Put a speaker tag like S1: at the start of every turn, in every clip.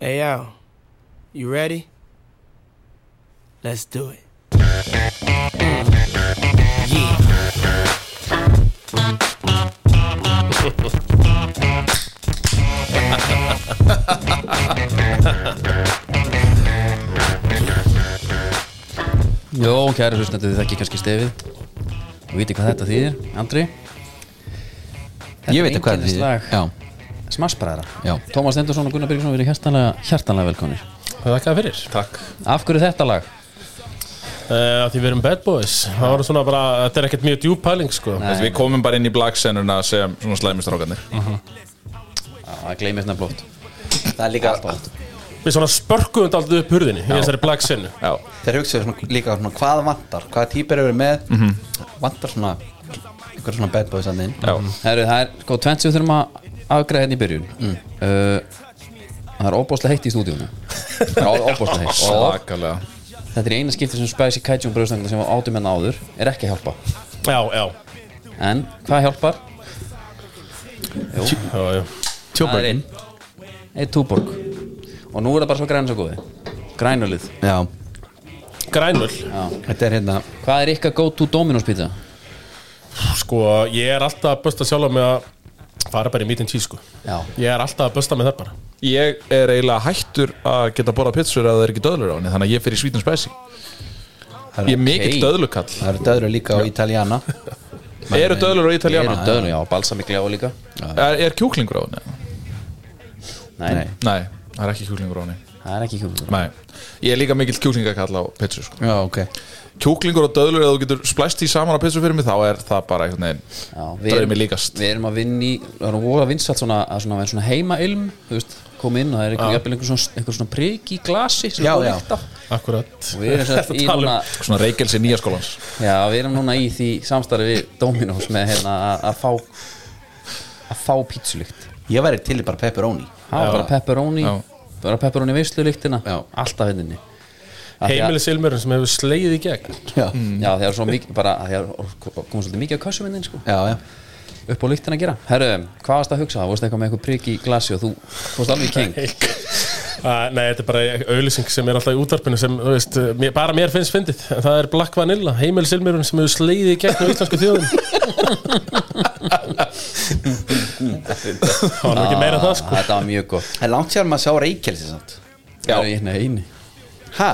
S1: Hey, yo, you ready? Let's do it. Yeah.
S2: Jó, kæri hlustandi, þið þekki kannski stefið og viti hvað þetta þýðir, Andri Þetta
S3: Ég veit hvað
S2: þýðir
S3: þetta
S2: lag
S3: þýðir. Já.
S2: Smassbræðra Tómas Stendursson og Gunnar Byrgisson verið hjartanlega, hjartanlega velkonir
S4: Þakka það fyrir Takk
S2: Af hverju þetta lag?
S4: uh, Því við erum bad boys Það var svona bara, þetta er ekkert mjög djúp pæling sko
S2: Nei.
S5: Við komum bara inn í blagsennuna sem svona slæmistrákarnir
S2: Já, það gleymist nefn blótt
S3: Það er líka
S4: Við svona spörkuðum þetta aldrei upp hurðinni Í þessari black senu
S5: Já,
S3: Þeir hugsaðu svona, líka svona hvað vantar Hvaða típur eru með mm Vantar svona Ykkur svona bad boys að þinn
S5: já,
S2: Herru, það er sko tvent sem við þurfum að afgræða hérna í byrjun
S3: Mm.
S2: uh, Það er óbóðslega heitt í stúdíunum Það er óbóðslega heitt og
S5: svakalega
S2: þetta er í eina skipti sem Spicy Kaijun bröðstangna sem átum hérna áður er ekki að hjálpa
S4: Já, já,
S2: En hvað hjálpar?
S4: já, já.
S2: Það er einn Eitt túborg Og nú er það bara svo græn svo góði Grænulið
S3: Já,
S4: Grænul
S3: þetta er hérna
S2: Hvað er ykkar go to Dominos pizza?
S4: Sko, ég er alltaf að busta sjálf með að fara bara í meet and cheese sko
S2: Já
S4: Ég er alltaf að busta með það bara
S5: Ég er eiginlega hættur að geta borðað pitsur að það er ekki döðlur á henni þannig að ég fyrir svítin spæsi Ég er mikill
S2: ok.
S5: döðlukall
S3: Það eru döðru líka á Italiana
S5: Eru döðlur á
S2: Ég er
S5: Italiana?
S2: döðnum, já, balsamikli á líka
S5: Er, er kjúklingur á henni?
S2: Nei, nei,
S5: Nei, það er ekki kjúklingur á henni
S2: það er ekki kjúklingur
S5: Nei, ég er líka mikill kjúklingakall á pitsur sko.
S3: Já, ok
S5: Kjúklingur og döðlur, ef þú getur splæst því saman á pitsur fyrir mig þá er það bara einhvern veginn
S2: já,
S5: Það er
S2: erum-
S5: mér líkast.
S2: Við erum að vinna í Það er voða vinsalt svona, að svona, vera svona heima ilm Þú veist, koma inn og það er einhver, jafnvel einhver, svona, einhver svona prik í glasi sem
S3: Já,
S2: er búið
S3: já.
S2: lykt af.
S4: Akkurat
S2: Og við erum, sem sagt í
S4: tala um-
S2: núna,
S5: svona reykelsi nýja skólans
S2: já, við erum núna í því samstarfi við Dominos með hérna að- að fá að fá pítsulykt
S3: Ég væri til í bara pepperoni
S2: Já, bara pepperoni
S5: Já.
S2: bara pepperoni veislu lyktina
S3: Já.
S2: alltaf henninni
S4: Heimilisilmurinn sem hefur sleið í gegn
S3: Já,
S2: Já, það er svo mikið, bara það komið svolítið mikið á kössum hennin sko,
S3: já, já
S2: upp á lyktina að gera Herru, hvað varst að hugsa? Það vorst eitthvað með eitthvað prik í glasi og þú fórst alveg í king
S4: Uh, nei, þetta er bara auðlýsing sem er alltaf í útvarpinu sem, þú veist, uh, mér, bara mér finnst fyndið En Það er Black Vanilla, heimilsilmurinn sem hefur sleiði gegnum íslensku þjóðum Það var nú ekki meira en það
S2: Ah,
S4: sko
S2: Þetta var mjög gott
S3: Það er langt sér maður að sjá reykelsi samt
S2: Já, hérna eini
S3: Ha?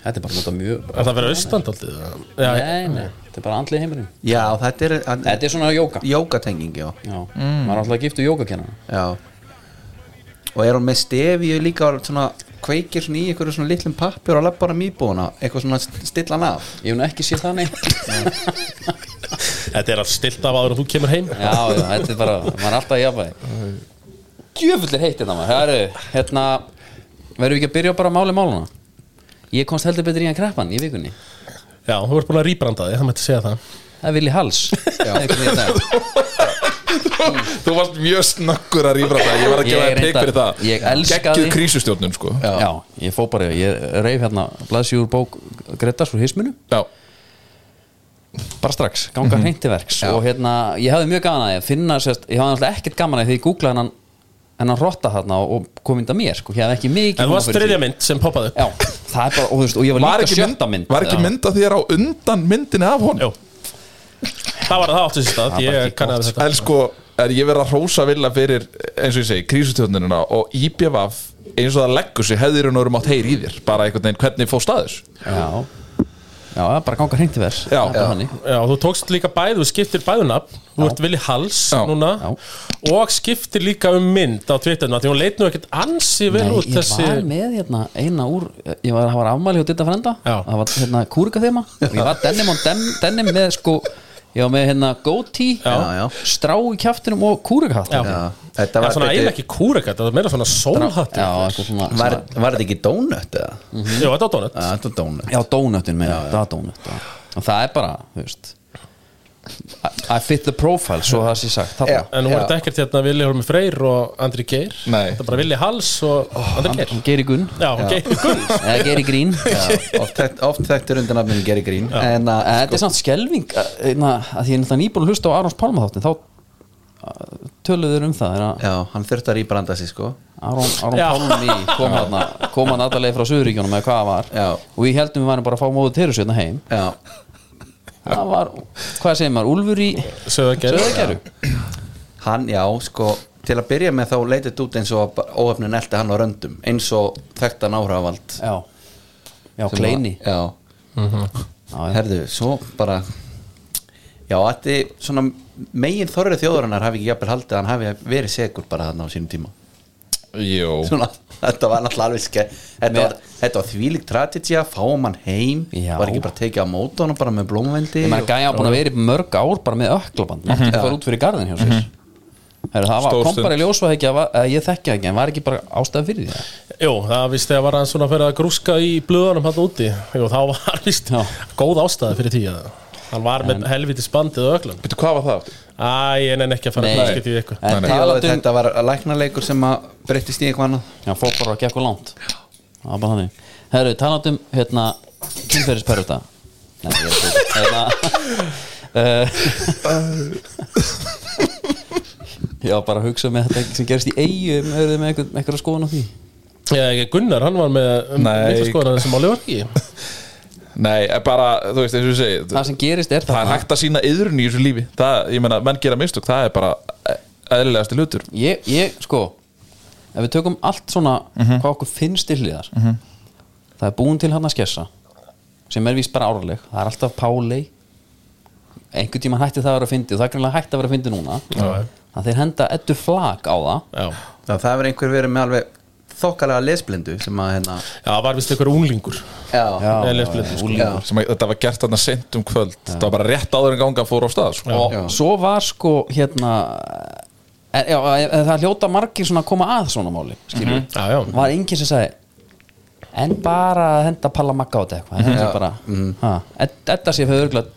S2: Þetta er bara nota mjög
S4: Er það verið austandaldið? Já,
S2: Nei, nei, þetta er bara andlið heimurinn
S3: Já, þetta er
S2: Þetta er svona jóka Já,
S3: Jókatenging, já
S2: maður er alltaf að giftu jókakennana
S3: Já Og er hún með stefíu líka og svona kveikir svona í einhverju svona litlum pappjur og lappar um íbúðuna eitthvað svona st- stilla hann af
S2: Ég hef nú ekki séð það nei
S4: þetta er allt stilt af áður en þú kemur heim
S2: Já, já, þetta er bara, maður er alltaf að jafa þig Djöfull er heitt þetta maður Herru, hérna Verðum við ekki að byrja bara að máli máluna Ég komst heldur betur í hann kreppan í vikunni
S4: Já, þú ert búin að rýbranda þig, það mætti segja það
S2: Það er Vili Hals Einhvern veginn í dag.
S5: Þú varst mjög snakkur að rífra það Ég var að
S2: Ég
S5: gefa þér peik
S2: reyndar-
S5: fyrir það
S2: ég elska
S5: Geggjuð
S2: þig.
S5: krísustjórnun sko Já,
S2: Já, ég fó bara, ég reif hérna Blaðsjúr bók Gretars úr hisminu
S5: Bara strax
S2: Ganga hreint til verks Og hérna, ég hafði mjög gaman að ég finna sérst, Ég hafði alltaf ekkert gaman að því ég googlaði hennan Hennan rotta þarna og- og kom inn að mér sko. Ég hafði ekki mikið
S4: En þú
S2: húmor
S4: varst
S2: fyrir því.
S4: þriðja mynd sem poppaði upp
S2: Já, það er bara, og þú veist, og ég var,
S5: Var
S2: líka
S5: ekki, mynd,
S2: sjötta mynd
S5: var ekki
S2: Já.
S5: mynd að þér á undan myndinni af honum
S4: Jú Það var það átti sér stað,
S2: Það var
S4: ég
S2: ekki
S4: kannaði þetta
S5: En sko, er ég verið að hrósa vilja fyrir eins og ég segi, krísustjórnununa og IBVF eins og það leggur sig hefðir og náttúrulega mátt heyri í þér bara einhvern veginn hvernig fór staðis
S2: Já, já það er bara ganga hreint til vers
S5: Já.
S2: Það er bara þannig.
S4: Já, þú tókst líka bæð, þú skiptir bæðunafn Þú ert Vili Hals
S5: Já.
S4: núna
S2: Já.
S4: Og skiptir líka um mynd á Twitterna Því hún leit nú ekkert ansi vel
S2: Nei,
S4: út
S2: ég
S4: þessi
S2: var með hérna eina úr Ég var, það var afmæli hjá Ditta frenda
S4: Já.
S2: Það var hérna kúrika þeima Ég var denim og dem, denim með sko Ég var með hérna goatee
S3: Já, já.
S2: Strá í kjaftinum og kúrika hatt
S4: Já.
S3: Þetta
S4: Það var
S3: var
S4: svona eiginlega
S3: þetta
S4: ekki kúrekat, það var meira svona sólhatt
S2: já eitthvað svona,
S3: var,
S2: svona
S3: var þetta ekki Mm. donut eða?
S4: Jú, þetta var donut
S3: Já, þetta var donut
S2: Já, dónutin með Það var dónut já. Og það er bara, þú veist I, I fit the profile, svo það sé sagt þarna.
S3: Já.
S4: En hún ert ekkert hérna Vili Holmi Freyr og Andri Geir
S5: Nei.
S4: Þetta er bara Vili Hals og Andri Geir
S2: Geri Gunn
S4: Já, Geir Gunn
S2: Eða Geri Grín
S3: Já, Oft þekkt- Oft þekktur undir nafninu Gary Green En að
S2: En þetta er samt skelving að, að því ég er náttúrulega nýbúin að hlusta á Arons Pálma þáttin þá töluður um það er að
S3: Já, hann þurfti að rýbranda sig sko
S2: Aron, Aron
S4: Já.
S2: Pálmi kom hann kom hann alltaf frá Suðuríkjónum eða hvað það var
S3: Já.
S2: og við heldum við varum bara að fá móðu terus hérna heim
S3: Já,
S2: það var, hvað segir maður, Úlfur í
S4: Söðagerð
S2: Söðagerðu
S3: hann, já, sko Til að byrja með þá leitið þetta út eins og óöfnin eldi hann á röndum Eins og þekktan áhrafald
S2: já, já, kleini
S3: Já,
S2: Já, já.
S3: herðu, svo bara Já, þetta er svona megin þorrið þjóðurinnar hafi ekki jafnvel haldið að hann hafi verið segur bara þarna á sínum tíma
S5: Jó
S3: svona, þetta var náttúrulega alveg ske þetta,
S2: Mér-
S3: var, þetta var þvílík tragedy að fáum hann heim
S2: Já.
S3: var ekki bara tekið á móti honum bara með blómvendi
S2: ég meðan gæja á búin að vera í mörg ár bara með öklaband, mátti ekki fara út fyrir garðin hjá sér Heru, það var,
S5: Mhm. Stór
S2: kom
S5: stund.
S2: bara í ljós að, að, að ég þekkja ekki en var ekki bara ástæð fyrir því
S4: Jú, það vist þegar var hann svona að fyrir að grúska í blöðunum hann úti Jú, þá var vist
S2: Já.
S4: góð ástæði fyrir því að hann var með helviti spandið og öglun
S5: Býttu, hvað var það? aftur?
S4: Æ, ég nenni ekki að fara að
S2: Nei.
S4: grúska í ykkur
S2: en
S5: Nei, nei.
S3: Talaðu,
S2: talandum,
S3: þetta var læknarleikur sem að breyttist í eitthvað annað
S2: já, fór bara að gekk og langt það var bara þannig Heru, talandum, hérna, kynferðisperrita nei, ég er ekki hérna, uh, Hérna, já, bara að hugsa með þetta sem gerist í eigum, höfðu með einhver, einhverja skoðun á því
S4: Já, ekki, Gunnar, hann var með um,
S5: Nei.
S4: mikla skoðan sem máli var ekki
S5: Nei, eh, bara, þú veist, eins og ég segi
S2: það sem gerist er
S5: það er hægt að sína yðrun í þessu lífi það, ég meina, menn gera mistök, það er bara eh, eðlilegasti hlutur
S2: ég, ég, sko ef við tökum allt svona
S3: Mhm.
S2: hvað okkur finnst til hliðar það er búin til hann að skessa sem er víst bara árleg, það er alltaf pálei einhvern tíma hætti það að vera að fyndi og það er greinlega hætti að vera að fyndi núna
S4: Já.
S2: að þeir henda eddu flak á það
S4: Já,
S3: það, það verið einhver verið með alveg þokkalega lesblindu sem að hérna
S4: Já, það var vist ykkur unglingur
S3: já,
S4: Eða lesblindur, sko.
S2: úlingur.
S5: sem að, þetta var gert þarna sent um kvöld það var bara rétt áður en ganga fór á stað sko.
S2: og
S3: Já.
S2: svo var sko hérna en, já, en það hljóta margir svona að koma að svona máli skilur
S3: Mhm.
S4: Já, já,
S2: var enginn sem sagði en bara að henda palla makka á þetta eitthvað en þetta bara, ha, þetta sé fyrir örgulega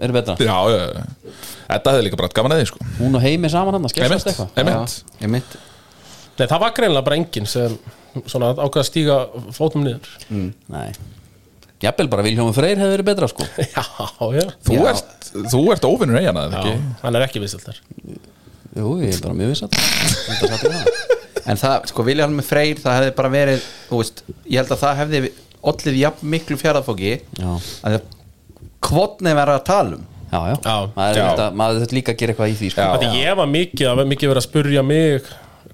S2: er betra,
S5: já, já, já, þetta hefði líka bara gaman eði sko.
S2: hún og heimi saman hann að
S5: einmitt,
S2: skemmast eitthvað
S5: einmitt
S3: ég mitt
S4: Nei, það var greinlega bara enginn sem svona ákvað að stíga fótum niður
S2: nei, Mm. jafnvel bara Viljómi Freyr hefur verið betra sko
S4: Já, já,
S5: þú
S3: Já.
S5: ert, þú ert óvinnur eigana
S4: já
S5: ekki?
S4: hann er ekki vissildar
S2: jú, ég er bara mjög viss að þetta satt í það.
S3: en það, sko, Viljalmi Freyr, það hefði bara verið þú veist, ég held að það hefði ollið jafn miklu fjaraðfóki
S2: Já.
S3: að kvotni verið að tala um
S2: já, já,
S4: Já.
S2: maður,
S5: Já.
S2: þetta, maður þetta líka að gera eitthvað í því sko
S5: Já.
S4: Því ég var mikið, það var mikið verið að spurja mig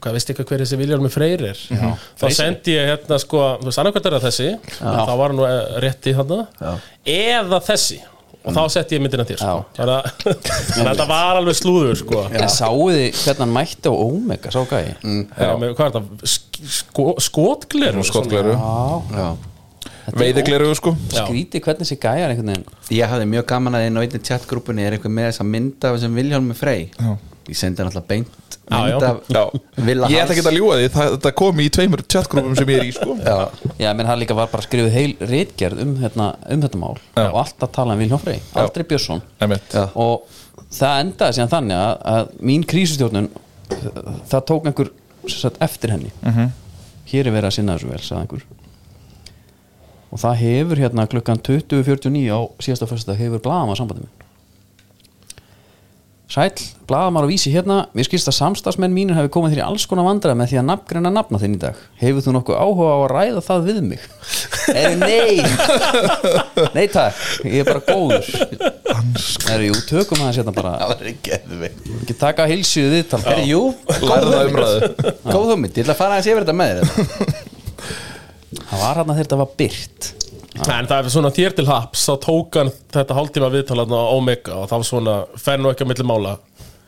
S4: hvað veist eitthvað hver þessi Viljarmi Freyr er þá
S2: Freyr.
S4: sendi ég hérna sko þú veist annarkvæmt er það þessi þá var hann nú eh, rétt í þarna eða þessi og þá setti ég myndina til sko.
S2: Mm. Já.
S4: Bara- þannig að þetta var alveg slúður sko
S2: en sáu þið hvernig hann mætti á Omega sá gæði,
S4: Herra, með, hvað er það, Sk- sko, skotgler sko?
S5: skotgleru,
S3: já.
S5: veiðigleru sko.
S2: skríti hvernig þessi gæjar einhvern veginn
S3: ég hafði mjög gaman að inn á einni chatgrúpunni er eitthvað með þess að mynda af þessum Viljalmi Frey já. ég sendi náttúrulega beint
S4: Já, já.
S3: mynd af
S5: Já.
S3: Villa
S5: ég ætla
S3: Hans.
S5: ekki að ljúa því það, það kom í tveimur chatgrúpum sem ég er í sko.
S2: Já, menn hann líka var bara skrifuð heil reitgerð um, hérna, um þetta mál
S5: Já.
S2: og alltaf tala um Viljón Frey, aldrei Björnsson
S5: Einmitt.
S3: Já.
S2: og það endaði síðan þannig að, að mín krísustjórnun uh, það tók einhver sem sagt, eftir henni
S5: Mhm.
S2: -hmm. hér er verið að sinna þessu vel, sagði einhver og það hefur hérna klukkan 20.49 á síðasta fyrsta hefur blaðamar sambandi minn Sæll, blaðamar og vísi hérna Mér skilst að samstagsmenn mínir hafi komið þér í alls konar vandræð með því að nafngreina nafna þinn í dag Hefur þú nokkuð áhuga á að ræða það við mig?
S3: Eh,
S2: Eru nei Nei takk, ég er bara góður Eru jú, tökum aðeins hérna bara
S3: það var ekki eðvig
S2: Ekki taka heilsuðu viðtal
S3: Herri, jú,
S5: lærða umræðu
S3: góð hugmynd, ég ætla að fara aðeins yfir þetta með þér hérna.
S2: Það var hérna þegar þetta var byrt
S4: en það er svona þér til haps þá tók hann þetta hálftíma viðtala á Omega og þá svona fer nú ekki að milli mála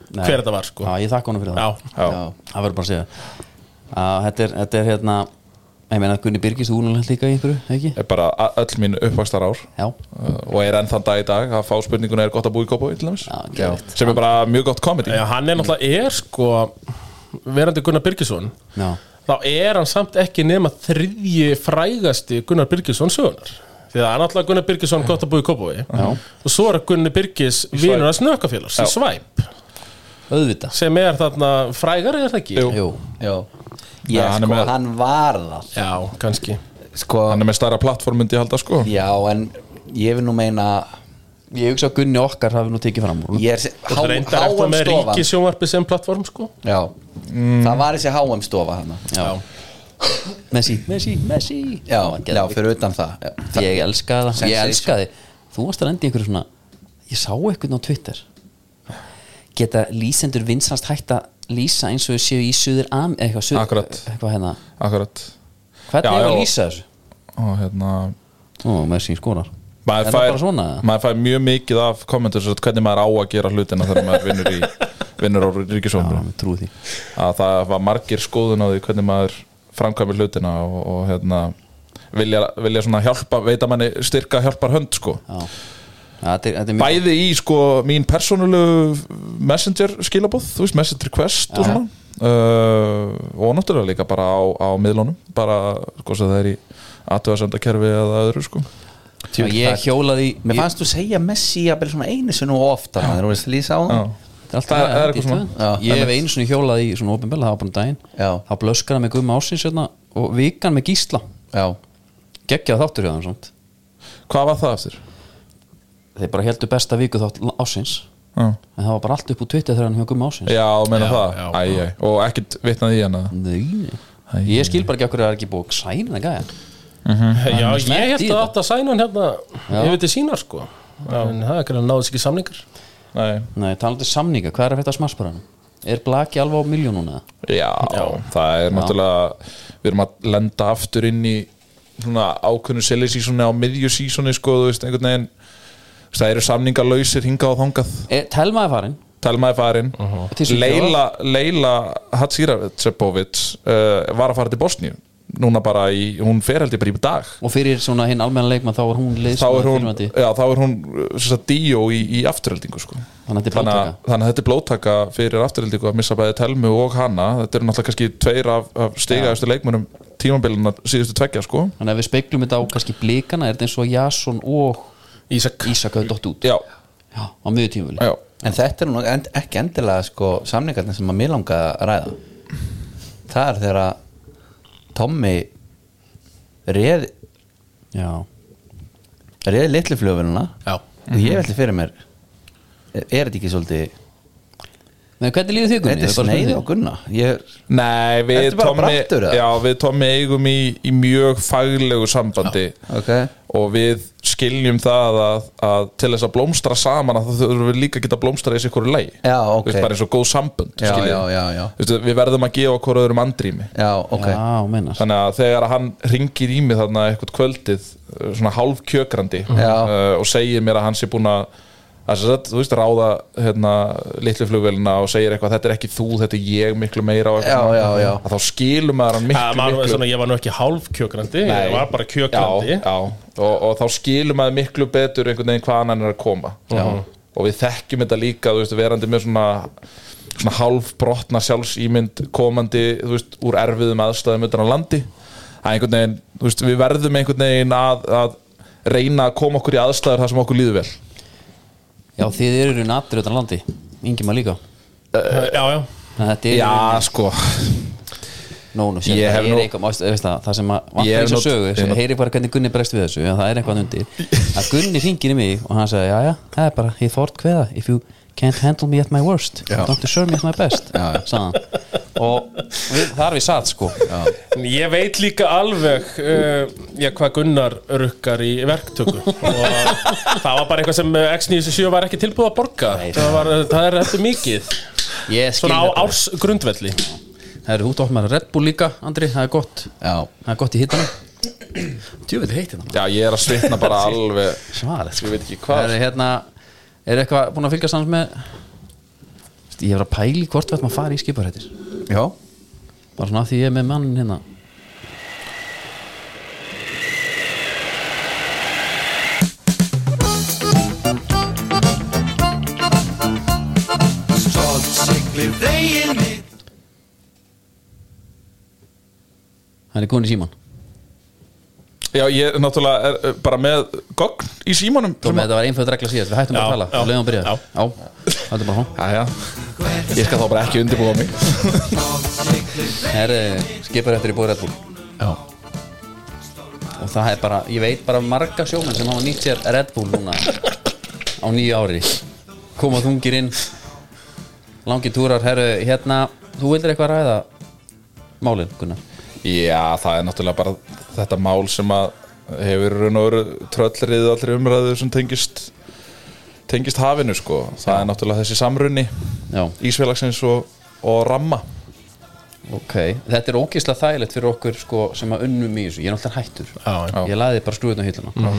S4: hver þetta var sko
S2: Já, ég þakka honum fyrir það
S4: já.
S5: Já.
S2: Það verður bara að segja að þetta er, þetta er hérna ég meina Gunni Birgis, þú núlega líka í einhverju, ekki?
S5: er bara a- öll mín uppvakstar ár
S2: Já,
S5: uh, og er enn þann dag í dag að fá spurninguna er gott að búa í Kópavói til dæmis
S2: Já, geðveikt.
S5: sem er bara mjög gott komedi
S4: Já, hann er náttúrulega er sko verandi Gunnar Birgisson
S2: já,
S4: þá er hann samt ekki nema þriðji frægasti Gunnar Birgisson sögunar því það er náttúrulega Gunnar Birgisson gott að búi í Kópavogi og svo er Gunnar Birgis vinur að snökkafélags í Svæp
S2: auðvitað
S4: sem er þarna frægari er það ekki?
S5: Jú.
S2: Jú,
S3: já, já
S5: Já, hann er
S3: sko,
S5: með-
S3: hann var það
S4: Já, kannski
S3: sko,
S5: hann er með stærra plattform myndi ég halda sko
S3: já, en ég vil nú meina
S2: ég hugsa að Gunni okkar hafi nú tekið fram úr
S3: Ég er þessi-
S4: Það
S3: H-
S4: reyndar eftir með
S3: HM-stofa
S4: ríkisjónvarpi sem plattform sko
S3: Já, það var þessi HM-stofa hann
S2: Mm. Já. Messi, Messi, Messi
S3: Já,
S2: Það var
S3: já,
S2: geðveikt.
S3: fyrir utan það Já, það-
S2: ég elska það ég
S3: Sensation.
S5: sko.
S2: elska þið þú varst að lendi ykkur svona ég sá eitthvað á Twitter geta lýsendur vinsast hægt að lýsa eins og þau séu í suður am eitthvað, suður,
S5: Akkurat.
S2: eitthvað hérna
S5: akkurat
S2: hvernig
S5: Já,
S2: er að
S5: já.
S2: lýsa þessu?
S5: og hérna
S2: ó, með sín skonar
S5: maður
S2: Er það
S5: fær,
S2: bara svona?
S5: maður fær mjög mikið af kommentur svo hvernig maður á að gera hlutina þegar maður vinnur í vinnur á
S2: já,
S5: ríkisómbrun
S2: með trú því
S5: að það var margir skoðun á því hvernig maður framkvæmir hlutina og, og hérna vilja, vilja svona hjálpa, veita manni styrka hjálpar hönd sko
S2: já. Já, þetta er, þetta er mjög
S5: bæði í sko mín persónulegu messenger skilabóð, þú veist messenger request og svona uh, og náttúrulega líka bara á, á miðlunum bara sko sem það er í aðtöðasendakerfi eða öðru sko
S2: Já, ég hjólaði í-
S3: Mér
S2: ég-
S3: fannst þú segja Messi að byrja svona einu sinu og ofta Þannig að þú veist að lýsa á
S5: Já.
S3: hann
S2: þetta er alltaf
S5: það er- það er
S2: held í
S5: eitthvað svona.
S2: tvö.
S3: Já,
S2: ég hef einu svona hjólað í svona ofinbella það var bara um daginn
S3: Já.
S2: þá blöskraði mig gumma ásins hérna, og vikan með gísla
S3: Já,
S2: geggjað þáttur hjá þeim samt
S5: hvað var það eftir?
S2: þeir bara heldur besta viku þátt ásins
S5: Já.
S2: en það var bara allt upp úr Twitter þegar hann hjá gumma ásins
S5: Já, þú meina
S4: Já,
S5: það
S4: já.
S5: æ, æ, Og ekkert vitnaði í hana
S2: Nei,
S5: Æ,
S2: ég skil bara ekki okkur að það er ekki búið að sæna það gæja
S4: Já,
S2: er smert
S4: ég
S2: í
S4: held að
S2: þetta.
S4: þetta sæna hann hérna
S2: Já.
S4: Ég veit þið sínar sko En það er ekki að náðis ekki samlingar
S5: Nei.
S2: Nei, talandi um samninga, hvað er að fæta smarsparanum? Er Blaki alveg á miljónu núna?
S5: Já, það er náttúrulega Við erum að lenda aftur inn í Svona ákveðnu selið sísoni á miðju sísoni Sko, þú veist, einhvern veginn þú veist, Það eru samningar lausir hingað og þangað
S2: E, Telma er farin
S5: Telma er farin
S2: Til Svíþjóðar.
S5: Leila, Leila Hatsiracepovic uh, Var að fara til Bosníu Núna bara í, hún fer held ég bara í dag
S2: og fyrir svona hinn almenna leikmann þá er hún
S5: þá
S2: liðsmaður
S5: er hún,
S2: fyrrverandi.
S5: já, þá er hún eh, þess að díó í, E í afturheldingu sko.
S2: Þannig að þetta er
S5: að,
S2: blóðtaka.
S5: þannig að þetta er blóttaka fyrir afturheldingu að missa bæði Telmu og hana þetta eru náttúrulega kannski tveir af, af stigaðustu leikmönum tímambilina síðustu tveggja sko.
S2: Þannig að við speiklum þetta á kannski blikana er þetta eins og Jason og
S4: Ísak
S2: Ísak hafði dott út
S5: já,
S2: Já, á miður tímavili
S5: já,
S3: En þetta er nú end, ekki endilega sko, samningarnir sem að mér langa að ræða Það er þegar að Tommy reð,
S2: Já,
S3: reð litlu flugvéluna
S4: Já.
S3: og ég veldi fyrir mér er er þetta ekki svolítið
S2: menn hvernig líður þig Gunni?
S3: þetta er
S2: Ég bara spurði
S3: sneið
S2: þig.
S3: og gunna ég,
S5: Nei, við
S3: Ertu bara
S5: Tommi,
S3: brattur, eða?
S5: já, við Tommi eigum í, í mjög faglegu sambandi
S3: ok,
S5: og við skiljum það að, að til þess að blómstra saman að það þurfum við líka að geta blómstra í sikkur lei
S3: Já, ok.
S5: Þú veist, bara eins og góð sambönd
S3: Já,
S5: skiljið.
S3: já, já, já.
S5: Þú veist, við verðum að gefa okkur öðrum andrými
S3: já, ok
S2: Já, mennar
S5: þannig að þegar að hann ringir í mig þarna eitthvað kvöldið uh, svona hálf kjökrandi uh, og segir mér að hann sé búin að að sem sagt, þú veist, ráða hérna, litlu flugvelina og segir eitthvað þetta er ekki þú, þetta er ég miklu meira og eitthvað
S3: Já,
S5: svona.
S3: já, já.
S5: að þá skilum maður hann
S4: Það
S5: miklu,
S4: var nú
S5: miklu
S4: svona, ég var nú ekki hálf kjökrandi Ég var bara kjökrandi
S5: já, já. Og, og þá skilum maður miklu betur einhvern veginn hvaðan hann er að koma já. og við þekkjum þetta líka þú veist, verandi með svona, svona hálfbrotna sjálfsýmynd komandi þú veist, úr erfiðum aðstæðum utan á landi að einhvern veginn, þú veist, við verðum einhvern veginn að, að reyna að koma okkur í aðstæður þar sem okkur líður vel
S2: Já, þið eru nattur utan landi Ingi maður líka
S4: já, já.
S2: Þannig að Þetta er
S5: Já, sko
S2: Nó, nú, sér,
S5: Ég hef
S2: það, er
S5: nú-
S2: eitthvað, mást, veist það, það sem að vantar
S5: Ég hef
S2: eins og
S5: nú-
S2: sögu,
S5: ég
S2: sem
S5: nú-
S2: heyri bara hvernig Gunni bregst við þessu, að það er eitthvað undir að Gunni hringir í mig og hann sagði, já, já, það er bara ég þort hveða, if you can't handle me at my worst don't deserve me at my best sagði hann. og við, þar við satt sko já.
S4: En Ég veit líka alveg uh, já, hvað Gunnar rukkar í verktöku og það var bara eitthvað sem eh, X97 var ekki tilbúið að borga
S2: Nei,
S4: það, var, eh, það er þetta mikið
S2: ég skil
S4: Svona á
S2: þetta
S4: árs grundvelli
S2: það eru út á með Red Bull líka, Andri, það er gott
S3: já,
S2: það er gott í hittanum djúvill heitir það
S5: Já, ég er að svitna bara alveg
S2: svarið
S4: sko.
S5: Ég veit ekki hvað
S2: er hérna, er eitthvað búin að fylgja sams með ég hef verið að pæli hvort við ætlum að fara í skiparhættir
S3: já
S2: bara svona af því ég er með mann hérna hann er komin í síman
S5: Já, ég náttúrulega er uh, bara með gogn í símanum
S2: Tómi, þetta var einföld regla síðast, við hættum bara
S4: Já,
S2: að tala
S4: já,
S2: og leiðum að byrja
S4: já.
S2: já, þetta bara hún
S5: Jæja, ég skal þá bara ekki undirbúa mig
S2: það er skipar eftir í búið Red Bull
S3: Já.
S2: og það er bara, ég veit bara marga sjómenn sem hafa nýtt sér Red Bull núna á nýju ári koma þungir inn langi túrar, herru, hérna þú vildir eitthvað ræða málin, Gunnar
S5: Já, það er náttúrulega bara þetta mál sem að hefur í raun og veru tröllriðið allri umræðu sem tengist tengist hafinu sko það er náttúrulega þessi samrunni
S2: Já,
S5: Ísfélagsins og, og Ramma
S2: ok, þetta er ógeðslega þægilegt fyrir okkur sko, sem að unnum í þessu, ég er náttúrulega hættur
S4: Já,
S2: ég laði bara skrúðin á hilluna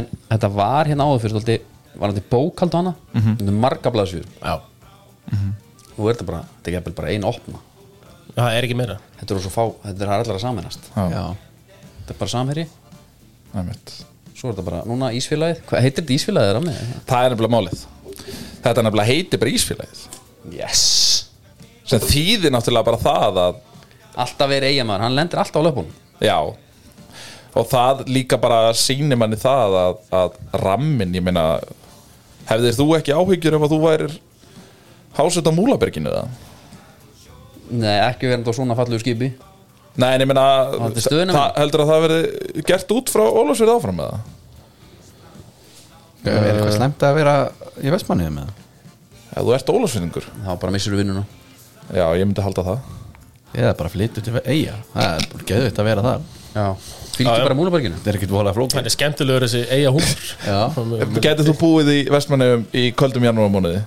S2: en þetta var hérna áður fyrir stolti, var hann til bókald og hana mm -hmm. marga blaðsjur,
S4: já
S2: nú er þetta bara þetta er jafnvel bara einu opna
S4: Það er ekki meira
S2: þetta er, svo fá, þetta er allar að samennast
S5: Já.
S2: þetta er bara samherji,
S5: Æmitt.
S2: svo er þetta bara núna Ísfélagið, hvað heitir þetta Ísfélagið ramni?
S5: Það er nefnilega málið Þetta er nefnilega heiti bara Ísfélagið
S2: Yes
S5: sem þýðir náttúrulega bara það að
S2: Alltaf verið eigamæður, hann lendir alltaf á löpunum
S5: Já og það líka bara sýnir manni það að, að rammin, ég meina hefðir þú ekki áhyggjur ef að þú værir hásett á Múlaberginu eða?
S2: Nei, ekki verið á svona fallegu skipi
S5: Nei, en ég meina
S2: þetta er stöðuna
S5: það- heldur að það verði gert út frá Ólafsverð áfram eða?
S3: Er
S2: Eh.
S3: eitthvað slæmt að vera í vestmannið með það?
S5: Ef þú ert Ólafsverðingur
S2: Þá bara missur við vinnuna
S5: Já, ég myndi halda það
S3: Eða bara flyttu til eiga Það er bara geðvitt að vera það
S2: Já Fylgdu bara múlaberginu
S3: Það er ekkit vola flókið
S4: Það er skemmtilegur þessi eiga
S3: Já.
S4: húmur
S5: Getið þú búið í Vestmannefum í kvöldum janúarmónuði?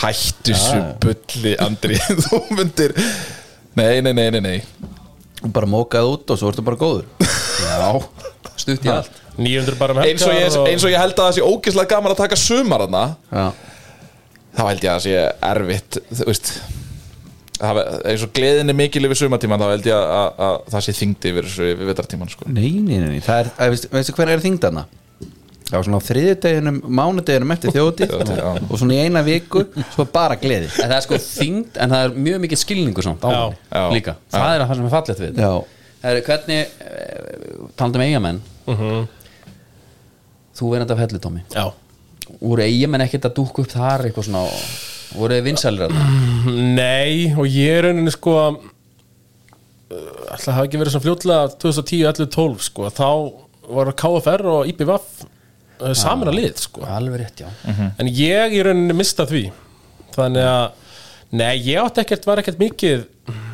S5: Hættu svo bulli, Andri Þú myndir Nei, nei, nei, nei, nei
S3: Bara mókað út og svo ertu bara góður
S2: Já Stutt í allt
S4: 900 bara með
S5: eins og, ég, eins og ég held að það sé ógislega gaman að taka sumar hana
S3: Já.
S5: þá held ég að það sé erfitt þú veist það, eins og gleðin er mikil yfir sumartíman þá held ég að, að, að það sé þyngd yfir þessu yfir vetartíman sko.
S3: Nei, nei, nei, nei. Það er, að, veistu, veistu hver er þingdana? Það var svona á þriðudeginum, mánudeginum eftir þjóti
S5: Þjóðhátíð, já.
S3: og svona í eina viku svo bara gleði
S2: En það er sko þyngd En það er mjög mikið skilningu samt á
S4: Já,
S2: henni
S5: já.
S2: Líka Það er það sem er fallegt við
S3: Já,
S2: Það er hvernig eh, Talandum eigamenn
S5: Mhm.
S2: Þú verðandi af hellu, Tommy
S4: Já
S2: Voru eigamenn ekkert að dúkka upp þar Eitthvað svona Voru þið vinsælir að það
S4: Nei, og ég er rauninni sko uh, Ætli það hafi ekki verið svona fljótlega 2010, 11, 12 sko Þá var KFR og IPVF uh, saman að lið sko
S2: Alveg rétt, já
S4: En ég í rauninni mista því Þannig að Nei, ég átti ekkert, var ekkert mikið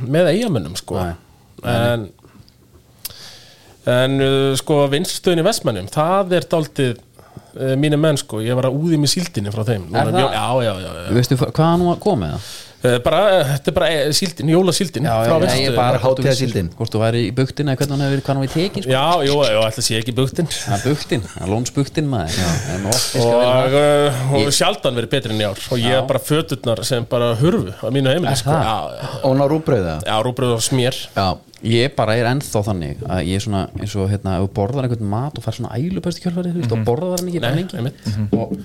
S4: með eigamönnum sko
S2: Nei.
S4: En En uh, sko vinststöðin í Vestmannum Það er dálítið uh, mínu menn sko, ég var að úði með síldinni frá þeim
S2: Er
S4: Núna
S2: það?
S4: mjó- Já, já, já, já.
S2: Veistu hva- hvað hann var komið það?
S4: Eh, bara, þetta er bara eh, síldin, jólasíldin
S2: Já, já,
S4: frá
S2: já, ég
S4: vestu
S2: er bara
S3: Bara hátíðarsíldin.
S2: Hvort þú væri í buktin eða hvernig hann hefur verið, hvað hann var í tekin sko.
S4: já, jú, jú, ætla sé ekki buktin
S2: Það er buktin, það er lónsbuktin maður Það er með optiska vel-
S4: og, eh, og sjaldan verið betri en í ár og ég er bara föturnar sem bara hurfu á mínu heimili,
S2: Er
S4: sko
S2: það?
S4: já, já,
S3: og ná rúbröða
S4: já, rúbröð og smér
S3: Já,
S2: Ég bara er ennþá þannig að ég er svona eins og hérna, ef þú borðar einhvern mat og fær svona ælupöst í kjölfarið, þú veist, og borðar hann ekki bara
S4: Mhm. Nei,
S2: lengi
S4: einmitt.
S2: og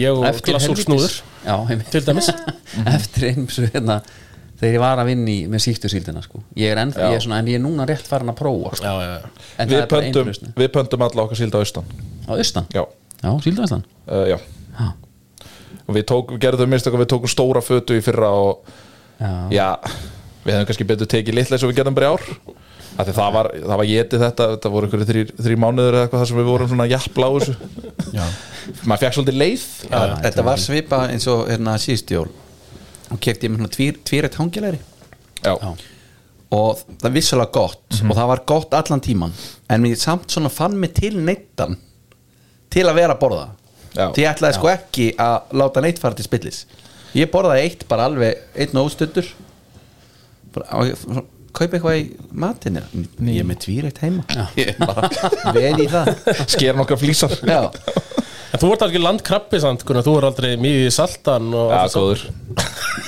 S4: ég og
S2: eftir
S4: glasúr snúður
S2: Já, einmitt
S4: Til dæmis. Mhm.
S2: Eftir eins og hérna þegar ég var að vinna í, með síktusíldina sko. ég er ennþá, ég er svona, en ég er núna rétt farin að prófa sko.
S4: já, já, já.
S2: en það
S5: við,
S2: er bara
S5: pöntum,
S2: einhverjusni
S5: við pöntum alla okkar síld á austan
S2: á austan,
S5: já,
S2: já, síldavæslan
S5: uh, já.
S2: já,
S5: og við tók, við gerðum mistök og við tókum stóra fötu í fyrra og
S2: já,
S5: já, við hefum kannski betur tekið litla eins og við gerðum bara í ár Af því það var, það var getið þetta, þetta voru einhverju þrý, þrý mánuður eða eitthvað þar sem við vorum svona jafnblá þessu maður fekk svolítið leið
S3: þetta var svipa eins og hérna síðust jól og kefti ég með svona tvír, tvírætt hangilegri
S5: já,
S3: og það er vissulega gott og það var gott allan tíman en ég samt svona fann mig til neittan til að vera að borða
S5: Já.
S3: því ég ætlaði sko ekki að láta neitt fara til spillis ég borðaði eitt bara alveg einn og óstöndur kaupa eitthvað í matinir ég er með tvírætt heima Ég er bara vel í það
S5: skerum okkar flýsar
S3: já,
S4: en þú ert alveg landkrabbi samt Gunnar, þú er aldrei mýðið í saltan og
S5: Já,
S4: allt það
S5: góður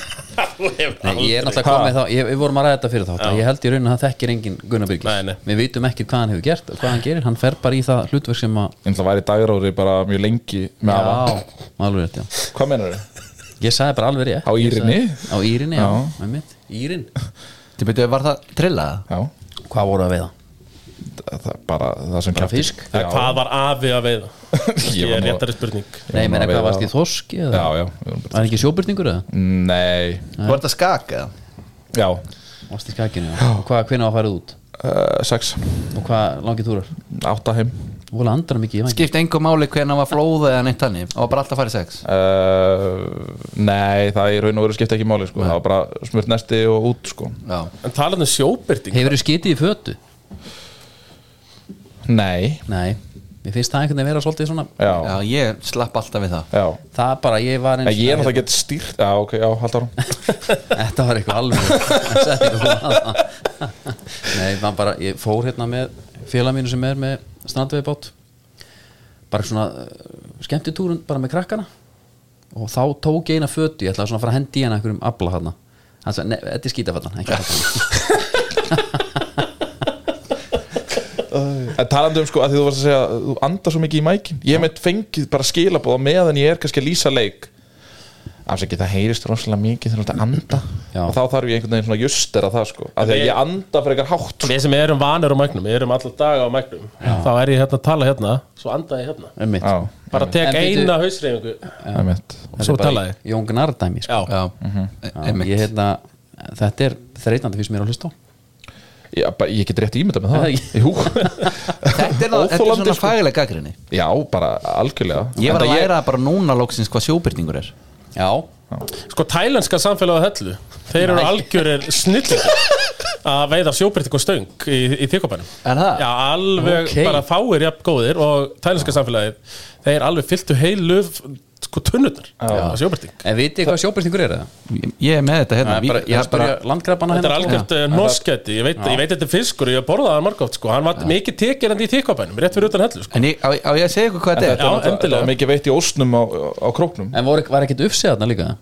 S2: Nei, ég er náttúrulega komið þá, ég, við vorum að ræða þetta fyrir þátt að ég held í raunin að það þekkir engin Gunnar
S4: Nei, nei.
S2: Byrgis við vitum ekkert hvað hann hefur gert og hvað hann gerir, hann fer bara í það hlutverk sem að
S5: En það væri dagrári bara mjög lengi með afa
S2: já, alveg rétt, já
S5: Hvað menar þau?
S2: ég sagði bara alveg rétt
S5: Á
S2: Ég
S5: Írinni?
S2: sagði- á Írinni, já,
S5: Já.
S2: með mitt Írin,
S3: þetta betur var það trillaða
S5: Já,
S2: hvað voru að veiða?
S5: það það er bara það sem
S2: bara
S5: kjaftur.
S2: fisk?
S5: Já,
S4: Já, hvað var afi að veiða
S5: Ég
S4: ég
S5: var
S4: er
S5: nú-
S4: réttari spurning
S5: Ég
S2: nei,
S5: var
S2: meina
S5: að
S2: hvað
S5: veiða-
S2: varst í þoski
S5: Já, Mm.
S2: eða?
S5: já við vorum bara-
S2: var það ekki sjóbyrningur eða?
S5: Nei,
S3: var þetta skak eða?
S5: já
S2: varst í skakinu, já, og hvað, hvenær var farið út?
S5: uh, Sex,
S2: og hvað langið túrar?
S5: átta heim
S2: vola andra mikið ég man ekki.
S3: Skipt engum máli hvernig hann var flóða eða neitt hannig Það var bara alltaf að fara í sex
S5: Uh, nei, það er raun og veru skipta ekki máli sko. það var bara smurt næsti og út sko.
S3: Já,
S4: En talað um sjóbyrting
S2: Hefur þú skitið í fötu?
S5: nei,
S2: Nei, mér finnst það einhvern veginn að vera svolítið svona
S5: já,
S3: já ég slapp alltaf við það
S5: já.
S2: Það bara, ég var
S5: En
S2: eins
S5: ég er náttúrulega gett stýrt Já, ok, já, haldur ára
S2: Þetta var eitthvað alveg Það setti eitthvað annað. Nei, maður bara, ég fór hérna með félag mínu sem er með strandveibát bara svona uh, skemmtitúrun bara með krakkana og þá tók ég eina fötu, ég ætlaði svona að fara að hendi í hana einhverjum abla hana hann sagði, nei, þetta er skítafattan ekki fattan
S5: En talandi um sko að því þú varst að segja Þú andar svo mikið í mækin Ég mitt fengið bara skilabóð á meðan ég er kannski að lýsa leik Afsaki, það heyrist rosalega mikið þegar þú ert að anda
S2: Já.
S5: Og þá þarf ég einhvern veginn svona justera það sko Af því að
S4: ég-
S5: ég anda fyrir eitthvað hátt sko.
S4: Við sem erum vanir á mæknum, við erum allar daga á mæknum Þá er ég hérna að tala hérna, svo anda ég hérna
S2: um mitt,
S5: Já,
S4: Bara
S5: Mm.
S4: tek
S2: En bíddu-
S4: eina hausreifingu
S5: það er mitt
S4: Svo tala ég
S2: Jón Gnarr dæmi sko.
S4: Já,
S3: Já, Mhm. Eh,
S2: Já, ég, hérna, þetta er þreytandi fyrst mér að hlusta á
S5: Já, bara, ég get rétt ímynda
S2: Er
S5: með
S2: það
S5: það
S2: ekki?
S5: Jú,
S3: Þetta er, þetta er
S5: Óþolandi,
S3: svona
S5: sko.
S3: fagileg gaggrinni
S5: já, bara algjörlega
S3: Ég var
S5: Enda
S3: að læra bara núna lóksins hvað sjóbyrtingur er
S2: Já,
S4: Sko, tælenska samfélagið á hellu Þeir eru algjörir snillir að veiða sjóbyrting og stöng í, í þykobænum
S3: Er það?
S4: Já, alveg
S2: Ókei.
S4: bara fáir jafn góðir og tælenska samfélagið þeir alveg fylltu heilu f- sko tunnunar á sjóbyrting
S2: en vitið hvað sjóbyrtingur er það?
S3: Ég, ég er með þetta hérna
S2: Ég
S3: Ég- ég
S2: er bara landgrafana
S4: Þetta er
S2: hérna
S4: algjört eh, hnossgæti, ég veit, ég veit þetta er fiskur og ég borðaði hann margóft sko, hann var mikið tekið hann í þykobænum, rétt fyrir utan hellu sko.
S3: En ég, á, á ég að segja ykkur hvað þetta er?
S4: Já,
S5: Þetta er náttúrulega- þetta
S4: endilega.
S5: var mikið veitt í ósnum á, á króknum
S2: En voru, var ekkert uppsið þarna líka?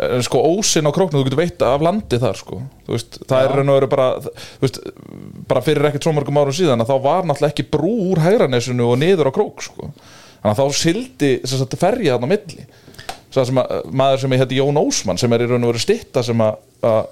S5: En sko ósinn á króknum, þú getur veitt af landi þar sko. Þú veist, það er raun og veru bara þú veist, bara fyrir ekkert svo mörgum árum síðan að þá var náttúrulega ekki brú úr hægranesinu og niður á krók sko. þannig að þá sildi þess að ferja þarna á milli Svo það sem að, maður sem heiti Jón Ósmann sem er í raun og veru stitta sem að, að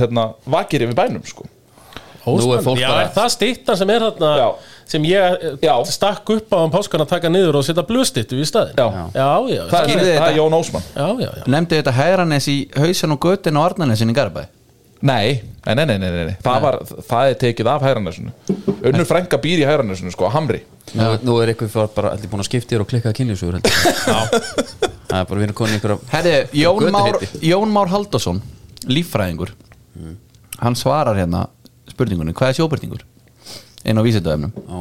S5: hérna, vakir yfir bænum
S2: Nú
S5: sko.
S2: er
S4: Ósmann,
S2: fólk
S4: já,
S2: bara-
S4: er það stýttan sem er þarna
S5: Já.
S4: sem ég eh,
S5: Já.
S4: stakk upp á um páskan að taka niður og setja blöðstýttu í staðin já,
S5: Já.
S4: já,
S5: það, er,
S3: Skiljiði
S5: það
S3: þetta?
S5: er Jón Ósmann
S4: já, já, já.
S3: Nefndi þetta hæranes í hausan og götin og arnanesin í Garabæ
S5: Nei, nei, nei, nei, nei, nei. Það, var, það er tekið af hægranesinu Unnur frænka býr í hægranesinu sko, á Hamri
S2: Nú, nú er eitthvað fyrir bara allir búin að skipta þér og klikka að kynlífsugur heldur Það er bara við erum konið ykkur af
S3: Herri, Jón
S2: Götuheiti.
S3: Már, Jón Már Haldarsson Líffræðingur Hann svarar hérna spurningunni Hvað er sjóbyrtingur? Einn á vísindavefnum
S2: Já,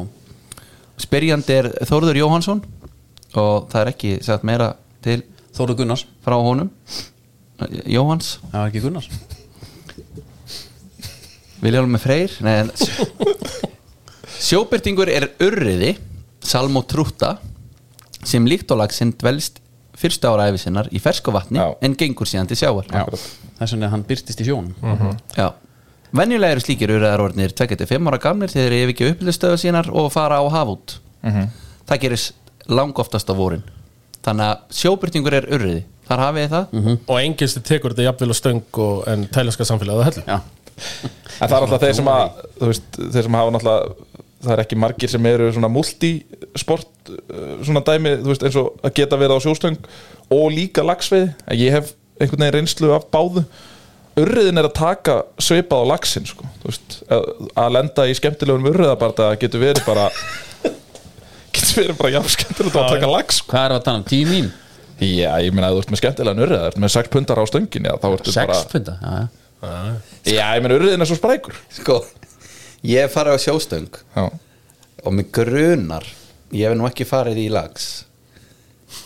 S3: Spyrjandi er Þórður Jóhansson Og það er ekki sagt meira til
S2: Þóru Gunnars
S3: frá honum Jóhans
S2: Það var ekki Gunnars
S3: Viljálmi Freyr Nei, en, Sjóbyrtingur er urriði salmotrúta sem líkt og lagsinn dvelst fyrstu ára æfisinnar í fersku vatni
S5: Já.
S3: en gengur síðan til sjávar
S2: Þess vegna hann byrtist í sjón
S3: Já. Venjulega eru slíkir urriðar orðnir 25 ára gamlir þegar þeir yfirgefa upplýstöðu sínar og fara á hafút það gerist langoftast á vorin þannig að sjóbyrtingur er urriði þar hafið þið það
S4: og engelsti tekur þetta jafnvel og stöng og, en tælenska samfélagið á hellu
S2: Já,
S5: En það er alltaf þeir sem að þú veist, þeir sem hafa náttúrulega það er ekki margir sem eru svona multisport uh, svona dæmi, þú veist, eins og að geta verið á sjóstöng og líka lagsveið, en ég hef einhvern veginn reynslu af báðu urriðin er að taka sveipað á lagsin sko, þú veist, að, að lenda í skemmtilegum urriðabarta getur verið bara getur verið bara jafnskemmtilegt að taka lags sko.
S2: hvað erum við að tala um? Tíu mín?
S5: Já, ég meina að þú ert með skemmtilegan urriða, þú ert með 6 pundar á stöngin já, þá ertu bara,
S2: Sex punda? Já, já
S5: já, ég meina urriðin er svo sprækur
S3: sko, ég hef farið á sjóstöng
S5: Já,
S3: og mig grunar ég hef nú ekki farið í lags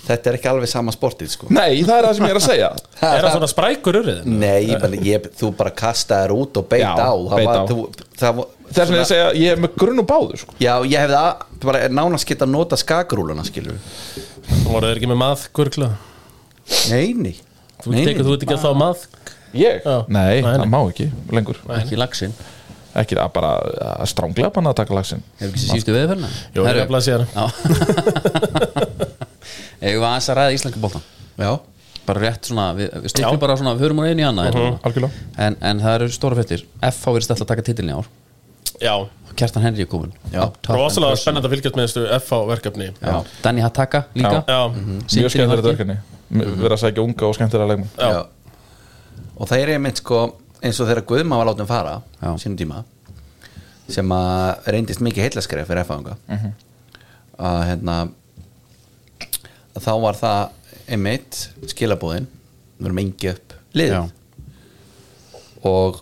S3: þetta er ekki alveg sama sportið sko
S5: nei, það er það sem ég er að segja
S4: Er það svona sprækur urriðin?
S3: Nei, ég, bara- ég, þú bara kastaðir út og beit
S5: Já,
S3: á
S5: beit
S3: var,
S5: á.
S3: Þú, það, var-
S5: Þess vegna ég segja, ég er með grunn og báðu sko.
S3: Já, ég hefði að, bara nánast geta nota skakrúluna skilur
S2: Mm.
S4: Þú voruð ekki með maðkurkla
S3: Nei, nei
S4: Þú tekur þú ert ekki að þá mað
S5: Ég?
S4: Já.
S5: Nei,
S4: Nei,
S5: það
S4: nei.
S5: má ekki lengur
S2: Ekki laxinn
S5: Ekki að bara að stránglega banna að taka lagsin
S2: Hefur ekki sér síðustu veðferðina?
S4: Jó, ég er
S2: Herru.
S4: að blaða sér
S2: Já Eigum við aðeins að ræða íslenska boltan
S3: Já,
S2: Bara rétt svona, við, við stiklum bara svona, við höfum hún einu í annað hérna.
S5: algjörlega.
S2: en, en það eru stóra fettir FH verið stætt að taka titilin í ár
S4: Já,
S2: Kjartan Henry er komin
S3: Já.
S2: Up top and
S4: rosalega
S2: pressing.
S4: spennandi að fylgjast með þessu FH verkefni
S2: Já. Mhm. Danny Hattaka líka
S4: Já,
S2: Sýndin í
S5: Mjög skemmtilegt
S2: markið.
S5: verkefni M- Verið að sækja unga og skemmtilega leikmann
S4: Já.
S3: Já. Og það er einmitt sko eins og þegar Guðma var látið fara
S2: Já. Mhm.
S3: sínum tíma sem að reyndist mikið heillaskref fyrir F-anga að hérna að þá var það einmitt skilabóðin við erum engi upp lið
S2: Já.
S3: og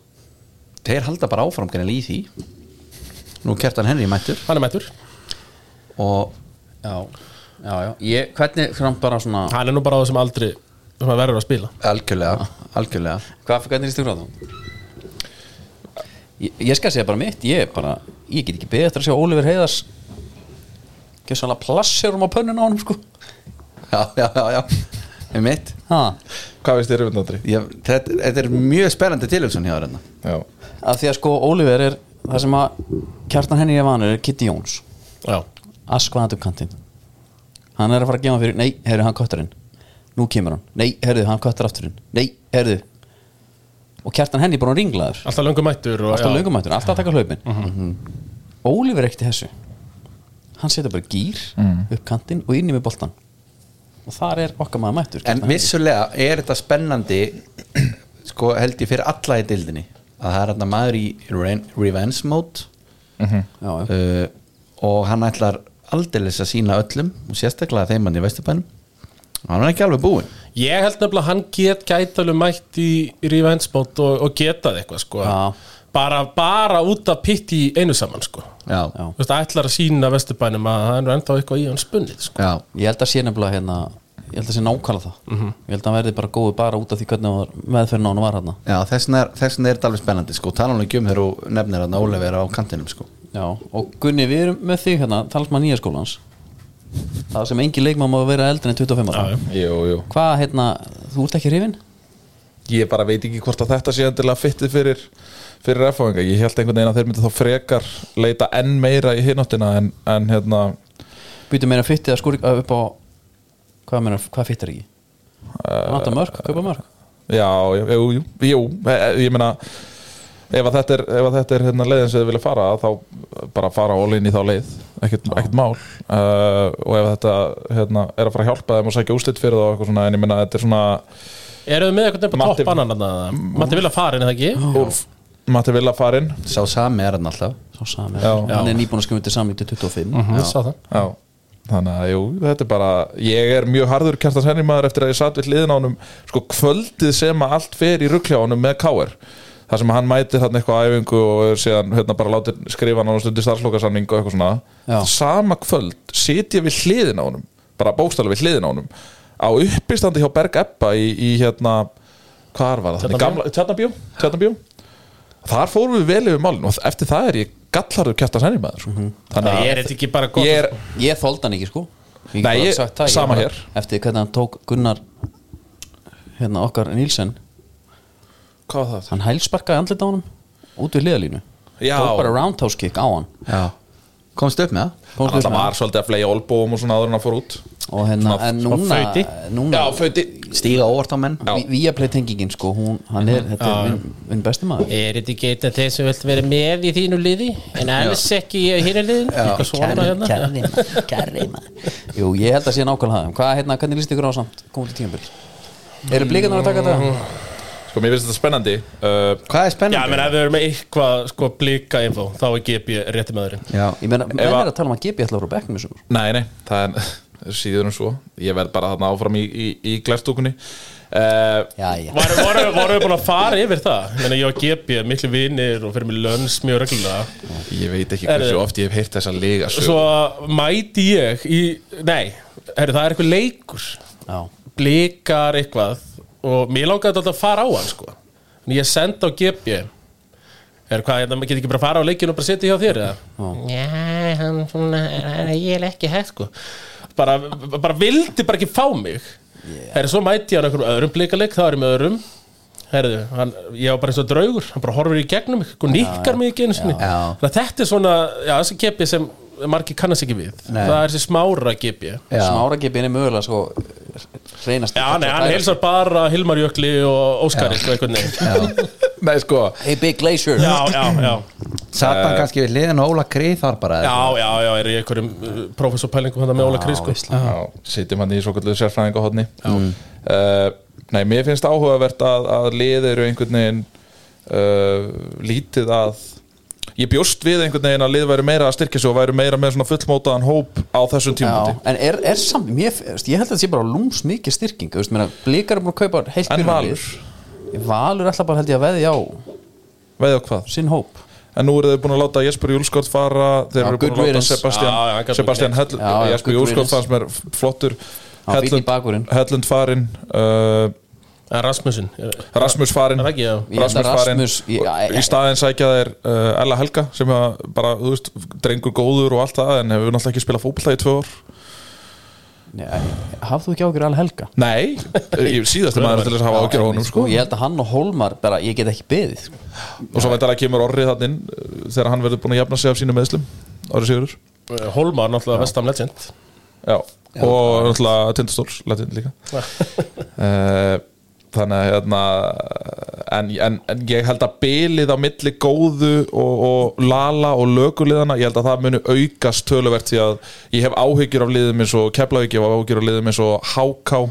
S3: þeir halda bara áfram greinlega í því nú kertan Henry mættur
S4: Hann er mættur
S3: og
S2: já, já, já. Ég, hvernig fram bara svona
S4: Hann er nú bara á þessum aldri sem að verður að spila
S3: algjörlega, algjörlega
S2: hvað fyrir hvernig líst ykkur á það? Ég, ég skal segja bara mitt ég, er bara, ég get ekki beðið eftir að sjá Ólífur Heiðars gjössalega plasserum á pönnun á honum sko
S3: já, já, já, já, einmitt
S2: ha.
S5: Hvað veist þér um þetta, Andri?
S3: Ég, þetta, þetta er mjög spennandi tilhugsun hjá hérna. þarna
S5: Já,
S2: að því að sko Ólífur er það sem að kjartan henni er vanur er Kitty Jones
S4: Já,
S2: askvaðan upp kantinn hann er að fara að gefa hann fyrir, nei, herðu hann kötturinn nú kemur hann, nei, herðu hann köttur afturinn nei, herðu og kjartan henni er bara ringlaður
S4: alltaf löngu mættur og,
S2: alltaf
S4: já.
S2: löngumættur, alltaf að taka hlaupin mm Ólífur ekkert í þessu hann setja bara gýr upp kantinn og inni með boltan og þar er okkar maður mættur
S3: en
S2: Kjartan Henry.
S3: vissulega er þetta spennandi sko held ég fyrir alla í dildinni að það er hérna maður í ren- revenge mode
S2: já, já.
S3: uh, og hann ætlar aldeilis að sína öllum og sérstaklega þeim hann í Vesturbænum hann er ekki alveg búinn
S4: Ég held nefnilega að hann get gæti alveg mætt í rífænsmót og, og getað eitthvað sko
S2: Já.
S4: bara, bara út af pitt í einu saman sko
S3: já,
S2: Já.
S4: Þú veist, ætlar að sína vesturbænum að það er ennþá eitthvað í hann spunnið sko.
S3: já,
S2: ég held að sé nefnilega hérna ég held að sé nákvæmlega það ég held að hann verði bara góðu bara út af því hvernig hann var meðferðin á hann var hérna
S3: já þess vegna er, þess vegna er þetta alveg spennandi sko, tala hann ekki um þér og nefnir hann að Ólef er á kantinum sko
S2: já, og Gunni, við erum með þig hérna talsmann nýja skólans það sem engi leikmann má vera eldri en 25 ára
S5: jú, jú
S2: hvað hérna, þú ert ekki hrifin?
S5: Ég bara veit ekki hvort að þetta sé endilega fyttið fyrir fyrir erfáinga, ég held einhvern veginn að þeir myndi þá frekar leita enn meira í hináttina en, en hérna
S2: Býtu meira fytti að skúri að upp á hvað, meina, hvað fytti er ekki?
S5: Eh,
S2: Vanta mörg, kaupa mörg
S5: já, jú, jú, jú, jú eh, ég meina ef að þetta er, ef að þetta er hérna leiðin sem þið vilja fara þá bara fara all in í þá leið ekkert, ekkert mál uh, og ef þetta hérna, er að fara að hjálpa þeim og sækja úslit fyrir þá og eitthvað svona, en ég meina þetta er svona
S4: Eru þið með eitthvað nefnilega
S5: Matti-
S4: topp annan að Matti vilja fara inn eða ekki
S5: Úlf Matti Villa farin
S3: sá sami er hann alltaf
S2: Svo sami,
S5: Já. Mhm.
S2: hann er nýbúin að skrifa til sami til 25 uh
S4: Ég sá það
S5: Já, þannig að jú, þetta er bara ég er mjög harður kjartans henni maður eftir að ég satt við hliðin á honum sko kvöldið sem að allt fer í ruggli á honum með K.R. þar sem hann mætir þarna eitthvað á æfingu og er síðan hérna bara látið skrifa hann á stundi starfslokasamning og eitthvað svona
S2: Já.
S5: sama kvöld sitja við hliðin á honum bara bókstæla við hliðin á honum á uppistandi hjá Berg Ebba í, í hérna, hvar var það?
S4: Tjarnarbíó?
S5: Gamla- Tjarnarbíó? Tjarnarbíó? Þar fórum við vel yfir málun og eftir það er ég gallarður kjartans henni maður sko. Þannig
S4: Ég
S5: að-
S4: er þetta ekki bara gott
S5: ég er,
S2: Ég þóldi hann ekki sko ég get
S5: Nei,
S2: bara
S5: ég-
S2: sagt það, ég
S5: sama
S2: bara-
S5: hér.
S2: Eftir hvernig hann tók Gunnar hérna okkar Nílsen
S5: Hvað var það?
S2: hann hælsparkaði andlita á hann út við hliðalínu
S5: Já.
S2: tók bara roundhouse kick á hann
S3: já. komst upp með það
S5: Hann
S2: Fór
S5: alltaf
S2: fyrir
S5: var svolítið að flega olbúum og svona áður en að fór út Mm.
S2: og hérna, en núna,
S4: fauti.
S2: núna
S5: föti
S3: stíga óvart á menn
S2: Víaplay tengingin sko, hún, hann er þetta er minn, minn besti maður
S4: Mhm. Er þetta ekki einn af þeir sem vilt vera með í þínu liði en alls ekki í hínu liðin eitthvað svona hérna
S2: kærri maður, kærri maður Jú, ég held að sé nákvæmlega það Hvað, hérna, hvernig líst ykkur á samt, komum til tímabil Eru blíkanar að taka þetta?
S5: Sko mér finnst þetta spennandi uh,
S3: hvað er
S4: Já, menn
S3: spennandi?
S4: ef við erum með eitthvað sko blika info þá er GP rétti maðurinn
S3: já,
S2: Ég meina, menn
S5: að-
S2: er að tala um að gepi alltaf úr bekknum í sumar.
S5: Nei, nei, það er síður en svo Ég verð bara þarna áfram í, í, í glerstúkunni uh,
S2: Já, já,
S4: Voru, voru, voru við búin að fara yfir það? Menni, ég og GP er miklu vinir og fyrir mig lönns mjög reglulega
S5: Ég veit ekki hversu
S4: Herðu.
S5: oft ég hef heyrt þessa lega
S4: Svo mæti ég í, nei, herri, það er eitthvað leikur
S2: já,
S4: blikar eitthvað og mér langaði þetta að fara á hann sko en ég sendi á GP er hvað, hérna, maður getur ekki bara að fara á leikin og bara setja hjá þér eða? Já, hann svona, er- ég er ekki hægt sko bara, bara vildi bara ekki fá mig yeah. herri, svo mæti ég hann einhverjum öðrum blikaleg, það er ég með öðrum herriðu, hann, ég var bara eins og draugur hann bara horfir í gegnum mig, hún nýkkar mig ekki einu sinni
S3: Já.
S4: Þannig að þetta er svona, já, þessi GP sem margir kannast ekki við
S3: Nei.
S4: það er þessi smára GP
S3: já.
S2: smára gepi er mögulega sko reynast
S4: Já, nei, hann heilsar bara Hilmar Jökli og Óskar eitthvað einhvern veginn
S5: Nei, sko
S2: Hey Big Glacier
S4: Já, já, já
S3: sat hann kannski við hliðin á Óla Krið þar bara eða?
S4: Já, já, já, er í einhverjum uh, professorpælingum hann með Óla Krís sko.
S2: veistla.
S5: Já, sitjum hann í svo kallu sérfræðingahotni uh, Nei, mér finnst áhugavert að, að liðir eru einhvern veginn uh, lítið að ég bjóst við einhvern veginn að lið væri meira að styrkja sig og væri meira með svona fullmótaðan hóp á
S2: Já,
S5: þessum tímúti
S2: en er, er samt, mér, veist, ég held að þetta sé bara lúms mikið styrking, veist, meina, blíkar er búin að kaupa heilt
S5: En
S2: byrjunarlið. Valur alltaf bara held ég að veðja á
S5: veðið á hvað
S2: sinn hóp
S5: en nú eru þau búin að láta Jesper Júlskort fara þeir
S2: Já,
S5: eru búin
S2: good
S5: að láta
S2: riddance.
S5: Sebastian,
S4: Já, já, hann gat út
S5: Sebastian Hell,
S2: Já, já,
S5: Jesper
S2: good
S5: Júlskort
S2: riddance.
S5: fánst mér flottur
S2: Já, fínn í bakurinn.
S5: Hellund farinn uh,
S4: Eh, Rasmussen er-
S5: Rasmus farinn
S4: Er það ekki, já?
S2: Ég held að
S5: Rasmus farinn
S2: Rasmus- ég- já,
S5: og
S2: ég-
S5: í staðinn sækja þeir uh, Ella Helga sem að bara, þú veist, drengur góður og allt það en hefur náttúrulega ekki spilað fótbolta í tvö ár
S2: Nei, hafðu þú ekki ágjur alveg helga?
S5: Nei, ég- síðasti maður til þess að hafa ágjör á honum sko.
S2: Ég held að hann og Hólmar, bara, ég get ekki beðið sko.
S5: og svo veit að kemur orrið þann inn uh, þegar hann verður búin að jafna sig af sínum meðslum Orri Sigurður
S4: Eh, Hólmar, náttúrulega vestam legend
S5: Já. og náttúrulega Tindastóls latin líka Eh, þannig að hérna, en, en, en ég held að bilið á milli góðu og, og lala og löguliðana ég held að það muni aukast töluvert því að ég hef áhyggjur af liðum eins og Keflavík, ég hef áhyggjur af liðum eins og Háká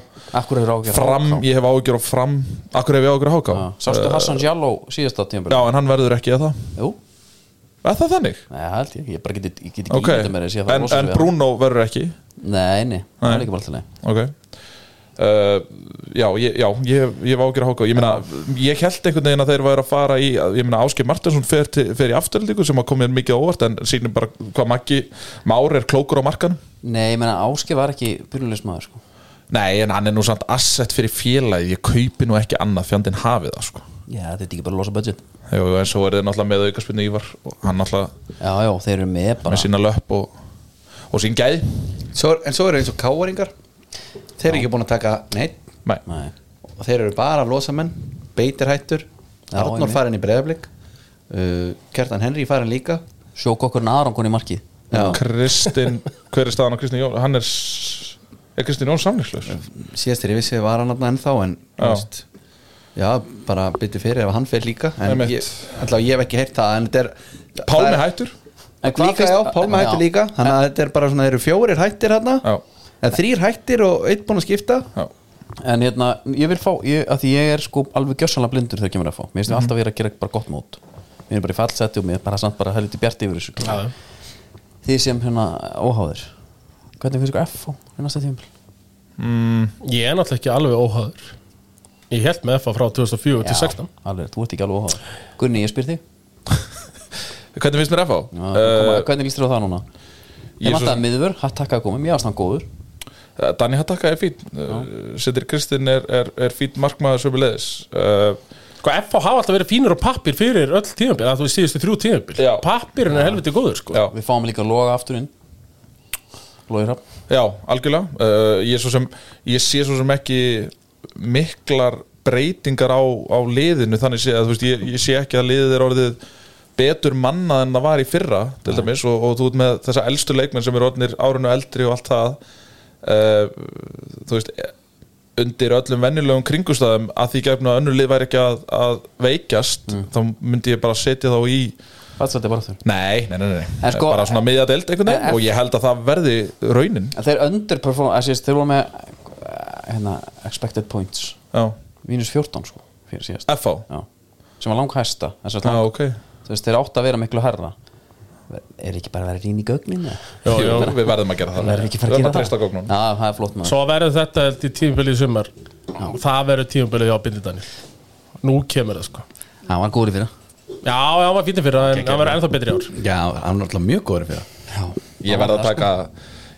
S2: Akkur hefur ágjur
S5: Fram, Uh, ég hef áhyggjur af Fram Akkur hef ég áhyggjur af Háká
S2: Sástu Hassan Jalló síðasta tíma
S5: Já, en hann verður ekki að það
S2: Jú,
S5: Er það þannig?
S2: nei, það held ég, ég bara get, ég get ekki
S5: Ok,
S2: okay. ímynda mér þess, ég þarf að
S5: en,
S2: losa
S5: en
S2: við hann.
S5: Bruno verður ekki
S2: Nei, nei, það
S5: Nei.
S2: er ekki bara alltaf leið
S5: Ok uh, Já, ég, já, ég, ég var ágjur að háka Ég meina, ég held einhvern veginn að þeir væri að fara í Ég meina, Áskei Martinsson fer, til, fer í afturlíku sem að komið mikið á óvart en sýnir bara hvað Maggi Már er klókur á markanum
S2: Nei, ég meina Áski var ekki byrjulegismæður sko.
S5: Nei, en hann er nú samt asset fyrir félagið Ég kaupi nú ekki annað fjandinn hafið það sko
S2: Já, þetta er ekki bara að losa budget
S5: Jú, jú, en svo er þið náttúrulega með aukaspinnu Ívar og hann náttúrulega
S2: Já, já, þeir eru með bara
S5: með sína löpp og, og sín gæð
S3: svo, er- En svo eru eins og káaringar Þeir eru ekki búin að taka neitt
S5: Nei,
S2: Nei,
S3: og þeir eru bara losamenn Beitir hættur,
S2: Já,
S3: Arnór
S2: einmitt.
S3: farin í breyðablik uh, Kjartan Henry farin líka
S2: sjók okkur narangun í markið
S3: Já.
S5: Kristinn, hver er staðan á Kristinn Jón? Hann er, s- er Kristinn Jón samlíkslaus?
S3: síðast þegar ég vissi var hann þarna ennþá en
S5: Já.
S3: þú veist, já, bara byttu fyrir ef hann fer líka en
S5: Einmitt.
S3: ég, alltaf ég hef ekki heyrt það en þetta er það
S5: Pálmi
S3: er-
S5: hættur?
S2: En hvað
S3: líka,
S2: finnst-
S3: já,
S2: sko.
S3: Pálmi
S2: Já.
S3: hættur líka þannig að þetta er bara svona, þeir eru fjórir hættir hann
S5: Já.
S3: en þrýr hættir og einn búin að skipta
S5: Já
S2: En hérna, ég vil fá, ég, að því ég er sko alveg gjössanlega blindur þegar kemur að fá Mér
S3: Mhm.
S2: finnst mm alltaf vera að gera bara gott mót Mér er bara í fallseti og mér er bara samt bara helviti bjart yfir þessu
S4: Já, já.
S2: Þið sem hérna óháðir Hvernig finnst ykkur F á hennast þetta tímpil?
S4: Ég er náttúrulega ekki alveg óhaður Ég held með FA frá 2004 til 16
S2: alveg, þú ert ekki alveg óháður Gunni, ég spyr þig
S5: Hvernig finnst mér F á?
S2: já, koma, Hvernig líst þér á það núna?
S5: ég
S2: Ég
S5: svo-
S2: vant að miður, hatt takka að koma, mér varst hann góður
S5: Uh, Dani Hattaka er fín uh, Sittir Kristinn er, er, er fín markmaður sömulegis uh,
S4: Sko, FA hafa alltaf verið fínir á pappir fyrir öll tímabil að þú veist síðustu þrjú tímabil
S5: Já.
S4: Pappirinn er helviti góður, sko
S5: Já.
S2: Við fáum líka loga aftur inn Lói Hrapp
S5: Já, algjörlega uh, ég, er svo sem, ég sé svo sem ekki miklar breytingar á, á liðinu þannig sé, að, þú veist, ég, ég sé ekki að liðið er orðið betur mannað en það var í fyrra til dæmis og, og þú ert með þessa elstu leikmenn sem eru orðnir árinu eldri og allt það uh, þú veist undir öllum venjulegum kringustæðum að því gefna að önnur lið væri ekki að, að veikjast
S2: Mm.
S5: þá myndi ég bara setja þá í
S2: Fatsætti bara aftur
S5: Nei, nei, nei, nei.
S2: En sko- Eh,
S5: bara svona miðja deild einhvern
S2: En-
S5: veginn og ég held að það verði raunin
S2: En þeir underperform, að sést, þeir voru með eh, hérna, expected points
S5: Já,
S2: mínus 14 sko, fyrir síðast
S5: FH
S2: Já. sem var langhæsta þess að
S5: Já,
S2: lang,
S5: Ah. ok
S2: þú veist, þeir átt að vera miklu herra er ekki bara að vera rýn í gögnin eða?
S4: Já,
S5: Jú,
S4: já.
S5: Við verðum að gera það
S2: það er ekki bara að
S5: Við verðum
S2: gera
S5: að treysta
S2: það
S5: gögnunum.
S2: Já, það er flott maður
S4: Svo verður þetta held í tímabilið í sumar Það verður tímabilið hjá Bindi Daniel Nú kemur það, sko
S2: Það var góri fyrir
S4: Já, já, hann var fínir fyrir það, en hann verður ennþá betri í ár
S3: já, hann er alltaf mjög góður fyrir það
S2: Já,
S5: Ég verð að taka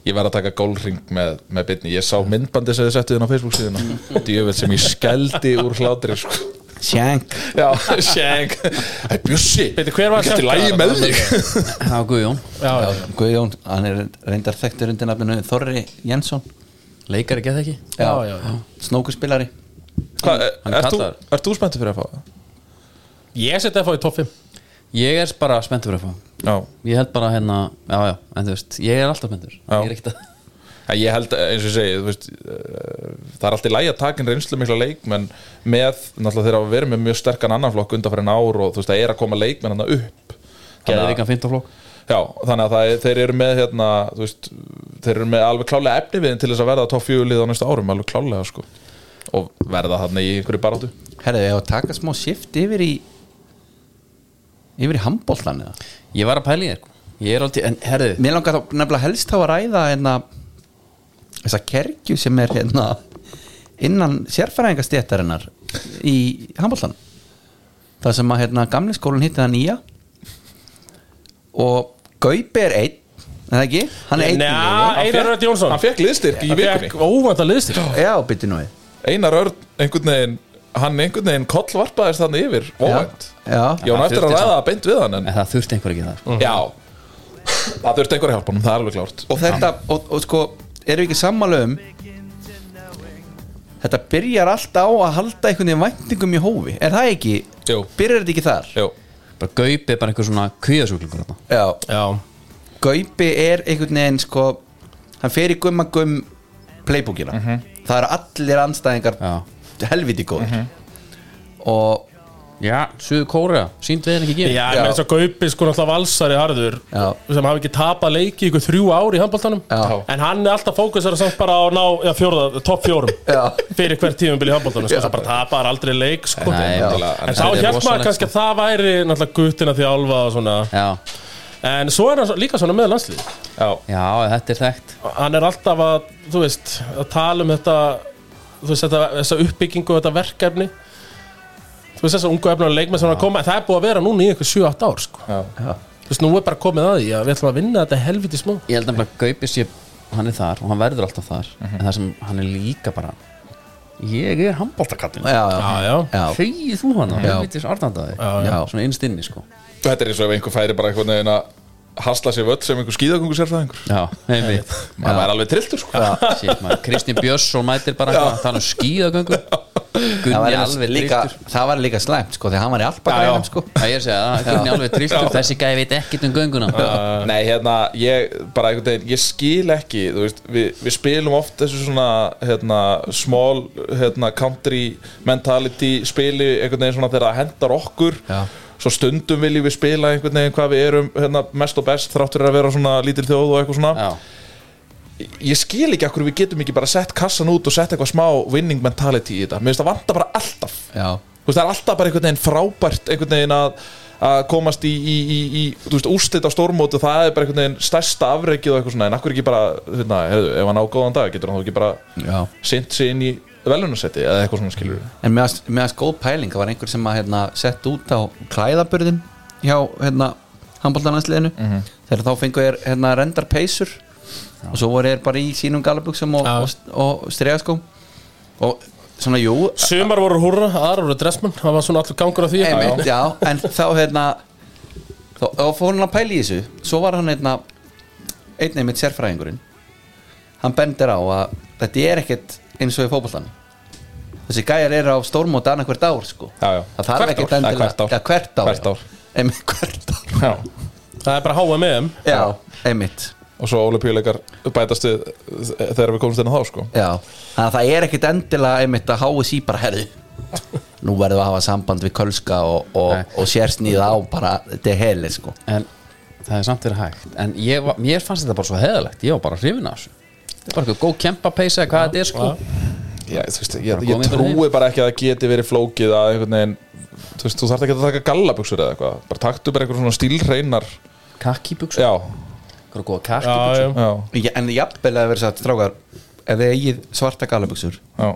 S5: Ég verð að taka gólring með, með bitni Ég sá myndbandi sem þið settu þinn á Facebook síðuna Djöfell sem ég skeldi úr hlátri sko.
S3: Shank
S5: Já, sjank Æ, Bjössi,
S4: Bíddu, hver var
S5: ég gæti
S4: sjank-
S5: lægi með þig
S2: það var Guðjón
S4: Já, já,
S3: Guðjón, hann er reyndar þekktur undir nafninu Þorri Jensson
S2: Leikari geta ekki
S4: já, já, já.
S3: snókuspilari
S5: Hvað,
S2: Hann
S5: ert þú,
S2: kallar.
S5: er þú spenntur fyrir að fá það?
S4: Ég seti FA í topp 5
S2: Ég er bara spenntur fyrir að fá
S5: Já
S2: Ég held bara hérna, já, já, en þú veist ég er alltaf spenntur Ég er ekkert að
S5: Ja, ég held, eins og ég segi, þú veist, eh, það er alltaf í lægi að taka inn reynslu mikla leikmenn með, náttúrulega þeir hafa verið með mjög sterkan annan flokk undanfærin ár og þú veist, það er að koma leikmenn hann upp.
S2: Geðið
S5: Þannig að-
S2: vikan 15 flokk
S5: Já, þannig að það, er- þeir eru með, hérna, þú veist, þeir eru með alveg klálega efni viðin til þess að verða top 4 lið á næstu árum, alveg klálega, sko. Og verða þarna í einhverju baráttu.
S3: Herðu, ég á að taka smá shift yfir í yfir í handbóltan eða
S2: Ég var að pæla í þér sko. Ég er aldrei, en herðu
S3: Mér langar þá nefnilega helst þá að ræða hérna, þessa kergju sem er hérna, innan sérfæræðingastéttarinnar í handbóltan það sem að hérna, gamli skólinn hitti það nýja og Gaupi er einn er það ekki? Hann er einn í
S4: Njá,
S3: liði.
S4: Ah, Einar Rödd Jónsson
S5: Hann fekk liðstyrk í
S4: Hann
S5: vikunni
S4: fékk óvænta liðstil
S3: Já, bytti nú við
S5: Einar Örn, einhvern veginn Hann einhvern veginn kollvarpaðist þannig yfir Óvænt
S3: Já.
S5: Ég án eftir að ræða það beint við hann en
S2: En það þurfti einhver ekki þar
S5: Já Það þurfti einhverja hjálpunum, það er alveg klárt
S3: og þetta, og, og sko erum við ekki sammála um þetta byrjar allt á að halda einhvern veginn væntingum í hófi er það ekki,
S5: Jú.
S3: byrjar þetta ekki þar
S5: Jú,
S2: Bara gaupið bara einhver svona kvíðasjúklingur þarna
S3: já,
S4: Já,
S3: Gaupi er einhvern veginn sko, hann fer í gumma gum playbookina, það eru allir anstæðingar
S2: Já.
S3: helviti góð og
S2: Já, suðu kóra, sínd við henni ekki
S4: já,
S2: ekki
S4: já. eins og Gaupi sko náttúrulega valsari harður
S3: Já.
S4: sem hafi ekki tapað leiki ykkur þrjú ár í handbóltanum
S3: Já.
S4: en hann er alltaf fókusar samt bara á að ná já, fjórða, topp fjórum
S3: Já.
S4: fyrir hvert tímumbil í handbóltanum sko, sem bara tapar aldrei leik sko.
S2: Nei,
S3: já.
S5: náttúrulega,
S4: en þá
S5: þetta
S4: hjælt
S5: er
S4: maður
S5: rosalegt, sko.
S4: kannski að það væri náttúrulega guttina því álfa og svona
S2: Já,
S4: en svo er hann svo- líka svona með landslið
S5: sko. Já.
S2: já, þetta er þekkt
S4: hann er alltaf að, þú veist, að tala um þetta þú veist, þetta, þessa uppbyggingu og þetta verkefni þú veist, þessa ungu efna og leikmenn sem er að koma það er búið að vera núna í einhver 7-8 ár sko.
S3: Já.
S4: þú veist, nú er bara komið að því að við ætlum að vinna þetta helviti smá
S2: Ég held nefnilega að gaupið sé, hann er þar og hann verður alltaf þar En það sem hann er líka bara Ég er handbóltakallin
S3: já, já,
S4: já, já,
S3: já.
S2: Þegið þú hana,
S3: Já.
S2: helvitis artandaði
S4: Já, já.
S2: Svona innst inni sko
S5: Þetta er eins og ef einhver færi bara einhvern veginn að hasla sér völd sem einhver skíðagungu sérfræðingur
S2: Já, einmitt
S5: Það væri alveg trilltur sko
S2: Shit, maður, Kristín Björnsson mætir bara eitthvað að tala um skíðagöngu
S3: Það,
S2: Gunni
S3: var
S2: alveg
S3: líka,
S2: drýttur
S3: það var líka slæmt sko, því að hann var í alpagrænum sko.
S2: Það ég er að segja það, Gunni alveg drýttur Þessi gæði veit ekkert um gönguna
S5: Nei, hérna, ég bara einhvern veginn, ég skil ekki, þú veist, við, við spilum oft þessu svona, hérna, small, hérna, country mentality spili, einhvern veginn svona þegar það hendar okkur,
S3: Já.
S5: svo stundum viljum við spila einhvern veginn hvað við erum, hérna, mest og best þráttur að vera svona lítil þjóð og eitthvað svona.
S2: Já,
S5: Ég skil ekki akkur við getum ekki bara sett kassan út og sett eitthvað smá winning mentality í þetta, mér finnst það vanda bara alltaf.
S3: Já.
S5: Þú veist, það er alltaf bara einhvern veginn frábært einhvern veginn að, að komast í, í, í, í þú veist, úrslit á stórmótu það er bara einhvern veginn stærsta afreikið og eitthvað svona en akkur ekki bara, hérna, heyrðu, ef hann á góðan dag getur hann þá ekki bara
S3: Já.
S5: sint sig inn í velunarsæti eða eitthvað svona skilur
S3: En með að, með að góð pæling, það var einhver sem að hérna, sett út á klæðaburðin hjá hérna, handbóltanansliðinu þegar þá fengu þér hérna, rendar peysur og svo voru þér bara í sínum galabuxum og,
S4: Já.
S3: og, og stregaskó og svona, jú
S4: sumar voru húrra, aðrar voru dressmenn það var svona allur gangur á því
S3: einmitt, já, en þá hérna þá þá fór hann að pæla í þessu svo var hann hérna einn einmitt sérfræðingurinn hann bendir á að þetta er ekkert eins og í fótboltan þessi gæjar eru á stórmóta annað hvert ár sko.
S5: Já, já.
S3: það þarf
S5: Hvert
S3: ekkert
S5: ár, eða
S3: endilega
S5: hvert ár?
S3: Já, hvert ár,
S5: Hvert ár.
S3: Já. Einmitt, hvert ár.
S5: Já.
S4: það er bara HMM
S3: Já, einmitt
S5: og svo olimpíuleikar bætast við þegar við komumst inn á þá sko
S3: Já, þannig að það er ekkit endilega einmitt að háa sí bara herði Nú verðum við að hafa samband við Kölska og,
S2: Nei.
S3: og, og sérsnýða á bara til heli sko
S2: en það er samt verið hægt En ég, var- mér fannst þetta bara svo heðalegt Ég var bara hrifin af þessu Þetta er bara eitthvað góð kempapeysa eða hvað þetta er sko
S5: Já, þú veist, ég,
S2: Bara
S5: ég
S2: komið einhvern
S5: trúi bara ekki að það geti verið flókið að einhvern veginn þú veist, þú þarft ekki að taka gallabuxur eða eitthvað bara taktu bara einhver svona stílreinar
S2: Kakkibuxu,
S5: Já,
S2: eitthvað góða
S4: já,
S2: kakkibuxu
S4: já.
S5: já,
S3: Já, en jafnvel að vera satt strákar ef þið eigið svarta galabuxur
S5: já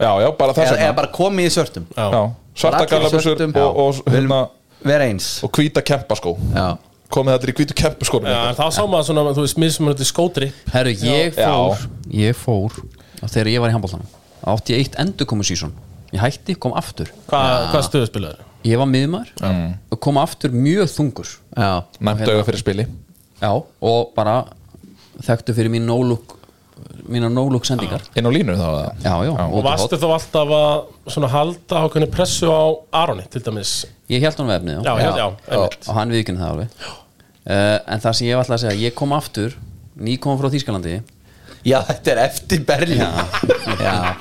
S5: Já, já, bara þess
S3: eða,
S5: vegna
S3: eða bara komið í svörtum
S5: já, svarta
S3: Bara allir í
S5: gallabuxur
S3: svörtum.
S5: og, og,
S3: Já.
S5: hérna,
S3: vera eins
S5: og hvíta kempaskó
S3: já.
S5: komið þetta í hvítu kempaskónum
S4: Já, en þá sá maður svona, þú veist, mismunandi skótri
S2: Herru, ég
S5: Já.
S2: fór Ég fór, að þegar ég var í handbóltanum Átti ég eitt endurkomu sísón Ég hætti, kom aftur
S4: hvað hva stöðu spilaður?
S2: Ég var miðmar
S5: Mm.
S2: og kom aftur mjög þungur hérna,
S3: Já.
S5: næmt
S3: Hérna.
S5: auga fyrir spili
S2: Já, og bara þekktu fyrir mín no-look mína no-look sendingar
S5: inn á línu þá eða?
S2: Já, já,
S4: og
S2: og
S4: varstu þá alltaf að svona halda ákveðni pressu á Aroni til dæmis
S2: ég held hann við efnið
S4: Já, já, já, einmitt.
S2: og hann viðkynna það alveg uh, en það sem ég var alltaf að segja, ég kom aftur ný kom frá Þýskalandi
S3: já, þetta er eftir Berlín já.
S2: já.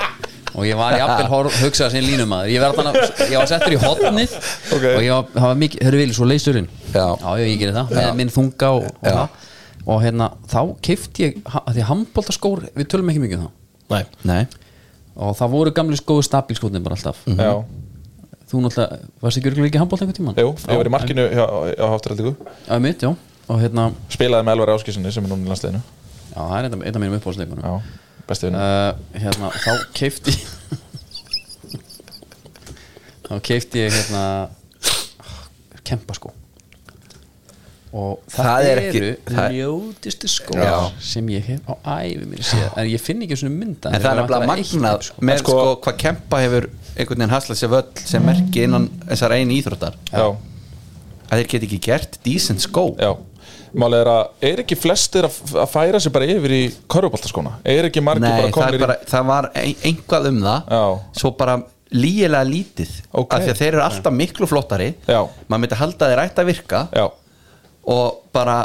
S2: og ég var í appil hugsað sem línumæður ég var, þarna, ég var settur í hotnið
S5: Ok.
S2: og ég var, það var mikið, hörru vilja, svo leisturinn
S3: Já.
S2: já, ég gerir það, með minn þunga og, og, það. og hérna, þá keifti ég ha- af því að handbóltaskór, við tölum ekki mikið um það
S4: Nei.
S3: Nei.
S5: Mm.
S3: Mhm.
S2: og það voru gamli skóðu stabilskóðin bara alltaf
S5: já,
S2: þú náttúrulega, varst ekki örgulega ekki handbólt einhvern tímann?
S5: Jú, ég var í markinu hjá, hjá Haftaraldíku
S2: Já, mitt, já, og hérna
S5: Spilaði með Elvar Áskísunni sem er núna í landsliðinu
S2: Já, það er einn af- einn af mínum uppáhaldsleikunum
S5: Já, besti vinnu
S2: uh, Hérna, þá keifti Þá keifti ég hérna Kempa sko Og
S3: Það er ekki- það-
S2: ljótistu skó
S3: Já.
S2: Sem ég hef á ævi mér séð En ég finn ekki svona mynda
S3: En það er nefnilega magnað með sko, hvað kempa hefur einhvern veginn haslað sér völl sem merki innan þessar einu íþróttar
S5: Já,
S3: að þeir geti ekki gert decent skó
S5: já Málið er að, er ekki flestir að að færa sig bara yfir í körfuboltaskona? Er ekki margir
S3: Nei,
S5: bara
S3: það, er
S5: komnir
S3: bara, það var ein, einhvað um það
S5: Já.
S3: svo bara lígilega lítið
S5: Ok.
S3: af því að þeir eru alltaf miklu flottari
S5: Já.
S3: maður myndi halda að þeir ætti að virka
S5: í Já,
S3: og bara,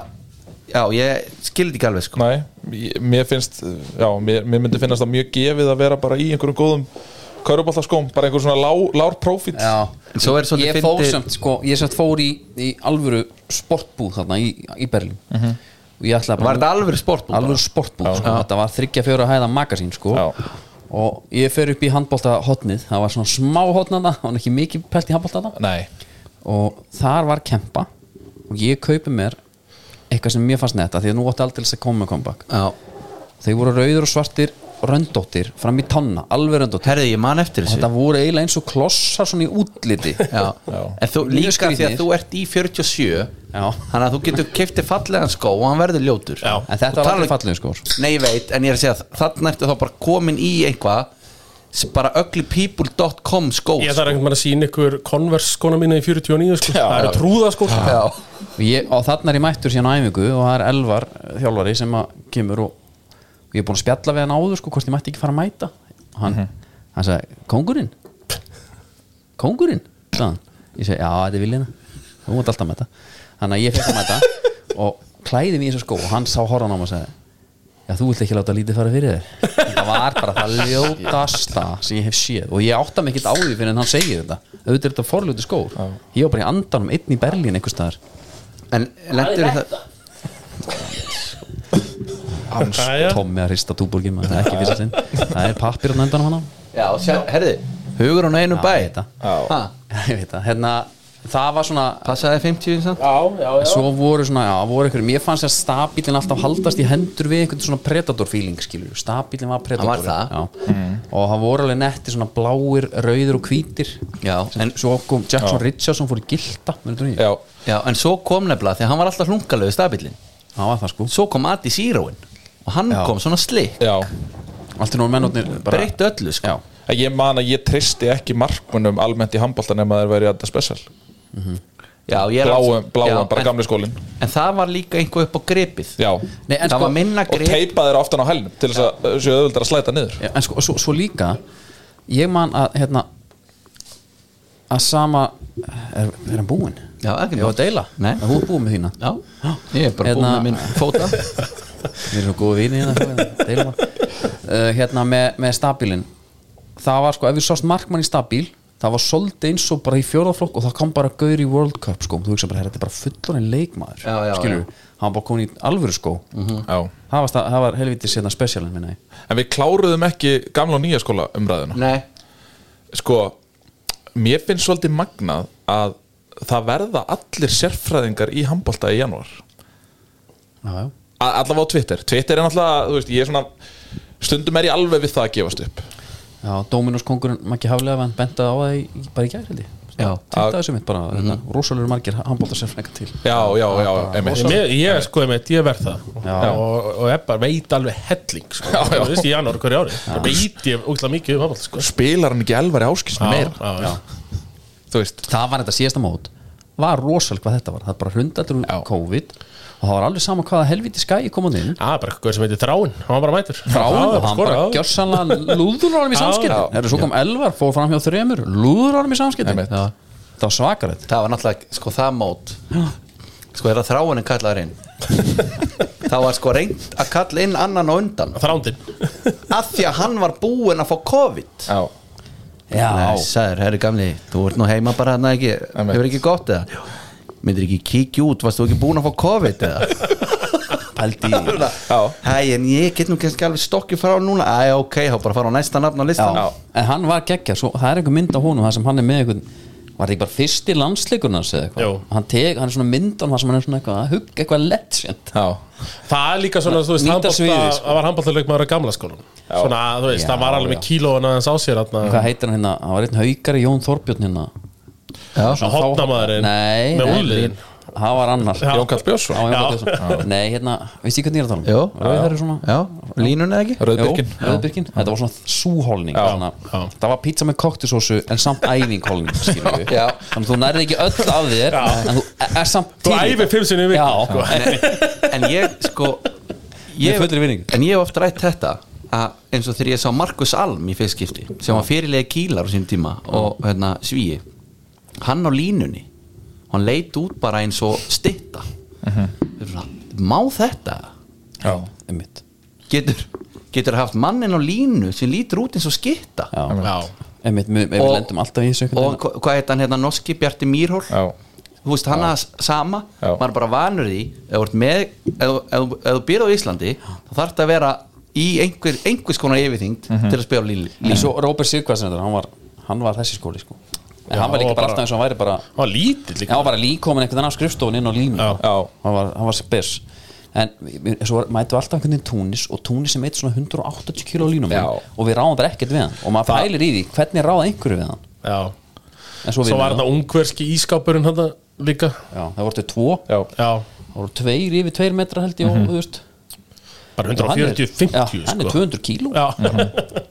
S3: já, ég skildi ekki alveg sko.
S5: nei, ég- mér finnst Já, mér, mér myndi finnast það mjög gefið að vera bara í einhverjum góðum körfuboltaskóm bara einhver svona lá, lár profít
S2: Já,
S3: En svo er svolítið
S2: ég fór
S3: fyndið-
S2: samt sko, ég samt fór í, í alvöru sportbúð þarna í, í Berlín
S3: Mhm.
S2: og ég ætlaði
S3: Var þetta alvöru sportbúð bara?
S2: alvöru sportbúð, sko, þetta var þryggja fjóra hæða magasín sko
S5: Já.
S2: og ég fer upp í handbólta hotnið það var svona smá hotnana, það var ekki mikið pælt í handbólta þarna
S5: Nei,
S2: og þar var kempa og ég kaupi mér eitthvað sem mér fannst netta því að nú átti aldrei að koma með comeback
S3: Já.
S2: þeir voru rauður og svartir röndóttir fram í tanna, alveg röndóttir
S3: herði, ég man eftir þessu
S2: þetta voru eiginlega eins og klossar svona í útliti
S3: Já. en þú
S2: Mjög
S3: líka því að
S2: skrýtnir.
S3: þú ert í 47
S2: Já.
S3: þannig að þú getur keftið fallegan skó og hann verður ljótur
S4: Já.
S2: en þetta
S3: Og
S2: var
S3: tala-
S2: alveg fallið sko
S3: Nei, ég veit, en ég er að segja að þarna ertu þá bara komin í eitthvað sem bara uglypeople.com skó
S4: Ég þarf
S2: sko.
S4: einhvern veginn að sína ykkur Converse skona mína í 49 sko. Það eru trúða sko
S3: Já.
S2: og, ég, og þarna er ég mættur síðan á æfingu og það er Elvar eh, þjálfari sem að kemur og, og ég er búin að spjalla við hann áður sko, hvort ég mætti ekki fara að mæta hann, hann sagði, kóngurinn kóngurinn sagði hann. ég segi, já þetta er viljina þú mátt alltaf mæta þannig að ég fekk að mæta og klæði mér í þessu skó og hann sá horfan á mig og sagði já þú vilt ekki láta lítið fara fyrir þér það var bara það ljótasta sem ég hef séð og ég átta mig ekkert á því fyrir en hann segir þetta auðvitað er þetta forljóti skór ég var bara í andanum einn í Berlín einhvers staðar
S3: En lendur það
S5: hans
S4: Jæja.
S2: Tommi að hrista túborgin maður, það er ekki fyrsta sinn það er pappir á nöndanum hann á
S3: Já, sjá, herði, hugur hún á einu
S2: Já, ég veit
S3: bæ
S2: það.
S3: Ha,
S2: ég veit það, hérna það var svona
S3: Passaði 50 samt
S4: Já, já,
S2: svo voru svona, já, voru ykkur mér fannst að stabílinn alltaf haldast í hendur við einhvern svona predator feeling, skilur stabílinn var predator
S3: Hann var
S2: og það voru alveg netti svona bláir, rauðir og hvítir
S3: Já,
S2: Sem-
S3: en-
S2: svo kom Jackson Richardson fór í gilda munið þú því?
S5: Já,
S3: Já, en svo kom nefnilega, því að hann var alltaf hlungalegu stabillin
S2: það var það sko
S3: Svo kom Adi Síróin og hann
S2: Já.
S3: kom svona slik
S5: já
S2: allt í nóg mennotnir bara
S3: Breytt öllu, sko
S2: já,
S5: Ég man að ég tristi ekki markmunum almennt í handbóltan nema þeir verið að spesial
S3: Já, ég er
S5: Bláum,
S3: alveg-
S5: bláum
S3: Já,
S5: bara
S3: en-
S5: gamli skólinn
S3: En það var líka einhver upp á gripið
S5: Já
S2: Nei, en
S3: Það
S2: sko-
S3: var minna
S5: og
S3: grip
S5: teipa þeir aftan á hælnum til þess að þessu auðvöldar að slæta niður
S2: Já, en sko, svo, svo líka ég man að hérna að sama er, er hann búinn?
S3: Já, ekki
S2: Ég var að deila
S3: Nei.
S2: En Þú er búinn með þína
S3: Já, ég er bara búin
S2: Hérna-
S3: með minn fóta
S2: Við erum svo góða vini hérna sko, en deilum að. uh, Hérna með, með stabilinn Það var sko, ef við sást markmann í stabíl Það var svolítið eins og bara í fjórðaflokk Og það kom bara gaur í World Cup sko Þú veist bara, herra, þetta er bara fullorinn leikmaður
S3: Já, já,
S2: Skilur, hann var bara komin í alvöru sko
S5: Já.
S2: það, var, sta- það var helvítið sérna spesialinn minna
S5: En við kláruðum ekki gamla og nýja skóla umræðuna
S3: Nei,
S5: Sko, mér finnst svolítið magnað að það verða allir sérfræðingar í handbólta í janúar
S2: Já, já
S5: A- Allavega á Twitter Twitter er náttúrulega, þú veist, ég er svona stundum er ég alveg við það að gefast upp
S2: Já, Dominos kongurinn Maggi Haflega hann bentaði á það í, í- bara í gær held ég
S3: Já.
S2: Þetta þessu mitt bara, mm -hmm. rosalegur margir handbóltarsefnleika til
S5: Já, já, já, einmitt
S4: Mér, ég sko ég veit, ég verð það
S2: Já.
S4: og, og Ebbar veit alveg helling sko. já, já. þú veist í janúar hverju ári já. veit ég útla mikið um aðbald sko.
S5: Spilar hann ekki elvar í áskisnum meira,
S4: já, já.
S5: þú veist
S2: Það var þetta síðasta mót Var rosal hvað þetta var, það bara hundaldur úr COVID og það var alveg sama hvaða helviti skæi kom hann inn
S4: Það er bara eitthvað sem heitir Þráinn, hann var bara mætur
S2: Ráin
S4: Já,
S2: og hann
S4: skoraði
S2: bara
S4: áður.
S2: gjörsanlega lúður á hann í
S4: Já,
S2: samskiptin
S4: já.
S2: Þegar svo kom Elvar, fór fram hjá þremur lúður á hann í samskiptin
S5: Einmitt.
S2: Það var svakarett
S3: það var náttúrulega sko það mót sko þegar þráunin kallaður inn þá var sko reynd að kalla inn annan á undan
S4: Þrándinn
S3: af því að hann var búinn að fá COVID
S5: Já,
S2: Já,
S3: Nei, sagður, herri gamli, þú ert nú heima bara hann ekki,
S5: Amen.
S3: hefur ekki gott eða myndir ekki kíkja út, varst þú ekki búinn að fá COVID eða
S2: pældi í
S5: Já.
S3: hei, en ég get nú kannski alveg stokkið frá núna, æ, ok, þá bara fara á næsta nafn á listan
S2: En hann var geggja, svo, það er einhver mynd á honum það sem hann er með einhvern var þetta ekki bara fyrsti landsleikurinn hans eða eitthvað
S4: Jú.
S2: hann, tek, hann er svona myndan þar sem hann er svona eitthvað að hugga eitthvað legend
S5: já,
S4: Það er líka svona, þú veist,
S2: Nýta
S4: handbolta-
S2: sviðið, sko.
S4: það var handbóltaleik maður að gamla skólan Svona, þú veist,
S2: Já,
S4: það var alveg
S2: já.
S4: með kílóan aðeins á sér þarna.
S2: hvað heitir hann hérna, hann var einn haugari Jón Þorbjörn hérna
S3: já,
S2: Þá-
S4: Hornamaðurinn
S2: Nei,
S4: með
S2: nei,
S4: úlliðin.
S2: það var annar
S4: Já.
S5: Jón Karl Björnsson
S2: Já, Jón
S4: Já.
S2: Karl Björnsson. Nei, hérna, veist ég hvernig ég er að tala um?
S3: Jú.
S2: Rauðhærður svona
S3: já línun eða ekki
S5: Rauðbyrkin
S2: Jó, Rauðbirkin, þetta var svona súhólning svona, Það var pizza með koktusósu en samt æfinghólning skilur við.
S3: Já.
S2: Þannig að þú nærði ekki öll af þér En þú e- er- er samt til
S4: Þú
S2: í
S4: æfir
S2: þetta.
S4: fimm sinni í
S2: Já,
S4: viku sko.
S3: en ég sko
S2: Með fullri virðingu.
S3: en ég hef oft rætt þetta að eins og þegar ég sá Markus Alm í fyrstskipti sem var fyrirlega kílar á sín tíma og hérna svíi hann á línunni hann leit út bara eins og stitta svona, má þetta
S5: Já,
S2: einmitt
S3: getur, getur haft mannin á línu sem lítur út eins og skitta
S2: Já,
S4: Já,
S2: einmitt, við við
S3: Og-
S2: lendum alltaf í þessu einhvern
S3: og
S2: veginn.
S3: hva- hvað heit hann hérna Norski Bjarti Mýrhól
S5: já,
S3: þú veist hann að sama
S5: Já.
S3: maður er bara vanur því ef þú ert með ef þú- ef þú- ef þú býrð á Íslandi þá þarf þetta að vera í einhver, einhvers konar yfirþyngd
S5: Mhm.
S3: til að spila línu
S2: En svo Róbert Sigvarsson, hann, var- hann var þessi skóli sko. En hann var líka
S4: og
S2: bara
S4: bara-
S2: alltaf eins og hann væri bara
S4: það var lítill
S2: Já,
S4: líka
S2: hann var bara líkomin einhvern veginn af skrifstofun inn á línu
S4: Já.
S5: já,
S2: hann var, hann var spes en við- svo var- mætum við alltaf einhvern veginn túnis og túnis sem eitt svona 180 kíló línum
S5: Já.
S2: og við ráðum bara ekkert við hann og maður pælir í því hvernig ráða einhverju við hann
S4: Já,
S2: en svo,
S4: svo
S2: vinnum
S4: var
S2: við
S4: þetta ungverski ískápurinn hann líka
S2: hann. Já, það voru þetta tvo,
S5: já
S2: það
S4: Já,
S2: voru tveir yfir tveir metra held ég
S4: Mhm.
S2: og þú veist
S4: bara
S2: hann er-
S4: 140-50
S2: já, hann er Mhm.
S4: sko
S2: 200 kíló,
S4: Já,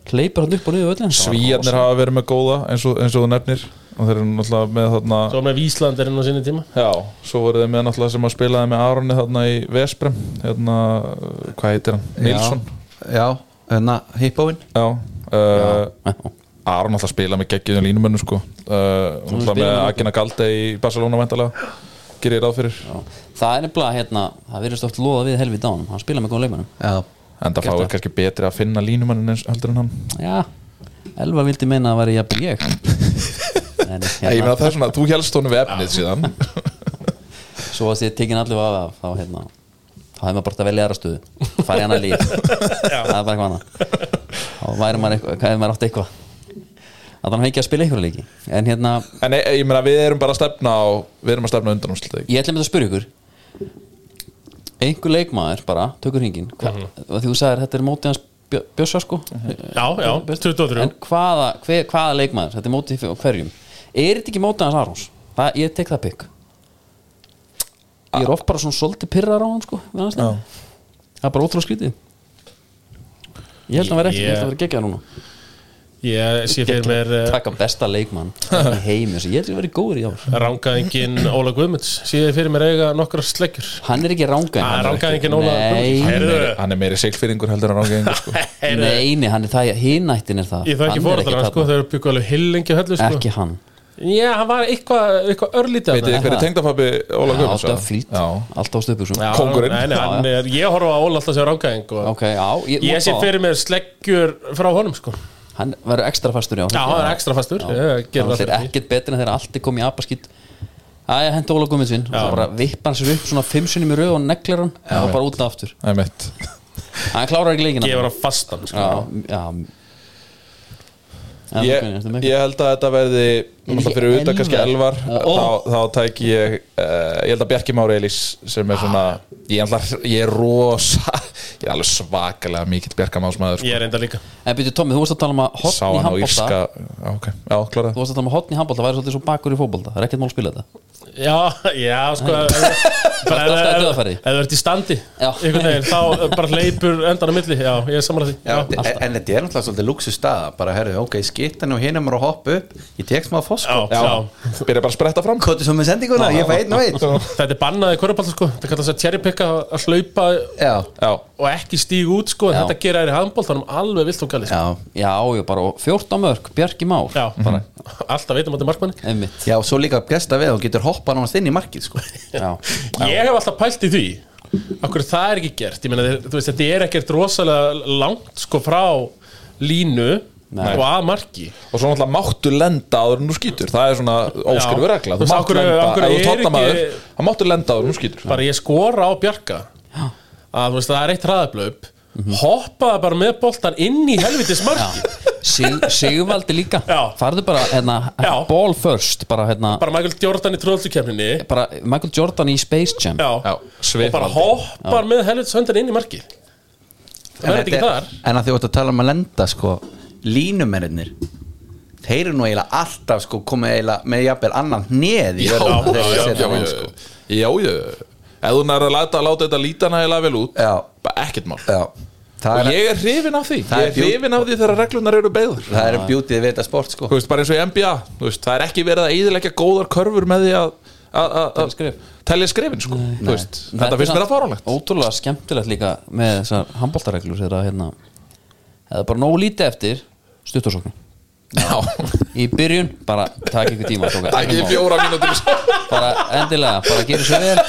S2: hleypur hann upp og niður öllin
S5: Svíjarnir hafa verið með góða eins og, eins og þú nefnir og þeir eru náttúrulega með þarna
S4: svo með Íslandirinn á sinni tíma
S5: Já, svo voru þeir með náttúrulega sem að spilaði með Aroni þarna í Vesbrem hérna, hvað heitir hann? Nilsson
S3: já, hérna hippóin
S5: Já, uh, Aron alltaf spila með geggiðum línumönnum sko uh, hún
S2: spilar
S5: var með
S2: með-
S5: Agina Galde í Barcelona væntalega gerir ég ráð fyrir
S2: það er nefnilega hérna, það virðist oft loða við helvið dánum hann spila með góðan leikmannum
S3: já,
S5: en það fáið kannski betri að finna línumönnum eins heldur en hann
S2: já, Elva vildi meina að það væri jafnvel ég en
S5: Nei, ég
S2: hérna,
S5: meina það er svona, þú helst honum við efnið síðan
S2: svo að þið tekin allir af af, þá hérna þá hefði maður bara að velja aðra stuðu farið hann að líf það er bara eitthvað annað þá væri maður eitthvað, hvað hefði maður átt eitthvað að þannig ekki að spila eitthvað leiki en hérna,
S5: en ég, ég meina við erum bara að stefna á við erum að stefna undan úrslit
S2: ég ætlum að spyrja ykkur einhver leikmaður bara, tökur hringin hva, mm því þú sagðir, þetta er mótið hans Bjö- Bjössa sko
S4: Já, já, 23
S2: en hvaða, hver, hvaða leikmaður, þetta er mótið fyrir hverjum er þetta ekki mótið hans Arons? Það, ég tek það pikk ég er oft bara svona svolítið pirrar á hann sko, við hans leik. það er bara ótrúlega skrítið ég held að hann verði ekki, ég held að hann verði geggjað núna
S4: Ég sé fyrir mér uh,
S2: taka besta leikmann í heimi, þessu. ég held að hann verði góður í ár
S4: rangaðingin Óla Guðmunds Sé fyrir mér eiga nokkra sleggjur
S2: hann er ekki rángaðing
S4: Ah, rangaðingin Óla
S2: nei,
S4: Guðmunds Heyrðu,
S5: hann er meiri seglfyrringur heldur en rángengur sko.
S4: heyrðu,
S2: nei, nei, hann er það hinnættin er það
S4: Ég það
S2: Hann
S4: ekki
S2: er
S4: fórættar hann sko,
S2: þarna.
S4: þau eru byggu alveg hillingi höllu sko
S2: ekki hann
S4: Já, hann var eitthvað eitthvað örlítið
S5: veitir
S4: þarna.
S5: þið hverju tengdapappi Óla
S2: alltaf
S5: Guðmunds
S2: flýt,
S5: já,
S2: alltaf stöpu svo
S4: Já,
S5: kóngurinn.
S4: nei, nei, hann er, Ég horfa á Óla alltaf sem rangaðing og
S2: ok, já, ég,
S4: Ég sé fyrir mér sleggjur frá honum sko
S2: hann verður ekstra fastur já,
S4: Já, hann er ekstra fastur Ég
S2: Það er
S4: gerði alltaf ekki
S2: ekkert betur en þegar allt er komið í apaskýt Það er hent Óla Guðmundsvinn og það bara vippar hann sér upp svona fimm sinni í röð og neglir hann og bara út aftur
S5: það er mitt
S2: Hann klárar ekki leikina
S4: Gefur hann fastan sko
S2: Já, já En
S5: ég,
S2: hvernig, ertu með
S5: ég held að þetta verði náttúrulega fyrir utan
S2: Elvar?
S5: kannski elvar
S2: Ó.
S5: þá, þá tæk ég uh, ég held að Bjarki Már Elís sem er svona ég, er alltaf, ég er rosa ég er alveg svakalega mikill Bjarka Másmaður
S4: Ég er enda líka
S2: eitthvað? En byrju Tommi, þú varst að tala um að hotn í
S5: sá hann á
S2: handbólta
S5: Írska Já, ok, já, klára
S2: Þú varst að tala um að hotn í handbólta væri svolítið svo bakur í fótbólta Það er ekkert mál að spila þetta
S4: Já, já, sko ef- bara
S2: alltaf í
S4: ef- Ef
S2: dauðafæri.
S4: ef þú ert í standi
S2: Já.
S4: einhvern veginn, þá eh, bara hleypur endan á milli Já, ég er samanlega því
S3: Já,
S4: Já,
S3: en, en þetta er náttúrulega svolítið luxu staða bara herðu, ok, skittan og hinum er að hoppa upp ég tek smá fosko
S4: já, já.
S5: byrja bara að spretta fram
S3: Kottu svo með sendinguna, ég fæ einn og einn
S4: Þetta er bannaði korrupall sko. Þetta kallar þess að cherrypicka að hlaupa
S3: Já,
S5: já,
S4: og ekki stíga út sko. en
S2: Já.
S4: Þetta gera þær í handbóltanum alveg vilt og gali sko.
S3: já,
S2: Já, ég bara, og 14 mörg, Bjarki Már
S4: Já, bara alltaf veitum að þetta er markmanni
S2: Einmitt,
S3: já, svo líka gesta við og getur hoppa náttúrulega inn í markið sko.
S2: já
S4: Ég hef alltaf pælt í því Akkur það er ekki gert Ég meina, þeir- þú veist, Þetta er ekkert rosalega langt sko, frá línu
S2: Nei.
S4: og að marki
S5: og svo náttúrulega máttu lenda áður en þú skýtur það er svona óskrifu
S4: Já.
S5: regla
S4: Þú
S5: þú
S4: veist,
S5: máttu
S4: af hverju-
S5: lenda,
S4: af
S5: ef
S4: hverju
S5: þú
S4: er
S5: tóttar maður
S4: ekki-
S5: það máttu lenda áður en þú skýtur
S4: bara ég skora á Bjarka að þú veist það er eitt hraðablaup hoppaði bara með boltan inn í helvitis marki
S2: Sig, Sigvaldi líka
S4: Já.
S2: farðu bara hérna,
S4: Já.
S2: ball first bara, hérna,
S4: bara Michael Jordan í tröðlukefninni já,
S2: bara Michael Jordan í Space Jam
S5: Já,
S4: og bara
S5: svifaldi.
S4: hoppar með helvits höndan inn í markið það verður
S3: þetta
S4: ekki
S3: er-
S4: þar
S3: en að því ótt að tala um að lenda sko, línumennir þeir eru nú eiginlega alltaf sko, komið eiginlega með jafnvel annan hneð í
S5: Já,
S3: verðina
S5: já,
S3: þegar þeir
S5: já,
S3: setja
S5: já,
S3: hann inn,
S5: já.
S3: sko.
S5: Já, já Ef þú nærði að láta, láta þetta líta nægilega vel út
S3: Já.
S5: bara ekkert mál
S3: Já. það
S5: Og
S3: er,
S5: ég er hrifin af því
S3: Það
S5: Ég
S3: er
S5: er
S3: bjú-
S5: hrifin af því þegar reglunar eru beður
S3: það er bjútið við þetta sport sko.
S5: Þú veist, bara eins og í NBA þú veist, Það er ekki verið að eðilegja góðar körfur með því að að- að-
S2: Telja
S5: að
S2: skref.
S5: telja skrefin sko. Þú veist,
S2: er
S5: Þetta finnst mér að fáránlegt
S2: ótrúlega skemmtilegt líka með þessar handbóltareglur þegar að, hérna, eða bara nógu lítið eftir stuttarsóknum
S5: Já,
S2: í byrjun, bara takk ykkur tíma tóka,
S5: ekki í fjóra mínútur
S2: bara endilega, bara gera svo vel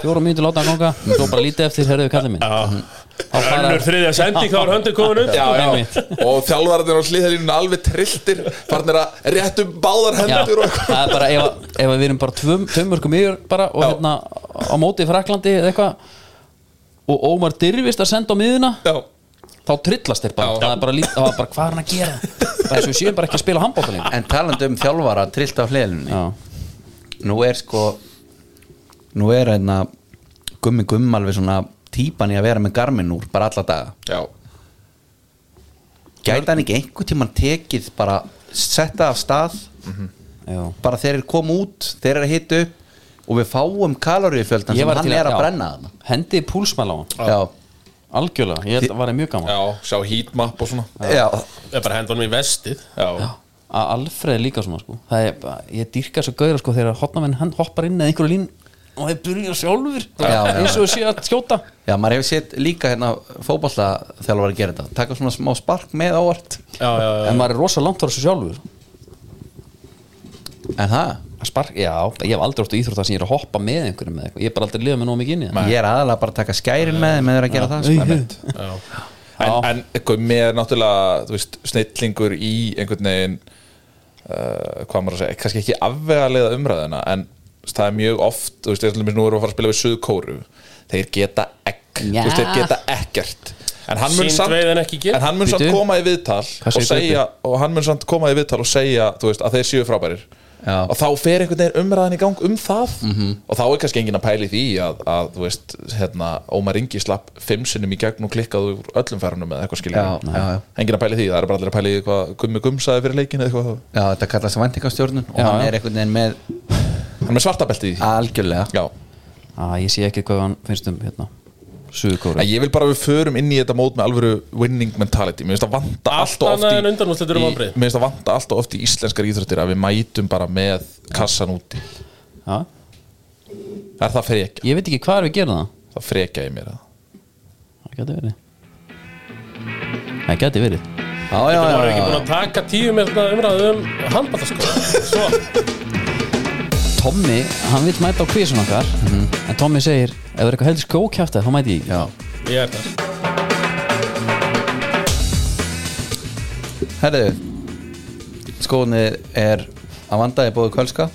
S2: fjóra mínútur láta hann ganga svo bara lítið eftir, herðu kallið minn Þá fara-
S4: önnur þriðja sending þá er höndan komin upp
S5: Já, já,
S2: Einmitt.
S5: og þjálfararnir á slíðalínun alveg trilltir farnir að réttu um báðar
S2: Já,
S5: hendur og eitthvað
S2: það er bara ef, að- ef að við erum bara tvum, tömörkum yfir bara og hérna á móti í Fraklandi eða eitthvað og Ómar Dyrfist að senda á miðuna
S5: Já,
S2: þá trillast þeir bara,
S5: Já.
S2: það er bara, lít, það var bara hvað er hann að gera bara eins og við séum bara ekki að spila handbóta lengur
S3: en talandi um þjálfara trillt af hliðinni
S2: Já,
S3: nú er sko nú er einna gummi gumm alveg svona típan í að vera með garmin úr bara alla daga
S5: já,
S3: gæti hann ekki einhvern tímann tekið bara setta af stað
S2: já.
S3: bara þeir eru koma út, þeir eru að hita upp og við fáum kaloríufjöldan
S2: Ég
S3: sem
S2: var
S3: hann
S2: til
S3: er að
S2: já,
S3: brenna þarna
S2: Hendiði púlsmæla á hann,
S3: já,
S2: algjörlega Ég held að var mjög gaman
S5: já, sjá heatmap og svona
S3: já,
S4: er bara hendanum í vestið
S5: Já,
S2: að Alfreð líka svona sko það er, bara- ég dýrka svo gauður sko þegar hotnamenn hann hoppar inn eða einhverju lín og þeir byrja sjálfur
S3: Já, já.
S2: eins og sé að skjóta
S3: já, maður hefur sett líka hérna fótballa þegar að gera þetta taka svona smá spark með ávart
S4: já, já, já,
S2: en maður er rosa langt frá þessu sjálfur
S3: en það,
S2: Að spark, já, ég hef aldrei óttu íþrótt þar sem ég er að hoppa með einhverjum með eitthvað, ég er bara aldrei liða með nóg mikið inn í það
S3: ég er aðalega bara að taka skærin með þeim með þeir að gera það
S2: Nei,
S3: sko.
S2: hitt.
S4: já.
S5: en, en eitthvað með náttúrulega þú veist, snillingur í einhvern veginn uh, hvað maður að segja, kannski ekki afvegalega umræðina en þú veist, það er mjög oft þú veist, eins og nú erum við að fara að spila við Suðkóru þeir geta ekk,
S2: Já.
S5: þú veist, þeir geta ekkert en hann mun
S4: Sýnd
S5: samt,
S4: veiðin ekki gert.
S5: en hann mun samt
S2: Bíddu.
S5: koma í viðtal
S2: Hvað
S5: og,
S2: segir Gauti?
S5: segja, og hann mun samt koma í viðtal og segja þú veist, að þeir séu frábærir
S3: Já. Mhm.
S5: og þá fer einhvern veginn umræðan í gang um það -hmm. og þá er kannski enginn að pæli því að, að þú veist, hérna, Ómar Ingi slapp fimm sinnum í gegn og klikkað úr öllum færunum eða eitthvað skilja
S3: Já, já, já.
S5: enginn að pæli því, það er bara allir að pæli því hvað gummi gumsaði fyrir leikin eða eitthvað
S3: já, þetta kallast vendingastjórnun og
S2: Já,
S3: hann
S2: já.
S3: er einhvern veginn með
S5: hann er með svartabelti í því
S3: algjörlega
S5: Já,
S2: að ég sé ekki hvað hann finnst um hérna
S5: en
S2: suðkóru
S5: ég vil bara að við förum inn í þetta mót með alvöru winning mentality Mér finnst það vanta allt
S4: allt
S5: og oft
S4: annað en um
S5: í,
S4: undanúrslit
S5: í
S4: eru
S5: Mér
S4: vonbrið
S5: finnst það vanta allt og oft í íslenskar íþróttir að við mætum bara með kassan úti
S2: ja.
S5: Það er það frekja,
S2: ég veit ekki hvað er við gerum það
S5: það frekja í mér að
S2: það geti verið það geti verið
S3: já, já,
S4: Það
S3: já,
S4: var ekki
S3: já,
S4: búin að taka tíu með umræðu um handballaskóla Svo,
S2: Tommy, hann vil mæta á kvísun okkar en Tommy segir, ef það er eitthvað heldur skókjæfta þá mæti ég ekki.
S3: já.
S4: ég er þar
S3: herðu skóðunni er að vandaði bóðu kölska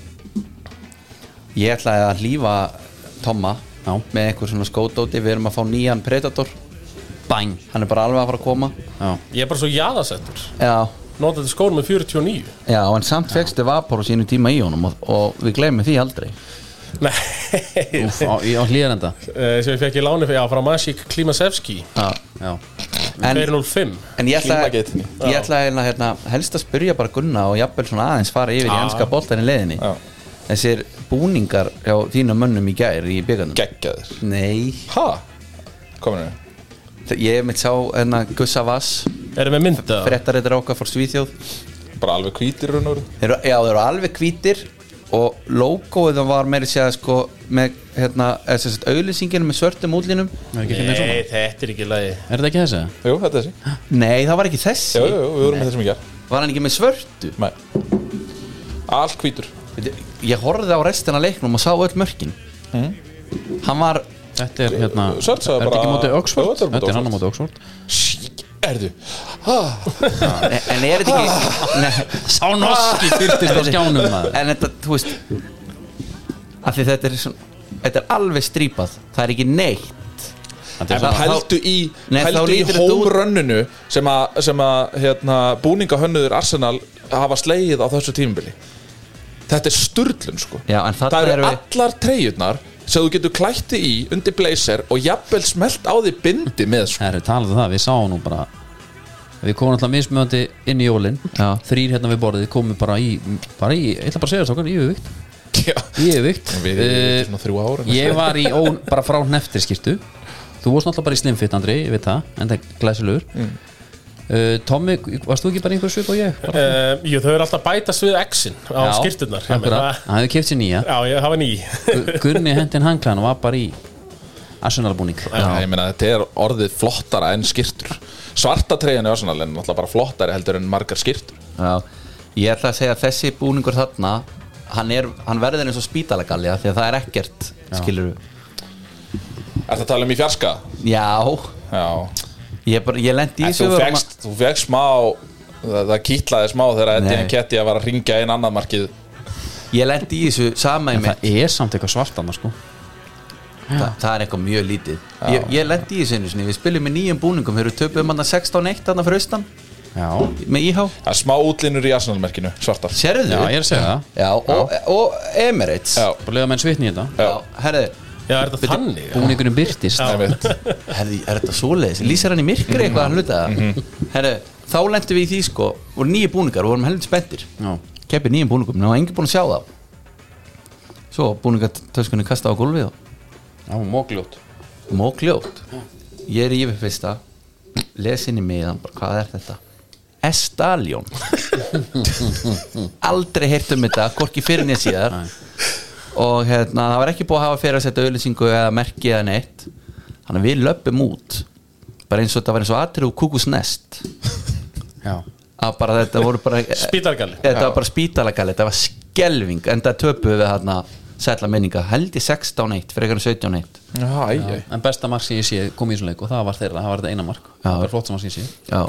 S3: ég ætlaði að lífa Tomma
S2: Já.
S3: með einhver svona skóðdóti við erum að fá nýjan Predator
S2: bang
S3: hann er bara alveg að fara að koma
S2: já.
S4: Ég er bara svo jaðasettur
S3: já,
S4: Nótaði skórum með 49
S3: já en samt fegstu vapor á sínu tíma í honum og, og við gleymum því aldrei
S4: Nei,
S2: Úf, á, í- á hlýðarenda
S4: Eh, sem ég fekk í láni fyrir, já, frá Masík Klimasevski
S3: já.
S2: já.
S3: en,
S4: 205
S3: en ég ætlaði
S5: Klímageitinni.
S3: ég ætlaði hérna, hérna, helst að spyrja bara Gunna og jafnvel svona aðeins fara yfir í ennska boltan í leiðinni
S5: Já.
S3: þessir búningar hjá þínum mönnum í gær í byggandum
S5: Geggjaður
S3: nei,
S5: Ha? Kominu
S3: Þe- ég mitt sá hérna, Gussa Vass
S4: Erum við mynda?
S3: fréttareitar okkar fór Svíþjóð
S5: Bara alveg hvítir raun og veru.
S3: þeir eru, já, þeir eru alveg hvítir og logoið var meiri segja sko, með hérna, auðlýsingin með svörtum útlínum
S4: Nei, þetta er ekki lagi
S2: er þetta ekki þessi?
S5: Jú, þetta er
S3: Ah,
S5: þessi
S3: nei, það var ekki þessi
S5: Jú, jú, jú, við vorum með þessum í gerð
S3: var hann ekki með svörtu
S5: Nei Allt hvítur
S3: Veitu, ég horfði á restina af leiknum og sá öll mörkin
S5: Mhm.
S3: hann var
S2: þetta er hérna
S5: Svart sagði
S2: er þetta ekki
S5: bara-
S2: mótið Oxford?
S5: Jú, þetta er móti
S2: þetta er hann á
S5: Oxford.
S2: mótið Oxford
S5: Erðu
S3: en en er þetta ekki Nei,
S2: sá norski byrtist á skjánum maður
S3: en þetta, þú veist af því þetta er, svona, þetta er alveg strípað það er ekki neitt er
S5: en
S3: það-
S5: pældu í,
S3: Nei, þá
S5: pældu í
S3: lítur þetta út-
S5: hómrönninu sem að, sem að hérna, búningahönnuður Arsenal hafa slegið á þessu tímabili þetta er sturlun sko
S3: Já, en þarna
S5: það eru
S3: erum við-
S5: allar treyjurnar sem þú getur klætti í undir blazer og jafnvel smelt á því bindi með sko.
S2: Það eru talað um það, við sáum nú bara Við komum alltaf mismöndi inn í jólin
S3: Já.
S2: Þrýr hérna við borðið komum bara í bara í, ég ætla bara að segja þessu okkar, yfirvikt
S5: Já,
S2: Yfirvikt
S5: við
S2: Eh,
S5: erum svona þrjú ára
S2: Ég var í ón, bara frá hneftir skýrtu Þú varst náttúrulega bara í slimfit, Andri, ég veit það En það er glæsilegur mm. Tommy, varst þú ekki bara í einhver svip og ég?
S4: Uh, jú, þau eru alltaf bætast við X-in á
S2: Já,
S4: skýrtunar
S2: akkurat. Hann hefur keft sér nýja
S4: Já, ég hafa ný
S2: Gu- Gunni hendin hanglan og var bara í Arsenalbúning
S5: Já, ég meina þetta er orðið flottara en skýrtur Svarta treyjan í Arsenal en náttúrulega bara flottari heldur en margar skýrtur
S3: Já, ég ætla að segja að þessi búningur þarna hann, er, hann verður eins og spítalagalja því að það er ekkert, skilur
S5: Er það að tala um í fjarska?
S3: Já,
S5: Já
S3: ég, bara, ég lendi í
S5: En þú
S3: þessu og
S5: fegst, þú fegst smá það, það kýtlaði smá þegar Eddie
S3: Nei.
S5: Ketty var að ringja einn annað markið
S3: ma- ég lendi í þessu sama í
S2: En
S3: mig,
S2: það er samt eitthvað svart annars sko
S3: Þa, það er eitthvað mjög lítið ég, ég lendi í þessu einu sinni, við spilum með nýjum búningum þeir eru töpuðum hann 16-1 þarna fyrir austan
S2: Já,
S3: með IH,
S5: Það er smá útlinur í Arsenal-merkinu, svartar
S3: sérðu
S2: já ég er að segja það
S3: Já, og, og Emirates
S5: Já.
S2: Bara lega menn svitni í þetta
S3: Já, herðu,
S4: Já, er þetta þannig?
S2: Búningurinn byrtist
S5: Það er mitt.
S3: herðu, er þetta svoleiðis lýsir hann í myrkri eitthvað hann hluta herðu, þá lendi við í því sko voru nýju búningar, vorum heldur spenntir
S2: Já.
S3: keppið nýjum búningum, en það var enginn búin að sjá það svo búningatöskunni kasta á gólfið og
S2: Já, mókljót
S3: mókljótt ég er í yfir fyrsta les inn í mig hann bara, hvað er þetta Estaljón aldrei heyrt um þetta hvorki fyrir nýja síðar og hérna, það var ekki búið að hafa fyrir að setja auðlýsingu eða merki eða neitt þannig að við löpum út bara eins og þetta var eins og atrið og kúkusnest
S2: Já,
S3: að bara þetta voru bara
S4: Spítargalli.
S2: Eh,
S3: þetta var bara spítalagalli, þetta var skelving en það töpuðu við þarna sætla minninga, held í 16-1 frekar en 17-1
S5: Já, æ, æ.
S2: en besta mark sem ég sé kom í þessum leik og það var þeirra, það var þetta eina mark
S3: Já.
S2: Það var flott sem mark sem ég sé
S3: já,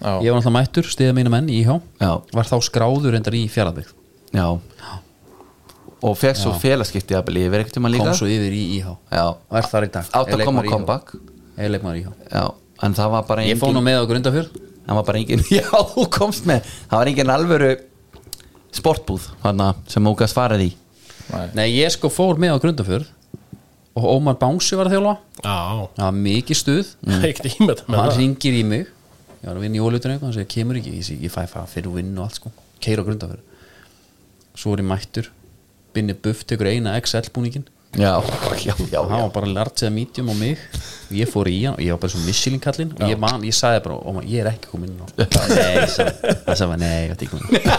S5: Já.
S2: Ég var náttúrulega mættur, stiða mínu menn í IH
S3: Já.
S2: Var þá skráður endar í fjarlabygg
S3: já og fekk svo félagskipti að belíði verið ekkert um að
S2: Kom
S3: líka
S2: svo yfir í IH
S3: Já.
S2: Var þar í dag
S3: átt að koma comeback
S2: Ég leikmaður IH
S3: já, en það var bara
S2: Ég fóð nú
S3: engin
S2: með á grundafjörð
S3: það var bara engin, já, þú komst með það var engin alvöru sportbúð hana, sem múka svarið í
S2: Nei, ég sko fór með á grundafjörð og Ómar Bánsi var að þjálfa
S4: Já,
S2: það var mikið stuð
S4: það er ekkert ímynda
S2: og
S4: með
S2: hann
S4: það
S2: ringir mm. í mig ég var að vinna í ólutinu eitthvað, hann segir, kemur ekki ég, segi, ég fæ það fyrir vinn og allt sko keir á grundafjörð svo er ég mættur binni buff tekur eina XL búningin
S3: já, já, já,
S2: og hann var bara large eða medium á mig og ég fór í hann og ég var bara svo Michelin kallinn og ég man, ég sagði bara, Ómar, ég er ekki komin inn á nei, sagði- það sagði bara, nei, ég er ekki komin inn á."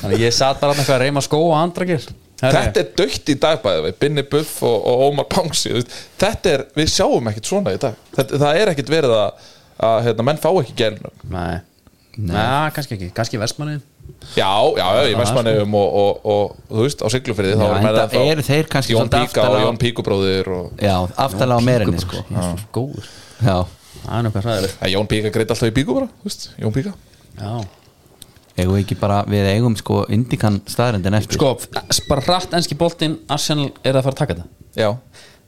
S2: þannig að ég satt bara hann eitthvað að reyma skó og andrakir
S5: Þetta er dögt í dag bæði við Binni Buff og, og Ómar Pangsi þú veist. Þetta er, við sjáum ekkert svona í dag þetta, Það er ekkert verið að, að hérna, menn fá ekki gerinu
S2: Nei, Nei kannski ekki, kannski vestmanni
S5: Já, já, já, í Vestmannefum og, og, og, þú veist, á Siglufyrði þá
S3: Já,
S5: voru
S3: en
S5: menn
S3: það
S5: ennþá
S3: eru þeir kannski
S5: Jón
S3: svolítið
S5: Píka og
S3: aftalega-
S5: Jón Píkubróðir og
S3: já aftalega á meirinni sko
S2: Jésús góður
S3: já,
S2: Það er nokkuð hræðilegt
S5: Að Jón Píka greit alltaf í bíku bara, þú veist, Jón Píka
S2: Já.
S3: eigum við ekki bara, við eigum sko indikan staðrendin eftir
S2: Sko, s- bara hratt enski boltinn Arsenal er að fara að taka þetta
S5: Já,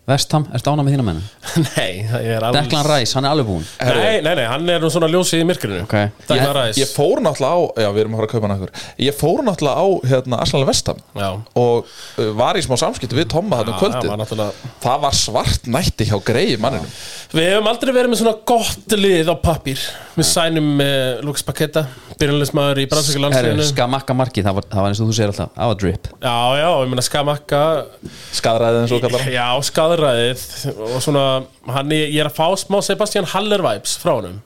S2: Vestham, ertu ánað með þína menn
S4: Nei, það er alls
S2: Declan Rice, hann er alveg búinn
S4: Nei, nei, nei, hann er nú svona ljósið í myrkrinu
S2: Ok.
S4: Declan Rice
S5: ég fór náttúrulega á, já, við erum að fara að kaupa hann að ykkur Ég fór náttúrulega á, hérna, Arsenal Vestam
S4: Já.
S5: Og uh, var í smá samskipti við Tomma þarna um
S4: Já,
S5: kvöldið
S4: var náttúrulega-
S5: Það var svart nætti hjá greið manninum
S4: Við hefum aldrei verið með svona gott lið á pappir Við sænum uh, Lucas Paqueta Byrjunleismæður í bransvíkja
S2: Herru,
S4: landsliðinu
S2: skamakka markið, það var, það var eins og þú segir alltaf Það var drip
S4: Já, já, ég meina Skamakka
S5: Skadraðið eins og kallar hann.
S4: Já, skadraðið Og svona, hann, er- ég er að fá smá Sebastian Haller vibes frá honum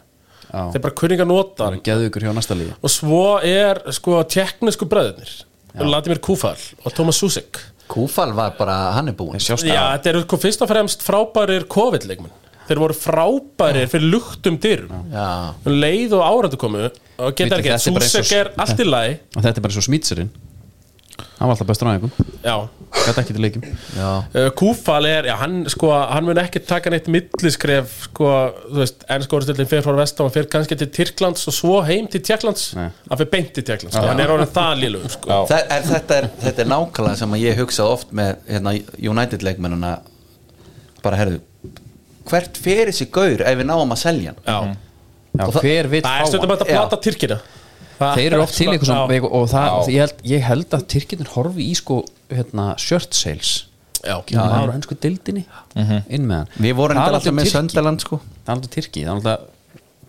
S2: Já,
S4: Þeir bara kunninga nota hann
S2: geðu ykkur hjá næsta líði
S4: Og svo er, sko, tjekknesku bröðunir Vladimir Kúfal og Thomas Susek
S3: Kúfal var bara, hann er búinn
S4: Já, þetta eru sko fyrst og fremst frábærir COVID-leikmenn Þeir voru frábærir fyrir luktum dyrum
S3: Já,
S4: Um leið og áratu komu og geta
S2: Veitir,
S4: ekki,
S2: þetta er bara eins og-
S4: Susek er allt í lagi
S2: Og þetta er bara svo smýtserinn Hann var alltaf bestur á einhvern
S4: Já,
S2: Gæti ekki til leikum
S3: já,
S4: Uh, Kúfal er, já, hann sko hann mun ekki taka neitt milliskref sko, þú veist, ennskóristillin fyrir frá vestam og fyrir kannski til Tyrklands og svo heim til Tjekklands,
S2: Nei.
S4: hann fyrir beint til Tjekklands hann er orðin það lélum, sko
S5: Já.
S3: Þa, er, þetta, er, þetta er nákvæmlega sem að ég hugsa oft með hérna, United leikmennuna bara herðu hvert fer þessi gaur ef við náum að selja hann
S4: Já.
S2: Já,
S3: það-
S2: hver vill
S4: Það er
S2: fá
S4: stundum
S2: hann
S4: hægt að plata Tyrkina Það-
S2: Þeir eru oft til eitthvað
S4: Já.
S2: sem og það, ég held, ég held að Tyrkirnir horfi í sko hérna, shirt sales
S4: Já,
S2: Já, það var ennsku deildinni inn með hann
S3: við vorum
S2: Talandi
S3: þetta alltaf
S2: um
S3: með
S2: Tyrki-
S3: Söndaland sko
S2: Talandi um Tyrki, það er alltaf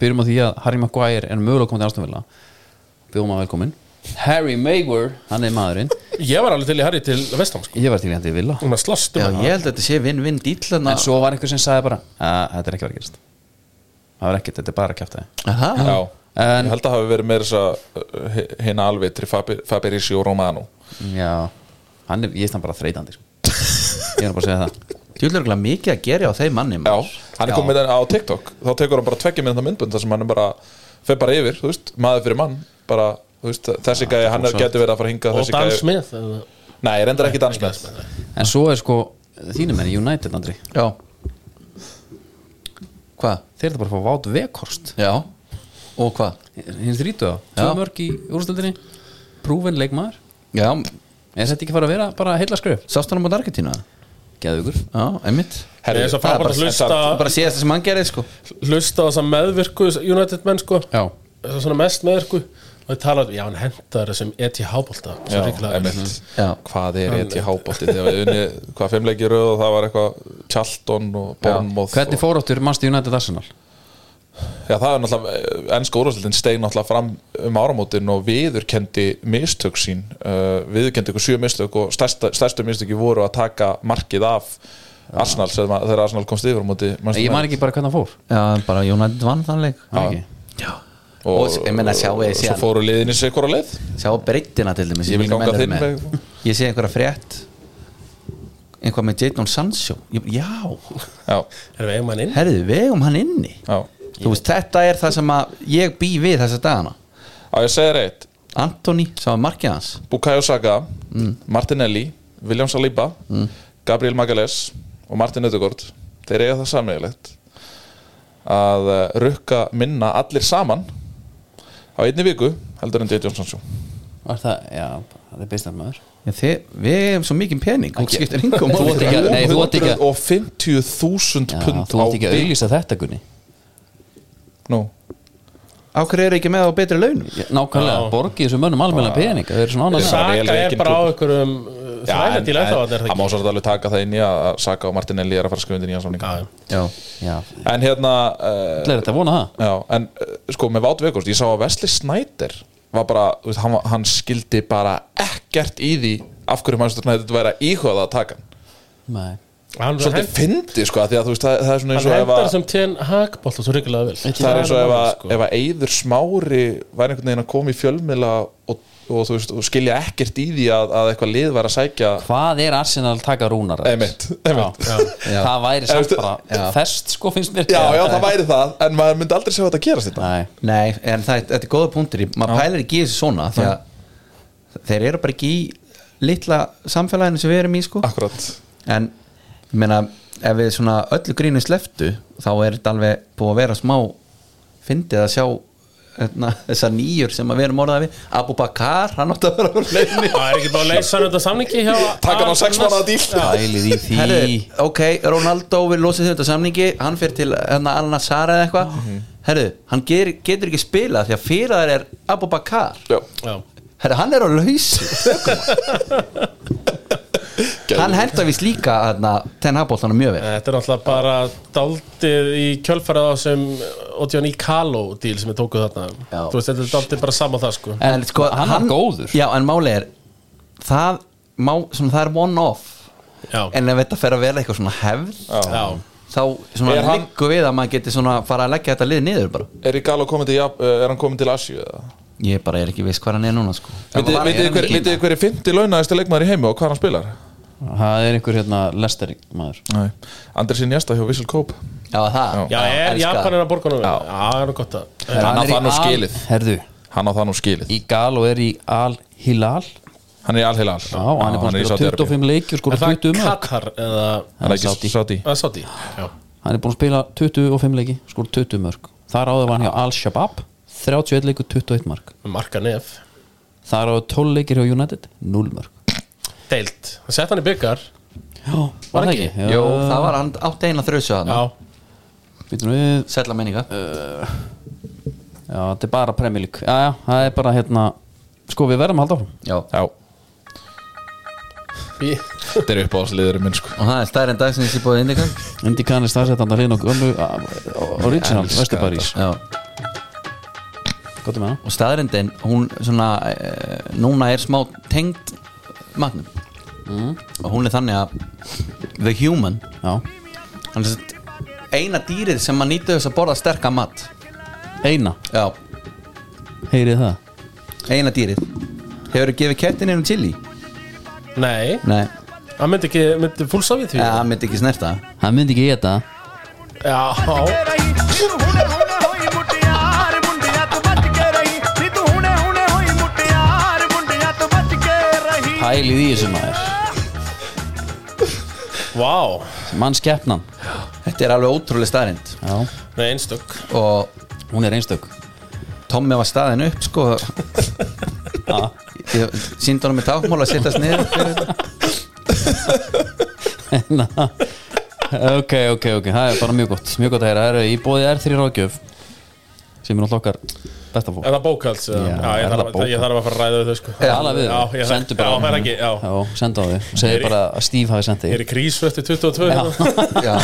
S2: byrjum á því að Harry Maguire er mögulega komið til ástofnvila byrjum að velkomin Harry Maguire, hann er maðurinn
S4: Ég var alveg til í Harry til vestam sko.
S2: ég var til í handið vila
S4: Hún var slast
S3: já,
S4: um
S3: ég held að þetta sé vinn-vinn dýtlana
S2: en svo var einhver sem sagði bara að þetta er ekki að vera að gerast það var ekkert, þetta er bara að kjæfta
S3: já,
S5: Já,
S2: En-
S5: ég held að hafi verið með þess að hérna alvitri Faber- Fabrizio Romano
S2: þið já, hann er, ég er þann bara þreytandi sko. ég er bara að segja það
S3: djúlega mikið að gera á þeim manni
S5: Já,
S3: maður.
S5: hann er komið með þetta á TikTok þá tekur hann bara tveggja minna myndbund þar sem hann er bara, fer bara yfir, þú veist, maður fyrir mann bara, þú veist, þessi gæði, hann er getur verið að fara hingað,
S4: Og dans
S5: þessi gæði
S4: með eða-
S5: Nei, reyndar ekki dans með
S2: en svo er sko, þínum enn United Andri
S3: já. hvað?
S2: þeir eru bara að fá vát vekorst
S3: já, og hvað?
S2: hins þrítu á,
S3: Já.
S2: tvö mörg í úrstöldinni prúven leikmaður
S3: já,
S2: er þetta ekki fara að vera bara heilla skröf
S3: sást hann á mót Argentína?
S2: geðugur
S3: já, einmitt
S4: Ég er svo
S5: það er
S4: frábært að
S5: bara-
S4: hlusta
S3: bara síðast sem hann gerði sko
S4: Hlusta á þess að meðvirku United menn sko
S2: já,
S4: Þess svona mest meðvirku Og ég tala um, já hann hendar þessum E ETH bólta
S5: Já,
S4: Svo ríkilega vel.
S5: einmitt.
S3: Já.
S5: hvað er ETH bótti þegar við unni hvað fimmleiki röð og það var eitthvað Charlton og Bournemouth
S2: hvernig
S5: og,
S2: fór áttur Manchester United Arsenal
S5: já, það er náttúrulega eh, ennska úrvarsleitin stein náttúrulega fram um áramótin og viðurkendi mistök sín uh, viðurkendi ykkur sjö mistök og stærsta, stærstu mistöki voru að taka markið af Arsenal sem að, þegar Arsenal komst yfir á móti Manchester
S2: ég man
S5: United.
S2: ekki bara hvernig hann fór
S3: já, bara United vann þannleik
S2: Man ekki.
S3: já, og, ég menna sjáu ég
S5: svo
S3: síðan
S5: fóru liðinni sig hvora leið
S3: sjá breyttina til dæmis
S5: Ég vil
S3: mínir
S5: ganga
S3: menn eru
S5: þinn
S3: með.
S5: veg.
S3: ég sé einhverja frétt einhvað með Jadon Sancho Ég- já,
S5: já,
S4: Erum við eigum hann inn?
S3: herðu vegum hann inni
S5: já,
S3: þú veist, þetta er það sem að ég bý við þessa dagana
S5: á ég segir eitt
S3: Antoni, sem var markið hans
S5: Bukayo Saka
S2: Mm.
S5: Martinelli, William Saliba Gabriel Magales og Martin Ödegård þeir eiga það sammeðilegt að eh, rukka minna allir saman á einni viku heldur en Jadon Sancho
S2: var það, já, það er beistar maður
S3: Já, þið, við hefum svo mikið pening hún
S2: Ekki-
S3: skiptir engum
S2: Þú átt ekki að- nei, þú átt ekki að-
S5: 150.000
S2: já,
S5: pund
S2: þú ert ekki að
S5: bil-
S2: auðlýsa þetta Gunni
S5: Nú,
S3: á hverju eru ekki með á betri launum
S2: Já, nákvæmlega,
S4: Já.
S2: borgið þessum mönnum almenna pening þau eru svona ánægð með það.
S5: Sa-
S4: Saka
S5: vel
S4: er
S5: rekin
S4: bara á
S5: klúbbur.
S4: einhverjum uh,
S5: Já, en-
S4: Þræðatíl
S5: en
S4: eftir að það er
S5: það
S4: það
S5: má svolítið alveg taka það inn í að Saka og Martinelli er að fara að skrifa undir nýjan samning
S4: ekki
S3: já,
S2: já,
S5: en hérna eh,
S2: allir þetta vona það
S5: Já, en eh, sko með Vát Vekost, ég sá að Wesley Snyder var bara, þú veist, hann, var- hann skildi bara ekkert í því af hverju maður stjórnaði þetta væri að íhuga það að taka hann
S2: Nei.
S4: Hann
S5: Svolítið fyndi sko, af því að þú veist, það, það er svona eins
S4: Hann
S5: og ef
S4: hendar
S5: að
S4: sem tén hakbólta svo ríkilega vel
S5: það er eins og ef að,
S4: sko.
S5: ef að Eyður Smári væri einhvern veginn að koma í fjölmiðla og, og þú veist, og skilja ekkert í því að, að eitthvað lið væri að sækja
S2: hvað er Arsenal að taka rúnar
S5: Einmitt, einmitt.
S2: Já, já. það væri samt
S5: Veistu-
S2: bara fest sko finnst mér
S5: Já, já, það væri það, en maður myndi aldrei sjá þetta að gerast hérna.
S2: Nei,
S5: þetta
S3: nei, en það, þetta er góða punktur í- maður pælir ekki í þessu svona því að þeir eru bara ekki í litla samfélaginu sem við erum í sko
S5: Akkurat
S3: en ég meina ef við svona öllu grínu sleftu þá er þetta alveg búið að vera smá fyndið að sjá hérna, þessar nýjur sem að við erum orðað við Abu Bakar, hann átti að vera úr leikni
S4: Það er ekki bara að leysa hann undan samningi hjá
S5: Taka hann á sex mánaða díl.
S2: pælið í því
S3: Herri, ok, Ronaldo vil losa þetta samningi hann fyrir til hérna, Al-Nassar eða eitthvað herru, hann ger, getur ekki spilað því að fyrir þær er Abu Bakar
S5: Já,
S4: Já.
S3: herru, hann er á laus hann henda vist líka hérna, tenhabóltanum mjög vel
S4: Þetta er náttúrulega bara daldið í kjölfarið á sem Odjón Íkalo díl sem við tókuð þarna
S3: Já.
S4: Þú veist, þetta er daldið bara sama það sko
S2: en sko, hann var góður
S3: já, en máli er það, má, svona, það er one off
S4: Já,
S3: en ef þetta fer að vera eitthvað svona hefð
S4: já,
S3: þá svona
S5: Er hann-
S3: liggur við að maður geti svona fara að leggja þetta lið niður bara
S5: er í gala komin til, Jap- eh, er hann komin til Asju eða?
S3: ég bara er ekki viss hvað hann er núna sko
S5: Vitið-
S3: Bara er
S5: Vitið
S3: hann
S5: hver,
S3: ekki-
S5: vitið þið hver er 50 launaðist leikmaður í heimi og hvað hann spilar?
S2: það er einhver hérna lestering maður
S5: Nei. Andri sín hjá Vissel Kóp
S3: Já, það
S4: já, er
S3: elska það.
S4: Japan er að borga nú Já, það er nú gott að
S5: Hann á
S2: er í
S5: það nú
S2: Al-
S5: skilið.
S2: herðu,
S5: Hann á það nú skilið
S2: í gal og er í Al-Hilal já,
S5: Hann er í Al-Hilal
S2: hann er búin að spila 25 leiki og
S4: Er
S2: skora
S4: það
S2: 20 mörg
S4: Katar eða
S5: Hann um er
S2: Sádi.
S5: ekki sátt í
S4: að Sáti? Já,
S2: hann er búin að spila 25 leiki skora 20 mörg þar áður var hann hjá Al-Shabab 31 leikur 21 mörg
S4: með marka nef
S2: þar áður 12 leikir hjá United 0 mörg
S4: Deilt, hann sett hann í byggar
S2: Já, var það ekki?
S3: Jó, það var hann átt eina þrjusu hann
S4: Já,
S2: Býtum við
S3: Sætla menninga
S2: Já, þetta er bara premjölík Já, já, það er bara hérna Sko, við verðum að halda áfram
S3: Já,
S5: Já Þetta er uppáðsliður minn sko
S3: og það er stærri en dagsins í bóðið Indica
S2: Indi kannist það setjandi að hlýna og gömlu a- a- Original,
S5: Elska
S2: Vesturparís
S3: Já,
S2: Gott um hana
S3: og staðrindin hún svona, eh, núna er smá tengd matnum og hún er þannig að the human
S2: Já,
S3: hann er satt, eina dýrið sem að nýta þess að borða sterka mat
S2: eina,
S3: Já,
S2: heyrið það
S3: eina dýrið Hefur þú gefið kettin einum chili?
S4: nei
S3: Nei,
S4: Það myndi ekki, myndi fúlsa við því
S3: það myndi ekki snerta
S2: Hann myndi ekki geta það.
S4: Já,
S2: Pælið í þessu maður
S4: vá
S2: Mannskeppnan
S3: Þetta er alveg ótrúlega staðrind
S2: Já,
S4: Nei, einstök
S3: og
S2: hún er einstök
S3: Tommi var staðin upp sko Ég síndi honum með tákmál að sittast niður fyrir þetta.
S2: Na, ok, ok, ok, það er bara mjög gott mjög gott að heyra, það eru í bóði R3 ráðgjöf sem er náttúrulega okkar besta fólk
S4: Er það bókalds? eða?
S2: Já, er
S4: já ég,
S2: það
S4: þarf,
S2: bókhald?
S4: ég þarf að fara að ræða við þau sko
S2: tala við
S4: Já,
S2: þau,
S4: ég
S2: sendu bara
S4: þarf- Já, það er ekki, já
S2: Já, senda á þau, segir bara að Steve hafi sendið
S4: Ég er í krísu eftir 22
S2: Já.
S4: hérna.
S3: Já.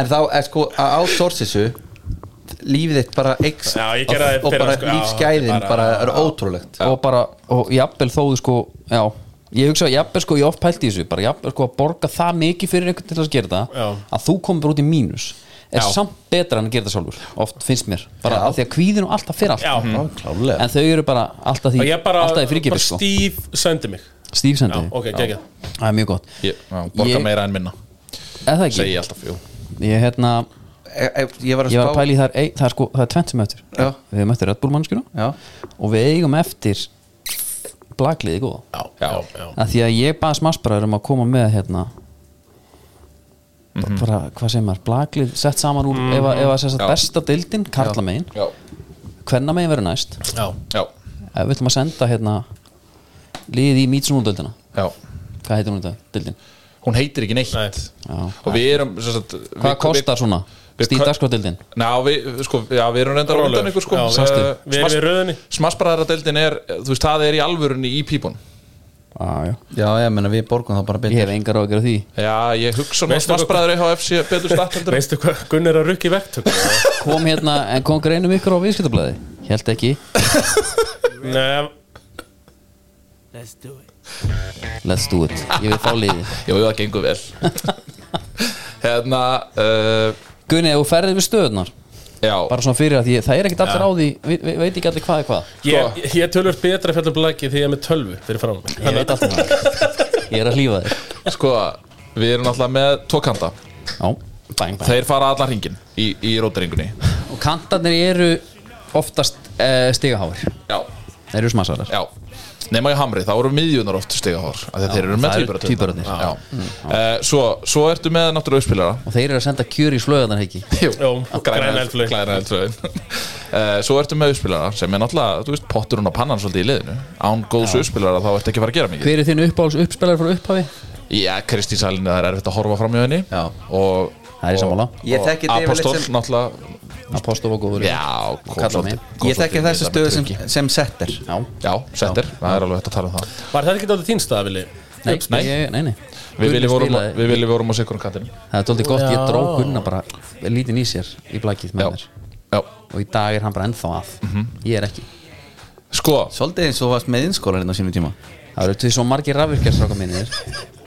S3: en þá er sko að átsorsissu lífið þitt bara eikst
S4: Já, ég gerði það í
S3: og
S4: fyrra,
S3: bara
S4: sko. Já,
S3: lífsgæðin
S4: þetta er
S3: bara,
S4: bara-
S3: er ótrúlegt
S2: og bara, og jafnvel þóðu sko já, ég hugsa að jafnvel sko ég oft pælti í þessu, bara jafnvel sko að borga það mikið fyrir einhvern til að gera það,
S4: Já.
S2: að þú komur bara út í mínus er
S4: Já.
S2: samt betra en að gera það sjálfur oft finnst mér, bara af því að kvíðinu alltaf fyrir
S4: Já.
S2: allt,
S3: Mm.
S4: Mhm.
S3: klálega
S2: en þau eru bara alltaf
S4: Og
S2: því,
S4: ég bara,
S2: alltaf því
S4: bara
S2: fyrirgefið sko
S4: Steve sendi mig
S2: Steve
S4: Já,
S2: sendi,
S4: ok, geggjað
S2: það er mjög gott
S5: Ég já, borga
S2: Ég-
S5: meira en minna
S2: eða það
S5: Segji
S2: ekki,
S5: ég alltaf, jú
S2: ég hérna
S3: eh, ég, ég var að
S2: ég var að
S3: spá
S2: pæli þar, ei, það er sko, það er tvent sem eftir
S3: Já.
S2: við hefum eftir Red Bull mannskjuna
S3: Já.
S2: og við eigum eftir blagliði góða
S4: Já,
S5: Já.
S4: já
S2: að því að ég baði smassbræður um að koma með hérna bara, hvað segir maður, blaglið sett saman úr, ef, að- ef að sérst
S5: Mhm. Já.
S2: besta dildin, karla megin,
S5: Já,
S2: hvenna megin verður næst
S4: Já,
S5: já,
S2: ef við ætlum að senda hérna liðið í mýtsunúldöldina
S5: já
S2: hvað heitir hún þetta, dildin
S5: Hún heitir ekki neitt
S4: Nei.
S2: Já.
S5: Og við erum sem sagt,
S2: hvað
S5: við-
S2: kostar svona,
S5: við-
S2: stíð dagskráðdildin
S5: Ná, við, sko, já, við erum reyndar
S4: Rólegur.
S5: undan ykkur sko
S4: Já,
S2: sástu.
S4: Við erum í röðinni
S5: Smassbræðaradeldin er, þú veist, það er í alvörunni í pípun
S2: ah,
S3: já, ég meina við borgum það bara
S2: ég
S3: betur
S2: hef engar á að gera því
S5: Já, ég hugsa nú
S4: Veistu hvað-
S5: Smassbræðar EHF sé betur statt heldur en-
S4: Veistu hvað Gunn er að rukka í verktök
S2: kom hérna, en kom greinum ykkur á viðskiptablaði held ekki,
S4: Nei,
S1: Let's do it.
S2: let's do it ég vil fá liðið
S5: Jú, jú, það gengur vel Hérna uh,
S2: Gunni, ef þú ferðið við stöðunar
S5: Já,
S2: bara svona fyrir að því, það er ekkert allir á því vi, vi, veit ekki allir hvað er hvað
S4: ég, ég er tölvöld betra fjallum blæki því ég er með tölvu fyrir frá mig
S2: ég veit alltaf það ég er að hlýfa þér
S5: sko, við erum alltaf með tvo kanta
S2: Já, bang, bang.
S5: Þeir fara allan hringin í, í rótaringunni
S2: og kantarnir eru oftast uh, stigaháir
S5: Já,
S2: þeir eru smassarar
S5: já Nefna í hamri, þá eru miðjunar oft stegahár Þegar þeir eru með
S2: það eru
S5: tvíburarnir.
S2: tvíburarnir.
S5: Já. Eh, svo, svo ertu með náttúrulega uppspilara
S2: og þeir eru að senda kjör í slöðanar ekki
S4: Jó, græna eldflaug.
S5: Græna eldflögin Eh, Svo ertu með uppspilara sem er náttúrulega, þú veist, pottur hún á pannan svolítið í liðinu Án góðs uppspilara þá ertu ekki að fara að gera mikið
S2: hver er þinn uppáhalds uppspilar frá upphafi?
S5: Já, Kristín Salina, það er erfitt að horfa fram í henni
S3: Já.
S5: og,
S2: Það er í sammála.
S3: Ég þekki þetta yfirleitt
S5: Apostol,
S3: sem-
S5: náttúrulega
S2: Apostol og góður
S5: Já, kom
S2: kallar
S5: svolítið-
S2: mig.
S5: kom
S3: ég þekki
S5: svolítið
S3: þessu
S5: í
S3: stöðu
S5: þetta
S3: sem,
S5: með Turki.
S3: sem settir
S2: Já.
S5: Já, settir, það er alveg hægt að tala um það
S4: Var þetta ekki alltaf þín staða, Vili?
S2: Nei,
S5: Nei.
S2: ég, nei, nei.
S5: Við
S2: Gunni
S5: viljum vorum,
S2: spilaði-
S5: við viljum vorum á sikurum kantinu
S2: það er tóltið gott, ég
S4: Já.
S2: dró Gunna bara lítinn í sér í blakið með
S5: Já, Mhm.
S2: mér
S5: já
S2: og í dag er hann bara ennþá að ég er ekki
S5: Sko,
S3: Svolítið eins og varst með innskólan hérna á sínum tíma
S2: það eru til svo margir rafvirkjastráka mínir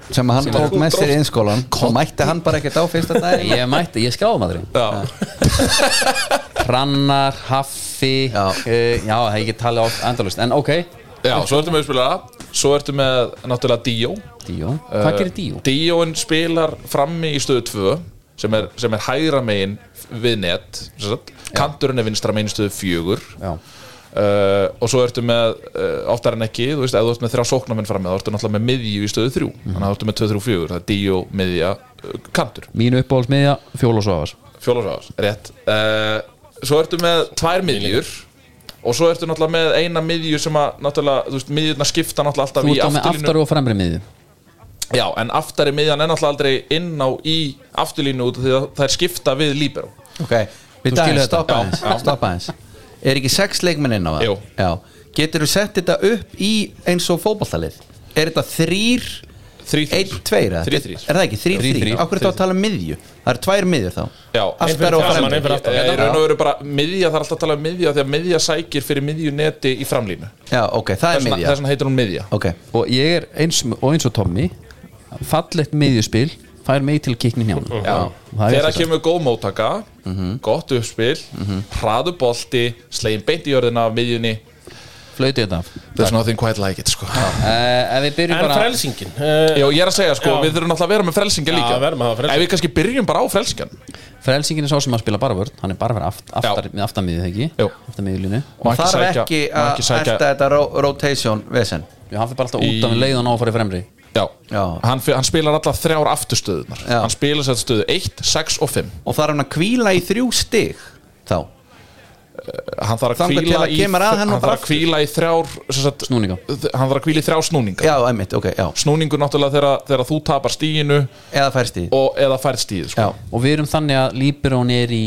S3: sem að hann tók með sér í innskólan og mætti hann bara ekkert á fyrsta dag
S2: ég mætti, ég skráði maður
S5: já,
S2: Hrannar, Haffi
S3: Já.
S2: uh, já það er ekki talið oft endalust En ok,
S5: já, svo ertu með spilara Svo ertu með náttúrulega Díó
S2: Díó
S5: Eh,
S2: Hvað gerir Díó?
S5: Díóin spilar frammi í stöðu 2 sem er, sem er hægra megin við net sem sagt. Kanturinn er vinstra megin í stöðu 4
S2: Já,
S5: uh, og svo ertu með uh, oftar en ekki, þú veist, ef þú ert með þrjá sóknarmenn fram með, þá ertu náttúrulega með miðju í stöðu þrjú þannig að þú ertu með 2-3-4, það er díu miðja uh, kantur,
S2: mínu uppáhaldsmiðja Fjóla Svavars
S5: fjólasváðar, rétt uh, svo ertu með tvær miðjur og svo ertu náttúrulega með eina miðju sem að, náttúrulega, þú veist, miðjurna skipta náttúrulega alltaf
S2: Þú
S5: í
S2: ert á með
S5: afturlínu
S2: aftar og fremri miðju
S5: Já, en aftari miðjan er náttúrulega aldrei inn á í afturlínu út af því að það er skipta við líberó
S3: Ok, við
S2: skilur
S3: daginn,
S2: þetta.
S3: stoppa aðeins Stoppa aðeins Er ekki sex leikmenn inn á það?
S5: Jú.
S3: Já Getur þú sett þetta upp í eins og fótballtalið? Er þetta þrýr,
S5: Þrý,
S3: einn, tveir? eða?
S5: Þrír, þrír.
S3: Er það ekki? Þrýr,
S5: Þrír,
S3: þrýr?
S5: þrír.
S3: Af hverju þá að tala um miðju? Það eru tvær miðjur þá
S5: Já.
S3: Aftari og fremri
S4: Einn fyrir framan, einn fyrir aftan.
S5: Ég Eh, raun og veru bara miðja, það er alltaf að tala um miðja því að miðja sækir fyrir miðju neti í framlínu
S3: Já, ok, það er
S5: Þess
S3: miðja
S5: vegna heitir hún miðja
S3: Ok,
S2: og ég er eins og eins og Tommy fallegt miðjuspil fær mig til kiknin hjá hann
S5: Þegar það kemur góð móttaka
S3: Mhm.
S5: gott uppspil, hraðu bolti slegin beint í jörðina af miðjunni
S2: flöytið þetta af
S5: There's nothing quite like it sko Já,
S2: uh, ef við byrjum
S4: En
S2: bara
S4: frelsingin uh,
S5: ég er að segja sko,
S4: Já.
S5: við þurfum alltaf að vera með frelsingja líka
S4: við verðum að hafa frelsingar.
S5: Ef við kannski byrjum bara á frelsingjan
S2: frelsingin er sá sem að spila bara vörn hann er bara fyrir aft, aftar,
S5: Já.
S2: með aftamíðið ekki
S5: Jú.
S2: aftamíðiljunni
S5: Má
S3: og þarf
S5: sækja-
S3: ekki
S5: má
S3: að
S5: ekki sækja-
S3: erta þetta ro rotation vesen
S2: hann fyrir bara alltaf út af leið og ná að fara í fremri
S5: Já,
S3: Já.
S5: Hann, fe- hann spilar alltaf þrjár afturstöðunar
S3: Já.
S5: Hann spilar sér stöðu 1, 6 og 5
S3: og þarf hann að kvíla í þrjú stig þá
S5: Hann þarf að
S3: Þangað til
S5: kvíla
S3: að
S5: í,
S3: kemur að henni
S5: hann
S3: og bara
S5: þarf að kvíla í þrjár sem sagt,
S2: Snúninga.
S5: þ- Hann þarf að kvíla í þrjár snúninga
S3: já, einmitt, ok, já,
S5: Snúningur náttúrulega þegar, þegar þú tapar stíinu
S3: eða færst í
S5: og, eða færð stíð sko.
S3: já,
S2: og við erum þannig að Líberón er í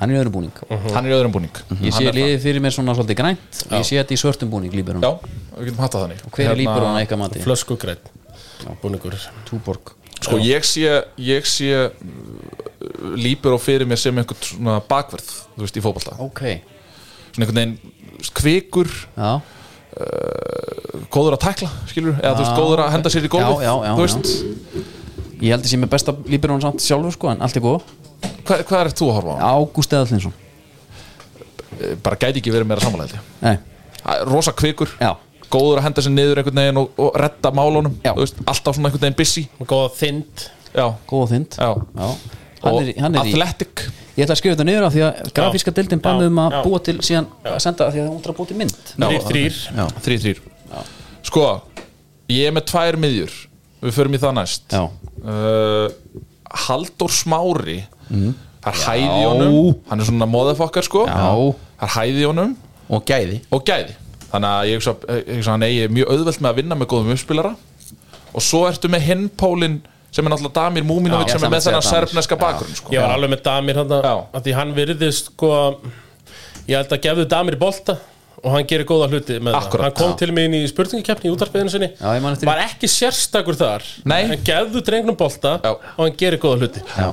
S2: hann er í öðrum búning
S5: Hann er í öðrum búning
S2: ég
S5: Mhm. Hann
S2: sé
S5: er það.
S2: liðið fyrir mér svona svolítið grænt og ég sé þetta í svörtum búning Líberón
S5: Já, Hérna, við getum hattað þannig
S2: hver er Líberón eitthvað mati?
S4: Flöskugrætt Búningur Túborg
S5: Sko ég sé, ég sé uh, lípur og fyrir mér sem einhvern svona bakverð þú veist, í fótbolta
S2: ok
S5: svona einhvern veginn þú veist, kvikur,
S2: já
S5: góður að tækla skilur, eða þú
S2: Já,
S5: veist, góður að
S2: ok.
S5: henda sér í
S2: Já,
S5: gólfið
S2: já, já,
S5: þú veist,
S2: ég held að sé með besta Líberón samt sjálfur sko en allt er góð
S5: hva, hvað er þú að horfa á?
S2: Ágúst Eðallinsson
S5: Bara gæti ekki verið meira samanlega
S2: nei
S5: rosa kvikur,
S2: já
S5: góður að henda sér niður einhvern veginn og, og redda málunum
S2: Já.
S5: þú veist, alltaf svona einhvern veginn busy
S4: Góða þynd
S5: já,
S2: góða þynd
S5: já
S2: já hann er, í- hann er í
S5: athletic
S2: ég ætla að skrifa þetta niður af því að grafíska deildin bannið um að
S4: Já.
S2: búa til síðan að senda af því að hún þarf að búa til mynd
S4: Þrýr, þrýr
S3: já,
S5: þrýr, þrýr sko, ég er með tvær miðjur við förum í það næst
S2: Já.
S5: uh, Haldur Smári
S2: Mhm.
S5: það er hæði í honum hann er svona móðafokkar sko
S2: Já.
S5: það er hæði í honum
S3: og gæði
S5: og gæði þannig að ég hugsa, eh, ég hugsa að hann eigi mjög auðvelt með að vinna með góðum uppspilara og svo ertu með hinn pólinn sem er náttúrulega Damir Múminovic
S2: Já,
S5: sem
S2: ég
S5: er
S2: ætla að
S5: með
S2: segja
S5: þennan
S2: Damir.
S5: serfneska bakgrunn sko.
S4: Ég var alveg með Damir hann
S5: Já.
S4: að því hann virðist sko ég held að gefðu Damir bolta og hann gerir góða hluti með
S5: Akkúrat.
S4: það hann kom til mig inn í spurningakeppni í útarpiðinu sinni
S2: Já, ég man eftir því.
S4: var ekki sérstakur þar
S5: Nei.
S4: en gefðu drengnum bolta
S5: Já.
S4: og hann gerir góða hluti
S2: já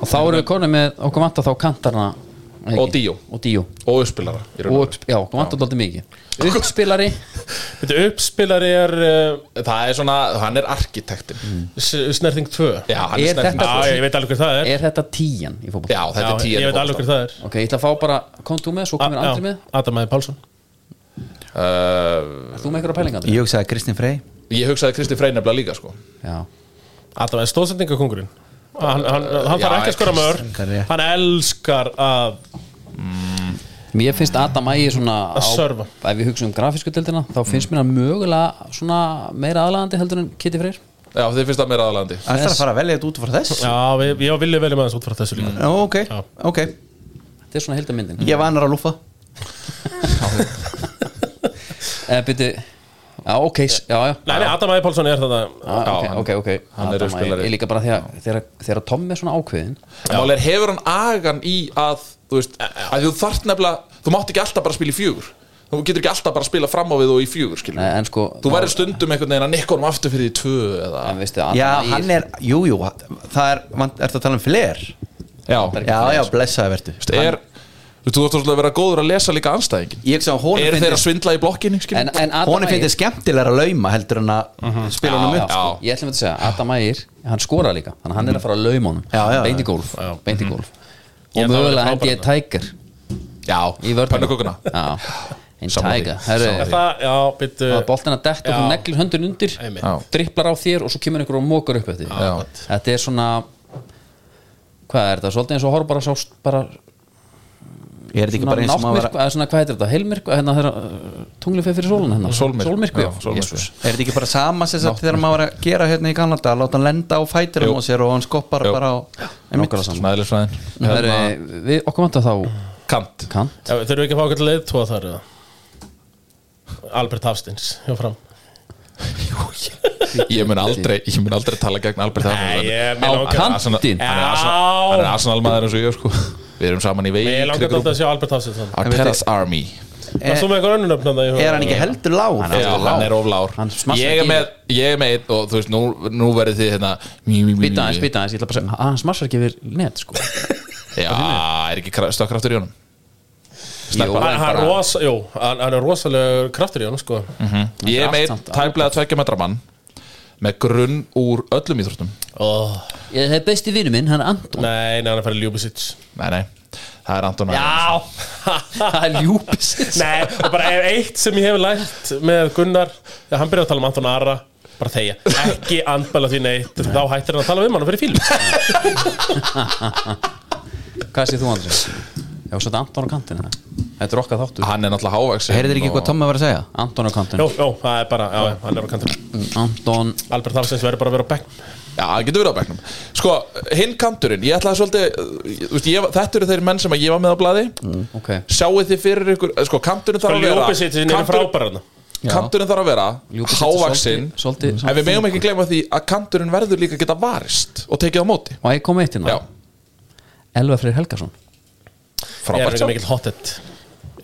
S2: og þá erum við konið með okkur vant þá kantarna ekki?
S5: Og Díó.
S2: og Díó
S5: og uppspilara í raun
S2: og
S5: og veru.
S2: upp, já, okkur vant alltaf mikið uppspilari
S4: Þetta uppspilari er uh,
S5: það er svona, hann er arkitektin
S2: Mm.
S4: s- snerting 2 Já,
S5: já, hann
S2: Er
S5: er snerting
S2: þetta-
S4: ég veit alveg hver það er
S2: er þetta tíjan í fótboll
S5: já, þetta
S4: Já,
S5: er tíu
S4: ég veit alveg hver það er
S2: ok, ég ætla að fá bara kom þú með, svo komir
S4: A-
S2: Andri
S4: já,
S2: með
S4: Adam Æði Pálsson
S5: uh,
S2: er þú með einhverja pæling Andri?
S3: ég hugsaði að Kristinn Frey
S5: Ég hugsaði Kristi Frey nefnilega líka sko
S2: já,
S4: Adam Æði stóðsendingakongurinn Hann, hann, hann þarf
S5: Já,
S4: ekki að skora mörg
S3: Kristinn Garri.
S4: Hann elskar að
S2: mér finnst Adam Ægi svona
S4: Að Mm. serva.
S2: ef við hugsa um grafísku deildina þá finnst mér að mögulega svona meira aðlagandi heldur en Kitty Freyr
S5: Já, þið finnst það meira aðalandi
S3: Það er að fara að velja þetta út frá þess
S4: Já, við, ég vilja velja með þessu út frá þessu líka
S5: Mm.
S3: Já, ok,
S4: Já.
S3: ok
S2: þetta er svona heldamyndin
S3: Ég vanar að lúfa
S2: Eh, byrju, já, ok, s- já, já
S4: Nei, nei, Adam Æði Pálsson er þetta
S2: Ah,
S5: Já,
S2: ok,
S5: hann-
S2: ok, ok
S5: hann
S2: Adam
S5: er
S2: Ægir.
S5: uppspilari.
S2: Ég líka bara þegar, þegar, þegar Tom er svona ákveðin
S5: Mál er hefur hann agan í að Þú veist, að þú þart nefnilega Þú mátt ekki alltaf bara spila í fjögur Þú getur ekki alltaf bara að spila fram á við og í fjögur skilur
S2: Nei, En sko
S5: Þú verður stundum einhvern veginn að nikka honum aftur fyrir því tvö eða
S2: En veistu, Adam
S3: Já,
S2: Ægir-
S3: hann er, jú, jú Það er, man, ertu að tala um fler?
S5: Já,
S3: Já, já, blessaði vertu
S5: Þú veist, er Þú þú þarfst að vera góður að lesa líka anstæðingin
S3: Ég um hugsa að honum
S5: Eru þeir
S3: fyndi
S5: að svindla í blokkinni skilur
S2: En, en Adam
S3: Honum
S2: Ægir-
S3: fyndi skemmtilega að lauma heldur en að
S2: Já,
S3: spila honum
S2: já,
S3: upp
S2: sko, Ég ætlum að segja, Adam Ægir, hann skorar líka Þannig að hann er að fara að lauma honum
S3: Já, já, Mhm.
S2: Beint í
S3: já.
S2: gólf, beint í gólf Og
S4: Ég held að það
S2: mögulega
S4: verði
S2: hendi ég tækir Í
S5: Já,
S2: vörnum
S5: pönnukokuna
S2: Já, en
S5: Sammála því.
S2: tækir Herru,
S4: Það, já, byttu
S2: það er boltin að detta og þú
S4: Já.
S2: neglir höndun undir
S4: Einmitt.
S5: Já.
S2: Dripplar á þér og svo kemur einhver og mókar upp eftir
S5: Já.
S2: Þetta er svona Hvað er þetta? Svolítið eins og horf bara sást bara
S3: Ég er þetta ekki
S2: svona
S3: bara eins og maður
S2: náttmyrkva,
S3: vera
S2: eða svona hvað heitir þetta, heilmyrkva hérna þegar uh, tunglið fer fyrir sólun hérna
S5: Sólmyrkvi.
S2: sólmyrkvi,
S5: Já, sólmyrkvi.
S2: Jesús.
S3: Er þetta ekki bara sama sem sagt þegar maður var að gera hérna í Kanada að láta hann lenda á fætirum
S5: Jú.
S3: á sér og hann skoppar
S5: Jú.
S3: bara á Einmitt.
S2: Nákvæmlega saman.
S5: Svona eðlisfræðin
S2: Það er, eh, við okkur vantar þá
S5: Kant
S2: kant,
S4: Já, Þurfum við ekki að fá okkur leið tvo þar eða? Albert Hafsteins, hjá fram
S5: ég mun aldrei, ég mun aldrei tala gegn Albert Arnold
S4: Nei, ég-
S5: en-
S4: mér
S5: Á
S4: langar-
S5: kantinn.
S4: Já.
S5: hann er Arsenal- hann er Arsenal-maður eins og ég sko við erum saman í vegi
S4: Ég langar alltaf að sjá Albert Hafsins þannig
S5: Our Terrace Army
S4: Það er svo með eitthvað önnunöfn þannig
S3: Er hann ekki heldur lág?
S5: Já, hann er of lár
S2: Hann smassar
S5: ég
S2: ekki
S5: er
S2: í
S5: með, ég er með einn og þú veist, nú, nú verður þið hérna mjú, mjú, mjú,
S2: Býta aðeins, býta aðeins, ég ætla bara að segja að hann smassar ekki yfir net sko
S5: já, er ekki kra- stökkraftur í honum
S4: Hann,
S5: Sneppa
S4: hann,
S5: bara. Mm.
S4: rosa, jú, hann, hann er rosalegur kraftur í hann sko.
S5: ég er með einn
S2: Allt samt,
S5: tæmlega tveggja metra mann með grunn úr öllum íþróttum
S4: oh.
S2: Ég hef besti vinnu minn, hann er Anton
S4: Nei, nei, hann er færið Ljúbisic
S5: nei, nei, það er Anton Ægir.
S4: Já
S2: Það er ljúpis
S4: Nei, og bara ef eitt sem ég hef lært með Gunnar Já, hann byrjaði að tala um Anton Ara Bara þegja, ekki andbæla því neitt Þá hættir hann að tala um hann og fyrir fílum
S2: Hvað séð þú Andri? Já, svo þetta Anton á kantinu Þetta er okkar þáttur
S5: hann er náttúrulega hávaks
S3: Heyrðir ekki hvað Tommi var að segja?
S2: Anton á
S4: Jó,
S2: kantinu
S4: jó, það er bara, já, já, hann er á kantur
S2: Anton
S4: Albert Hafsins verður bara að vera á bekk
S5: Já, það getur verið á bekknum Sko, hinn kanturinn, ég ætlaði svolítið uh, þú veist, ég, Þetta eru þeir menn sem að ég var með á blaði
S2: Ok
S5: Sjáu þið fyrir ykkur, eh, sko, kanturinn þarf að vera
S4: Ljúbisic er
S5: kanturinn-
S4: frábæra hann
S2: Já.
S5: Kanturinn þarf að vera
S2: Ljúpis
S5: Hávaksinn
S2: Svolítið
S5: En við megum ekki gleyma því að kanturinn verður líka að geta varist Og tekið á móti
S2: Má ég koma eitt hérna?
S5: Já,
S2: Elva Freyr Helgason
S4: Er hann
S5: frábært
S4: ekki
S5: sjálf
S4: mikill hothead?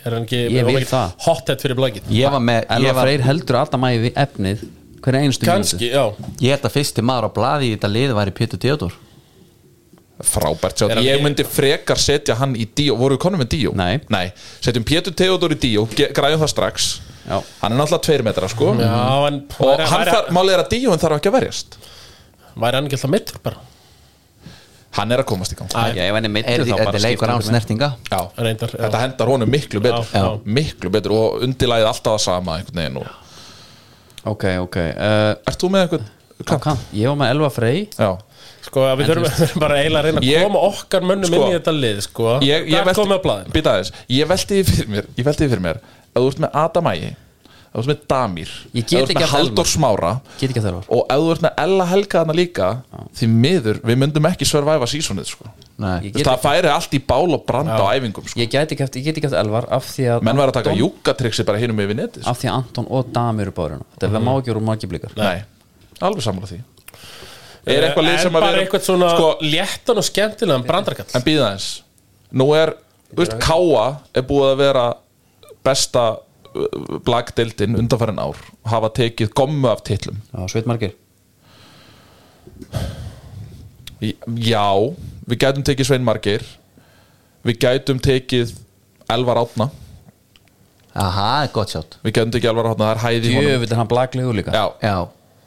S4: Er hann ekki
S2: Ég vil
S4: mikill
S2: það.
S4: hothead fyrir blækið?
S3: Ég var með Ég,
S2: Elva
S3: var,
S2: Freyr heldur alltaf mæði við efnið Hverja einustu
S4: Kanski, já
S3: ég held að fyrsti maður á blaði í þetta lið væri Pétur Theodor
S5: Frábært sjálf
S4: Er hann
S5: Ég
S4: ekki-
S5: myndi frekar setja hann í díó Voru við konum með díó?
S2: Nei.
S5: Setjum Pétur Theodor í díó, ge- græjum það strax
S2: Já.
S5: Hann er náttúrulega tveir metrar, sko
S4: Já, en
S5: Og
S4: væri-
S5: hann
S4: væri-
S5: þarf, málið er að díóin þarf ekki að verjast
S4: Væri hann ekki alltaf meittur bara
S5: Hann er að komast í gang
S2: Já, ef hann er
S3: Er
S2: meiddur þá
S3: þið-
S2: bara
S3: Þetta er leikur án snertinga
S5: Já,
S4: Ah. Reyndar, já.
S5: þetta hendar honum miklu betur
S4: Já, já.
S5: Miklu betur og undirlæðið alltaf að sama einhvern veginn og
S2: Ok, ok uh,
S5: Ert þú með einhvern?
S2: á kant. Ég var með Elva Frey
S5: Já
S4: Sko, að við þurfum við þurfum bara eiginlega að reyna að
S5: Ég-
S4: koma okkar mönnum
S5: sko,
S4: inn í þetta lið, sko
S5: Ég, ég
S4: Hvað komið á blaðinu?
S5: Býta aðeins Ég velti því fyrir mér Ég velti því fyrir mér Ef þú ert með Adam Ægi Ef þú ert með Damir
S2: Ég get
S5: Ef þú ert
S2: ekki
S5: með
S2: að tala um
S5: Halldór Smára
S2: Get ekki að þarfa
S5: Og ef þú ert með Ella Helga þarna líka Því miður Við myndum ekki survive seasonið sko
S3: Nei.
S2: Ég
S5: Þú veist,
S2: get
S5: Það færi allt í bál og branda á æfingum sko
S2: Ég gæti ekki eftir, ég get ekki eftir elvar af því að
S5: Menn var að taka
S2: Anton-
S5: júkatriksi bara hinum yfir neti sko.
S2: Af því að Anton og Dami eru báðurinn Þetta
S5: Mhm.
S2: er má ekki úr margir blikar
S5: Nei Alveg sammála því Er eitthvað
S4: Eh,
S5: lið
S4: En
S5: sem að
S4: bara
S5: vera
S4: eitthvað svona
S5: Sko,
S4: léttan og skemmtilegan brandarkall
S5: En býða eins Nú er, þú veist, Káa er búið að vera besta uh, blagdeildin undanfærin ár og hafa tekið gommu af titlum
S2: Já, sveit margir
S5: Í- Já, við gætum tekið Svein Margeir Við gætum tekið Elvar Átna
S3: Aha, gott sjátt
S5: Við gætum tekið Elvar Átna, það er hæði í honum
S2: Jöfull er hann blaklegur líka
S5: Já,
S3: Já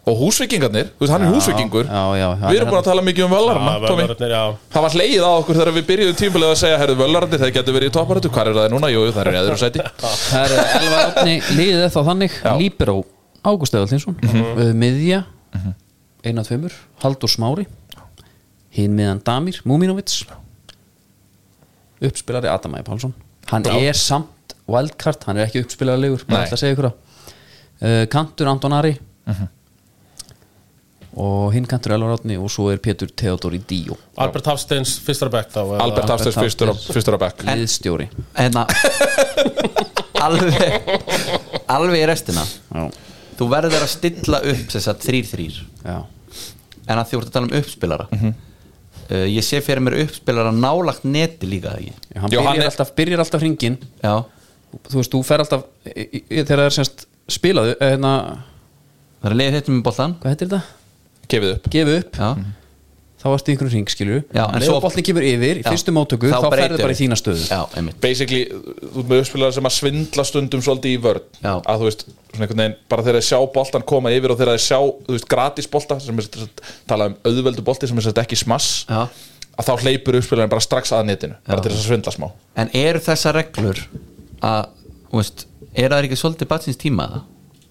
S5: og húsvikingarnir, þú veist, hann er húsvikingur
S2: já, já, hann
S5: Við
S2: er-
S5: erum búin að tala mikið um Völarna,
S4: Já,
S5: Tómi
S4: vörðarnir, já.
S5: Það var hleið á okkur þegar við byrjuðum tímulega að segja Herðu Völarnir, þeir gætu verið í topparötu, hvað er það núna? Jú, jú, það er í öðru sæti
S2: Það er elvar átni liðið þá þannig Líberó, Ágúst Eðaltinsson
S5: Mhm.
S2: mm -hmm. Miðja Einar tveimur, Haldur Smári Hinn miðan Damir, Múminovits Uppspilari Adamæði Pálsson Hann er samt wildcard, hann er ekki uppspilarilegur Bara
S5: Nei.
S2: ætla að segja ykkur það uh, Kantur Anton Ari
S5: Mhm.
S2: Og hinn kantur Elvar Átni Og svo er Pétur Theodor í Díó
S4: Albert Hafsteins fyrstur á bekk þá eða-
S5: Albert Hafstæðs fyrstur, á- fyrstur á bekk
S2: Liðstjóri
S3: En að Hérna- Alveg Alveg í restina
S2: Já,
S3: Þú verður að stilla upp þess að þrýr þrýr
S2: já,
S3: En að því voru að tala um uppspilara
S2: Mhm.
S3: uh, Ég sé fyrir mér uppspilara nálagt neti líka eða ekki
S2: Já, hann,
S5: Já, hann
S2: byrjar,
S5: er-
S2: alltaf, byrjar alltaf hringin
S3: Já
S2: þú veist, þú fer alltaf í, í, í- þegar það er semst spilaðu eh, hérna,
S3: Það er leiðið hittum með boltan
S2: hvað heitir þetta?
S5: Gefið upp
S2: Gefu upp,
S3: Já
S2: þá varst í einhverjum hring, skilur
S3: Já, en
S2: leður
S3: svo-
S2: boltin kemur yfir, í fyrstu mótöku þá, ferðu
S3: breytir
S2: bara í
S3: við.
S2: þína stöðu
S3: Já, einmitt
S5: basically, þú ert með uppspilara sem að svindla stundum svolítið í vörn
S3: Já.
S5: að þú veist, svona einhvern veginn, bara þegar þeir sjá boltan koma yfir og þegar þeir sjá, þú veist, gratis bolta sem er sem sagt- talað um auðveldu bolti sem er sem sagt ekki smass
S3: Já.
S5: að þá hleypur uppspilarinn bara strax að netinu bara
S3: Já.
S5: til þess að svindla smá
S3: En eru þessar reglur að, þú veist, eru það ekki svolítið batsins tíma það?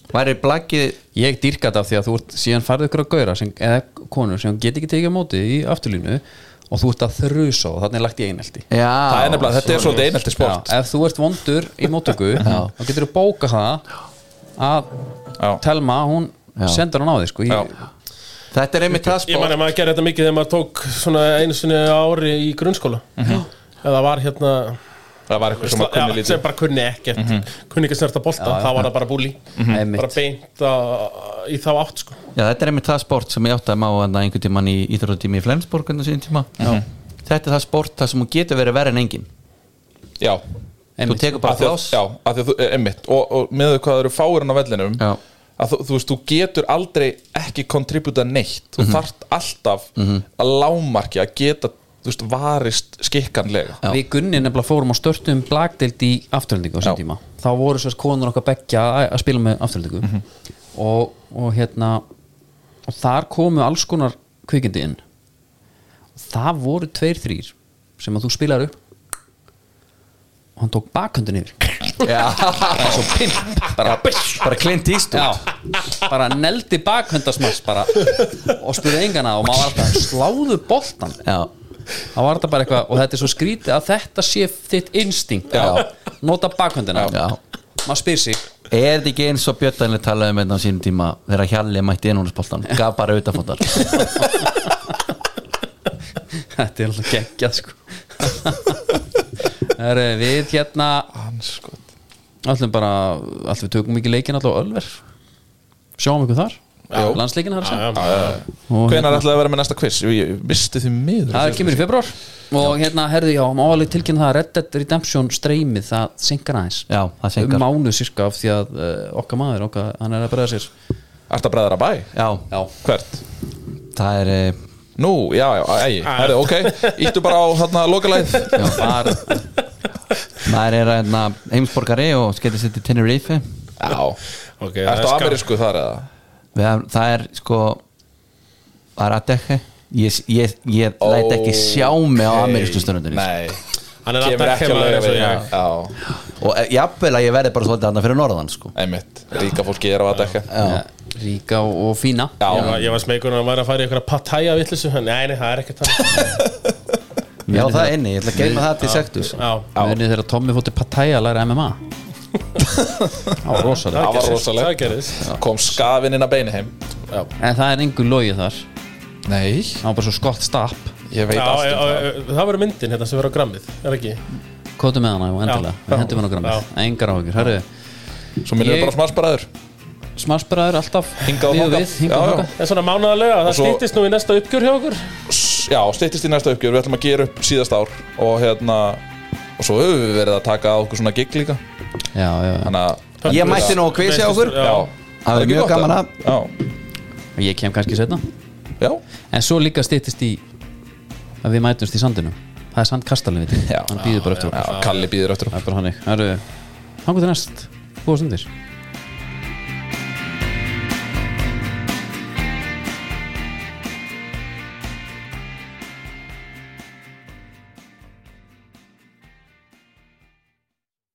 S3: Væri blaggið
S2: ég dýrka þetta af því að þú ert síðan farðu ykkur að gauðra sem, eða konur sem get ekki tekið á móti í afturlínu og þú ert að þrusa og þannig er lagt í einelti
S3: Já
S5: það er nefnilega, þetta er svolítið einelti sport
S2: Já, ef þú ert vondur í mótöku þá getur þú bóka það að
S5: Já.
S2: Telma, hún sendur hann á þig sko, ég,
S5: Já.
S3: Þetta er einmitt það
S4: Ég man
S3: sport
S4: að maður gerði þetta mikið þegar maður tók svona einu sinni á ári í grunnskóla mm -hmm. eða var hérna
S5: það var eitthvað Mhm. sem að kunni
S4: Já,
S5: lítið Mhm.
S4: sem bara kunni ekkert kunni ekki að snerta bolta, þá var það bara búli bara
S2: Einmitt.
S4: beint á, í þá átt sko.
S3: Já, þetta er einmitt það sport sem ég átti að má en einhvern tímann í íþróttatími í Flensborg en þessum tíma
S2: Mhm.
S3: Þetta er það sport það sem hún getur verið verið en engin
S5: já,
S3: Þú tekur bara
S5: Af því að-
S3: plás
S5: já, af því að þú, eh, einmitt og, og með þau hvað það eru fáirinn á vellinum
S3: Já.
S5: að þú, þú veist, þú getur aldrei ekki kontributa neitt, þú
S3: Mhm.
S5: þarft alltaf að lámarki að geta, þú veist, varist skikkanlega
S2: Við Gunni nefnilega fórum á störtum blagdeild í afturhendingu á sem
S5: Já.
S2: tíma Þá voru svo konur okkar beggja að, að spila með afturhendingu og, og hérna og þar komu alls konar kvikindi inn og það voru tveir þrýr sem að þú spilar upp og hann tók bakhöndin yfir
S3: Já,
S2: svo pimp bara,
S3: bara klint íst
S2: já, bara neldi bakhöndasmass bara og spurði engana og maður var alltaf sláðu boltan
S3: Já,
S2: þá var þetta bara eitthvað og þetta er svo skrítið að þetta sé þitt instinkt
S3: Já.
S2: nota bakhöndina
S3: Já.
S2: maður spyr sig
S3: er þetta ekki eins og Björnlega talaði um þetta á sínum tíma þegar Hjalli mætti innhóðspoltan gaf bara utafóttar
S2: þetta er alveg geggjað sko Heru, við hérna
S5: anskot
S2: allum bara allum við tökum ekki leikin alltaf á Ölver sjáum ykkur þar
S5: Já.
S2: landsleikin þar sem Og
S5: hvenær
S3: hérna.
S5: ætlaði að vera með næsta quiz? Ég, ég misti því miður
S2: það kemur í februar og hérna herðu já, má alveg tilkynna það að Red Dead Redemption streymið það synkar aðeins
S3: Já, það seinkar.
S2: um mánuð sirka af því að uh, okkar maður okkar, hann er að bregða sér
S5: Ertu að bræðra bæ?
S3: Já,
S2: já,
S5: Hvert?
S3: það er eh,
S5: Nú, já, já, ægi, herri, ok Íttu bara á hérna, þarna lokalæð
S3: já, bara, maður er hérna, heimsborgari og skellir sér til Tenerife
S5: Já,
S4: ok, það
S5: ertu
S4: er
S5: á
S4: skam.
S5: amerísku þar eða?
S3: Við hafum- Það er sko Það er að dekka Ég, ég, ég læt ekki sjá mig á amerísku stundunni
S5: Nei,
S4: hann er alltaf
S5: kemur ekki að
S4: kemur
S5: lögja
S4: eins og ég
S5: Já,
S3: Og eh, jafnvel að ég verði bara svolítið hann fyrir norðan sko.
S5: einmitt, ríka fólki er á að dekka
S2: já. Eh, ríka og, og fína
S4: Ég var,
S5: Já,
S4: ég var smekur að hann væri að fara í eitthvað patæja vittlisu, nei, nei, það er ekkert það
S3: Já það er inni, ég ætla að geima það til sektus
S4: Já,
S2: Munið þegar Tommy fótti Pattaya að læra MMA Það var rosalega
S5: það var
S4: gerðist, það
S5: rosalegt
S4: gerist
S5: Kom skafinn inn að beina heim
S2: En það er engu logið þar
S5: Nei,
S2: Það var bara svo skott stapp
S5: ég veit
S4: Já,
S5: allt
S4: já,
S5: um það
S4: já, það verður myndin hérna sem verður á grammið, er ekki?
S2: Kótu með hana og endilega
S4: Já.
S2: Við hendum hana á grammið Engar áhyggjur Hörru,
S5: Svo minnum
S2: Ég-
S5: við bara smarsbræður
S2: smarsbræður alltaf
S5: Hingað og
S2: við
S5: þangað.
S2: við, Hingað
S5: Já,
S2: og
S5: já.
S2: þangað
S4: Það er svona mánaðarlega, það
S5: svo-
S4: stýttist nú í næsta uppgjör hjá okkur
S5: Já, styttist í næsta uppgjör, við ætlum að gera upp síðast ár Og hérna, og svo höfum við verið að taka á okkur svona gig líka
S2: Já, já, já
S5: Þannig að
S3: Ég mætti nú að kvisi á okkur
S4: Já.
S5: Já,
S3: Það er
S5: ekki
S3: mjög
S5: gott
S3: gaman að
S5: Já,
S2: Ég kem kannski setna
S5: já,
S2: En svo líka styttist í Að við mætumst í sandinu Það er sandkastalinn við
S5: Já.
S2: Hann býður bara eftir
S5: já
S2: okkur
S5: Kalli býður öttur
S2: Það er bara hannig Hörru, hangu til næst Góða stundir